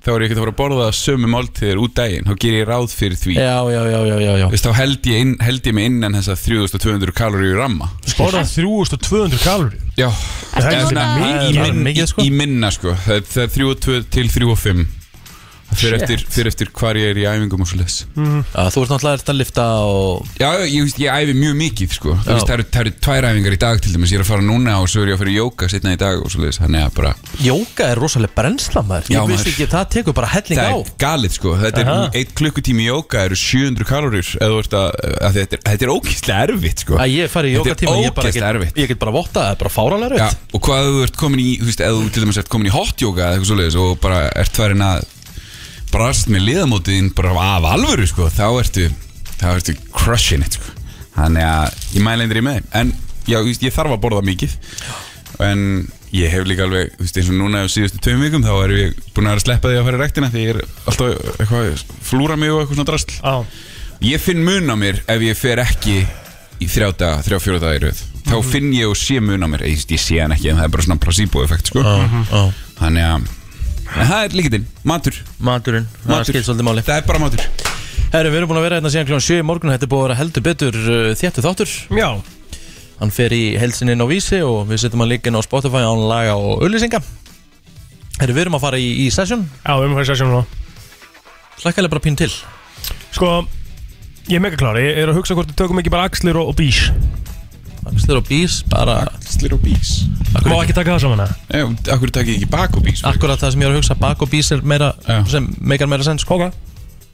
Speaker 12: þá er ég ekkert að fara að borða sömu máltíðir út daginn þá ger ég ráð fyrir því
Speaker 2: Já, já, já, já, já, já.
Speaker 12: Þú veist, þá held ég, inn, held ég mig innan þessa 3200 kaloríur ramma
Speaker 4: Borða 3200 kalori
Speaker 12: Já, Eða
Speaker 4: Ertu að
Speaker 12: svona
Speaker 4: nota-
Speaker 12: í-
Speaker 4: Það er
Speaker 12: í, minn, í, í minna sko Það er- það er 32 til 35 Það fyrir
Speaker 2: Shit.
Speaker 12: eftir, fyrir eftir hvar ég er í æfingum og svo leis
Speaker 2: Mhm. Þú ert náttúrulega ert að lifta og...
Speaker 12: Já, ég, veist, ég æfi mjög mikið sko Þú
Speaker 2: Já.
Speaker 12: veist, Það eru, það eru tvær æfingar í dag til dæmis Ég er að fara núna og svo er ég að fara í jóka setna í dag og svo leis Þannig að bara
Speaker 2: Jóka er rosalega brennsla maður
Speaker 12: Já,
Speaker 2: Ég vissi
Speaker 12: maður.
Speaker 2: ekki, það tekur bara helling
Speaker 12: Það
Speaker 2: á
Speaker 12: er galið sko, þetta er
Speaker 2: Aha.
Speaker 12: eitt klukkutími í jóka eru 700 kalorir eða þú ert að, að þetta, er, þetta er ógeðslega erfitt sko
Speaker 2: Að ég fari í jókatíma,
Speaker 12: Þetta
Speaker 2: ég
Speaker 12: er
Speaker 2: bara
Speaker 12: ógeðslega
Speaker 2: get-
Speaker 12: erfitt
Speaker 2: Ég get bara votta, það er bara fáralega
Speaker 12: Já,
Speaker 2: erfitt
Speaker 12: og hvað þú ert komin í, þú veist, eða þú til dæmis ert komin í hot yoga eða eitthvað svoleiðis og bara ert farin að brast með liðamótiðin bara af alvöru, sko, þá ertu þá ertu crushing it, sko þannig að ég mæla eindir í með þeim. en já, þú veist, ég þarf að borða mikið en ég hef líka alveg, þú veist, eins og núna á síðustu tveim vikum, þá er ég búin að vera að sleppa því að fara í rektina því ég er alltaf eitthvað að flúra mig og eitthvað svona drasl
Speaker 4: ah.
Speaker 12: ég finn mun á mér ef ég fer ekki í þrjá daga, þrjá fjóra daga í röð þá
Speaker 2: Mhm.
Speaker 12: finn ég og sé mun á mér, ég, ég sé hann ekki en það er bara svona placebo-effekt, sko
Speaker 2: Já,
Speaker 12: þannig að en það er líkitinn, matur
Speaker 2: maturinn,
Speaker 12: það skil
Speaker 2: svolítið máli
Speaker 12: það er bara matur
Speaker 2: Herru, við erum búin að vera hérna síðan kljóðan 7 í morgun Þetta er búin að vera heldur betur uh, þéttu þáttur
Speaker 4: Já
Speaker 2: Hann fer í helsininn á vísi og við setjum hann líka inn á Spotify án laga og auðlýsinga Herru, við erum að fara í, í session
Speaker 4: Já, við erum að fara í session núna
Speaker 2: Slakkalega bara pín til
Speaker 4: Sko, ég er mega klár Ég er að hugsa hvort við tökum ekki bara axlir og, og bís
Speaker 2: Axlir og bís, bara
Speaker 12: Axlir og bís
Speaker 4: Má ekki taka það saman að
Speaker 12: Akkur takk ég ekki bak og bís
Speaker 2: Akkurat það sem ég er að hugsa, bak og bís er meira sem meikar meira sens
Speaker 4: sko. okay.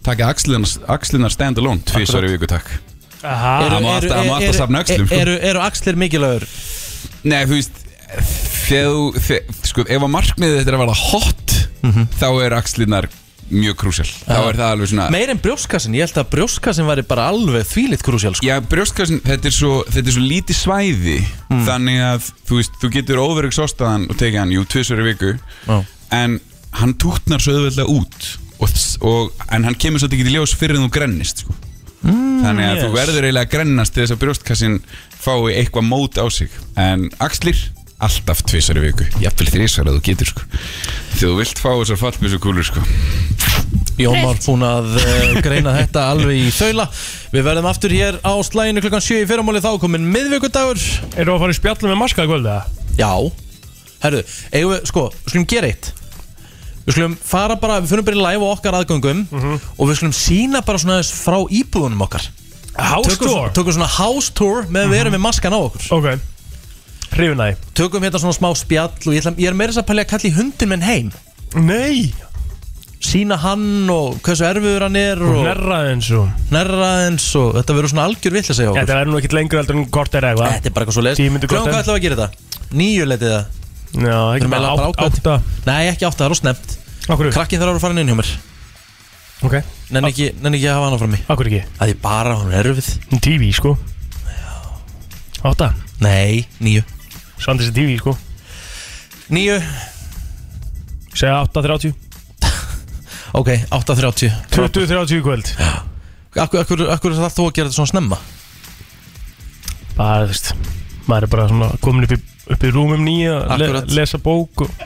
Speaker 12: Takk axlunar stand alone tvisvar í viku takk Það má alltaf- það má alltaf safna öxlum, sko.
Speaker 2: Eru, eru axlir mikilvægur?
Speaker 12: Nei, þú veist
Speaker 2: Mhm.
Speaker 12: þegar þú, þe- sko, ef að markmiðið þetta er að verða hot þá er axlunar mjög krúsjál Þá er það alveg svona
Speaker 2: Meir en brjóstkassin, ég held að brjóstkassin væri bara alveg þvílitt krúsjál
Speaker 12: Já, brjóstkassin, þetta er svo, þetta er svo lítið svæði
Speaker 2: Mm.
Speaker 12: Þannig að þú, veist, þú getur overug sóstaðan og tekið hann, jú, tvisveri viku
Speaker 2: Já.
Speaker 12: En hann tútnar svo auðveldlega út og, og, En hann kemur svo ekki til ljós fyrir en þú grennist sko.
Speaker 2: Mm,
Speaker 12: Þannig að þú verður eiginlega að grennast til þess að brjóstkassin fái eitthvað mót á sig En axlir, alltaf tvisari viku Jafnvel þrísar að þú getur sko. Þegar þú vilt fá þessar fallbísu kúlur sko.
Speaker 2: Jón var búinn að uh, greina þetta alveg í þaula Við verðum aftur hér á slæginu klukkan 7 í fyrramáli þá komin miðvikudagur
Speaker 4: Erum við að fara í spjallum með maska í kvölda?
Speaker 2: Já, herru, eigum við, sko, við skulum gera eitt Við skulum fara bara, við fyrir bara í live á okkar aðgöngum
Speaker 4: Mhm.
Speaker 2: Og við skulum sína bara svona aðeins frá íbúðunum okkar
Speaker 4: House
Speaker 2: tökum,
Speaker 4: tour? Mhm.
Speaker 2: Tökum svona house tour með að vera með maskan á okkur
Speaker 4: Ok, hrifin aði
Speaker 2: Tökum hérna svona smá spjall og ég, ætla, ég er meira þess að pæli að kalla í hundin minn heim
Speaker 4: Nei
Speaker 2: Sína hann og hversu erfiður hann er
Speaker 4: Og hnerra eins og
Speaker 2: Nærra eins og þetta verður svona algjör vill að segja okkur
Speaker 4: Þetta verður nú ekkit lengur heldur en kort er eitthvað
Speaker 2: Þetta er bara eitthvað svo leiðist
Speaker 4: Tíu myndir
Speaker 2: Hvað ætlum við að gera þetta? Níu letið það
Speaker 4: Já, ekki bara átt-
Speaker 2: átta Nei, ekki átta, það er ósnemt
Speaker 4: Akkur
Speaker 2: Krakkin þarf að vera farin inn hjá mér
Speaker 4: Ok
Speaker 2: Nenni ekki, nenni ekki að hafa hana frá mig
Speaker 4: Akkur ekki
Speaker 2: Það er bara hún er erfið
Speaker 4: TV sko Átta
Speaker 2: Nei, níu
Speaker 4: Svandis er TV sko
Speaker 2: Níu
Speaker 4: Segja átta þrjátíu
Speaker 2: Ok, 8.30
Speaker 4: Tuttugu þrjátíu í kvöld
Speaker 2: Akkur, akkur, akkur þarf þú að gera þetta svona snemma?
Speaker 4: Bara þú veist Maður er bara svona komin upp í, upp í rúmum nýja le,
Speaker 2: Akkurat.
Speaker 4: Lesa bók og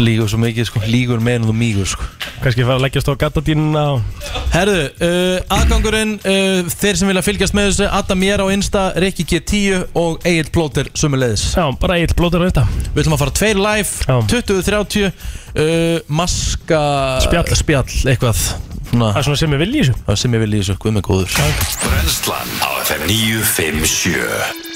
Speaker 2: Lígur svo mikið sko, lígur meðan þú mígur sko
Speaker 4: Kannski fara að leggjast á gattadínuna og...
Speaker 2: Herðu, uh, aðgangurinn uh, Þeir sem vilja fylgjast með þessu Adam Jera á Insta, Rikki G10 og Egil Blóter sömulegðis
Speaker 4: Já, bara Egil Blóter á Insta
Speaker 2: Við ætlum að fara tveir live 20.30 uh, Maska
Speaker 4: Spjall.
Speaker 2: eitthvað Svona,
Speaker 4: Það er svona sem ég vil í þessu
Speaker 2: Það er sem ég vil í þessu, guð með góður
Speaker 1: Brennslan á FM 957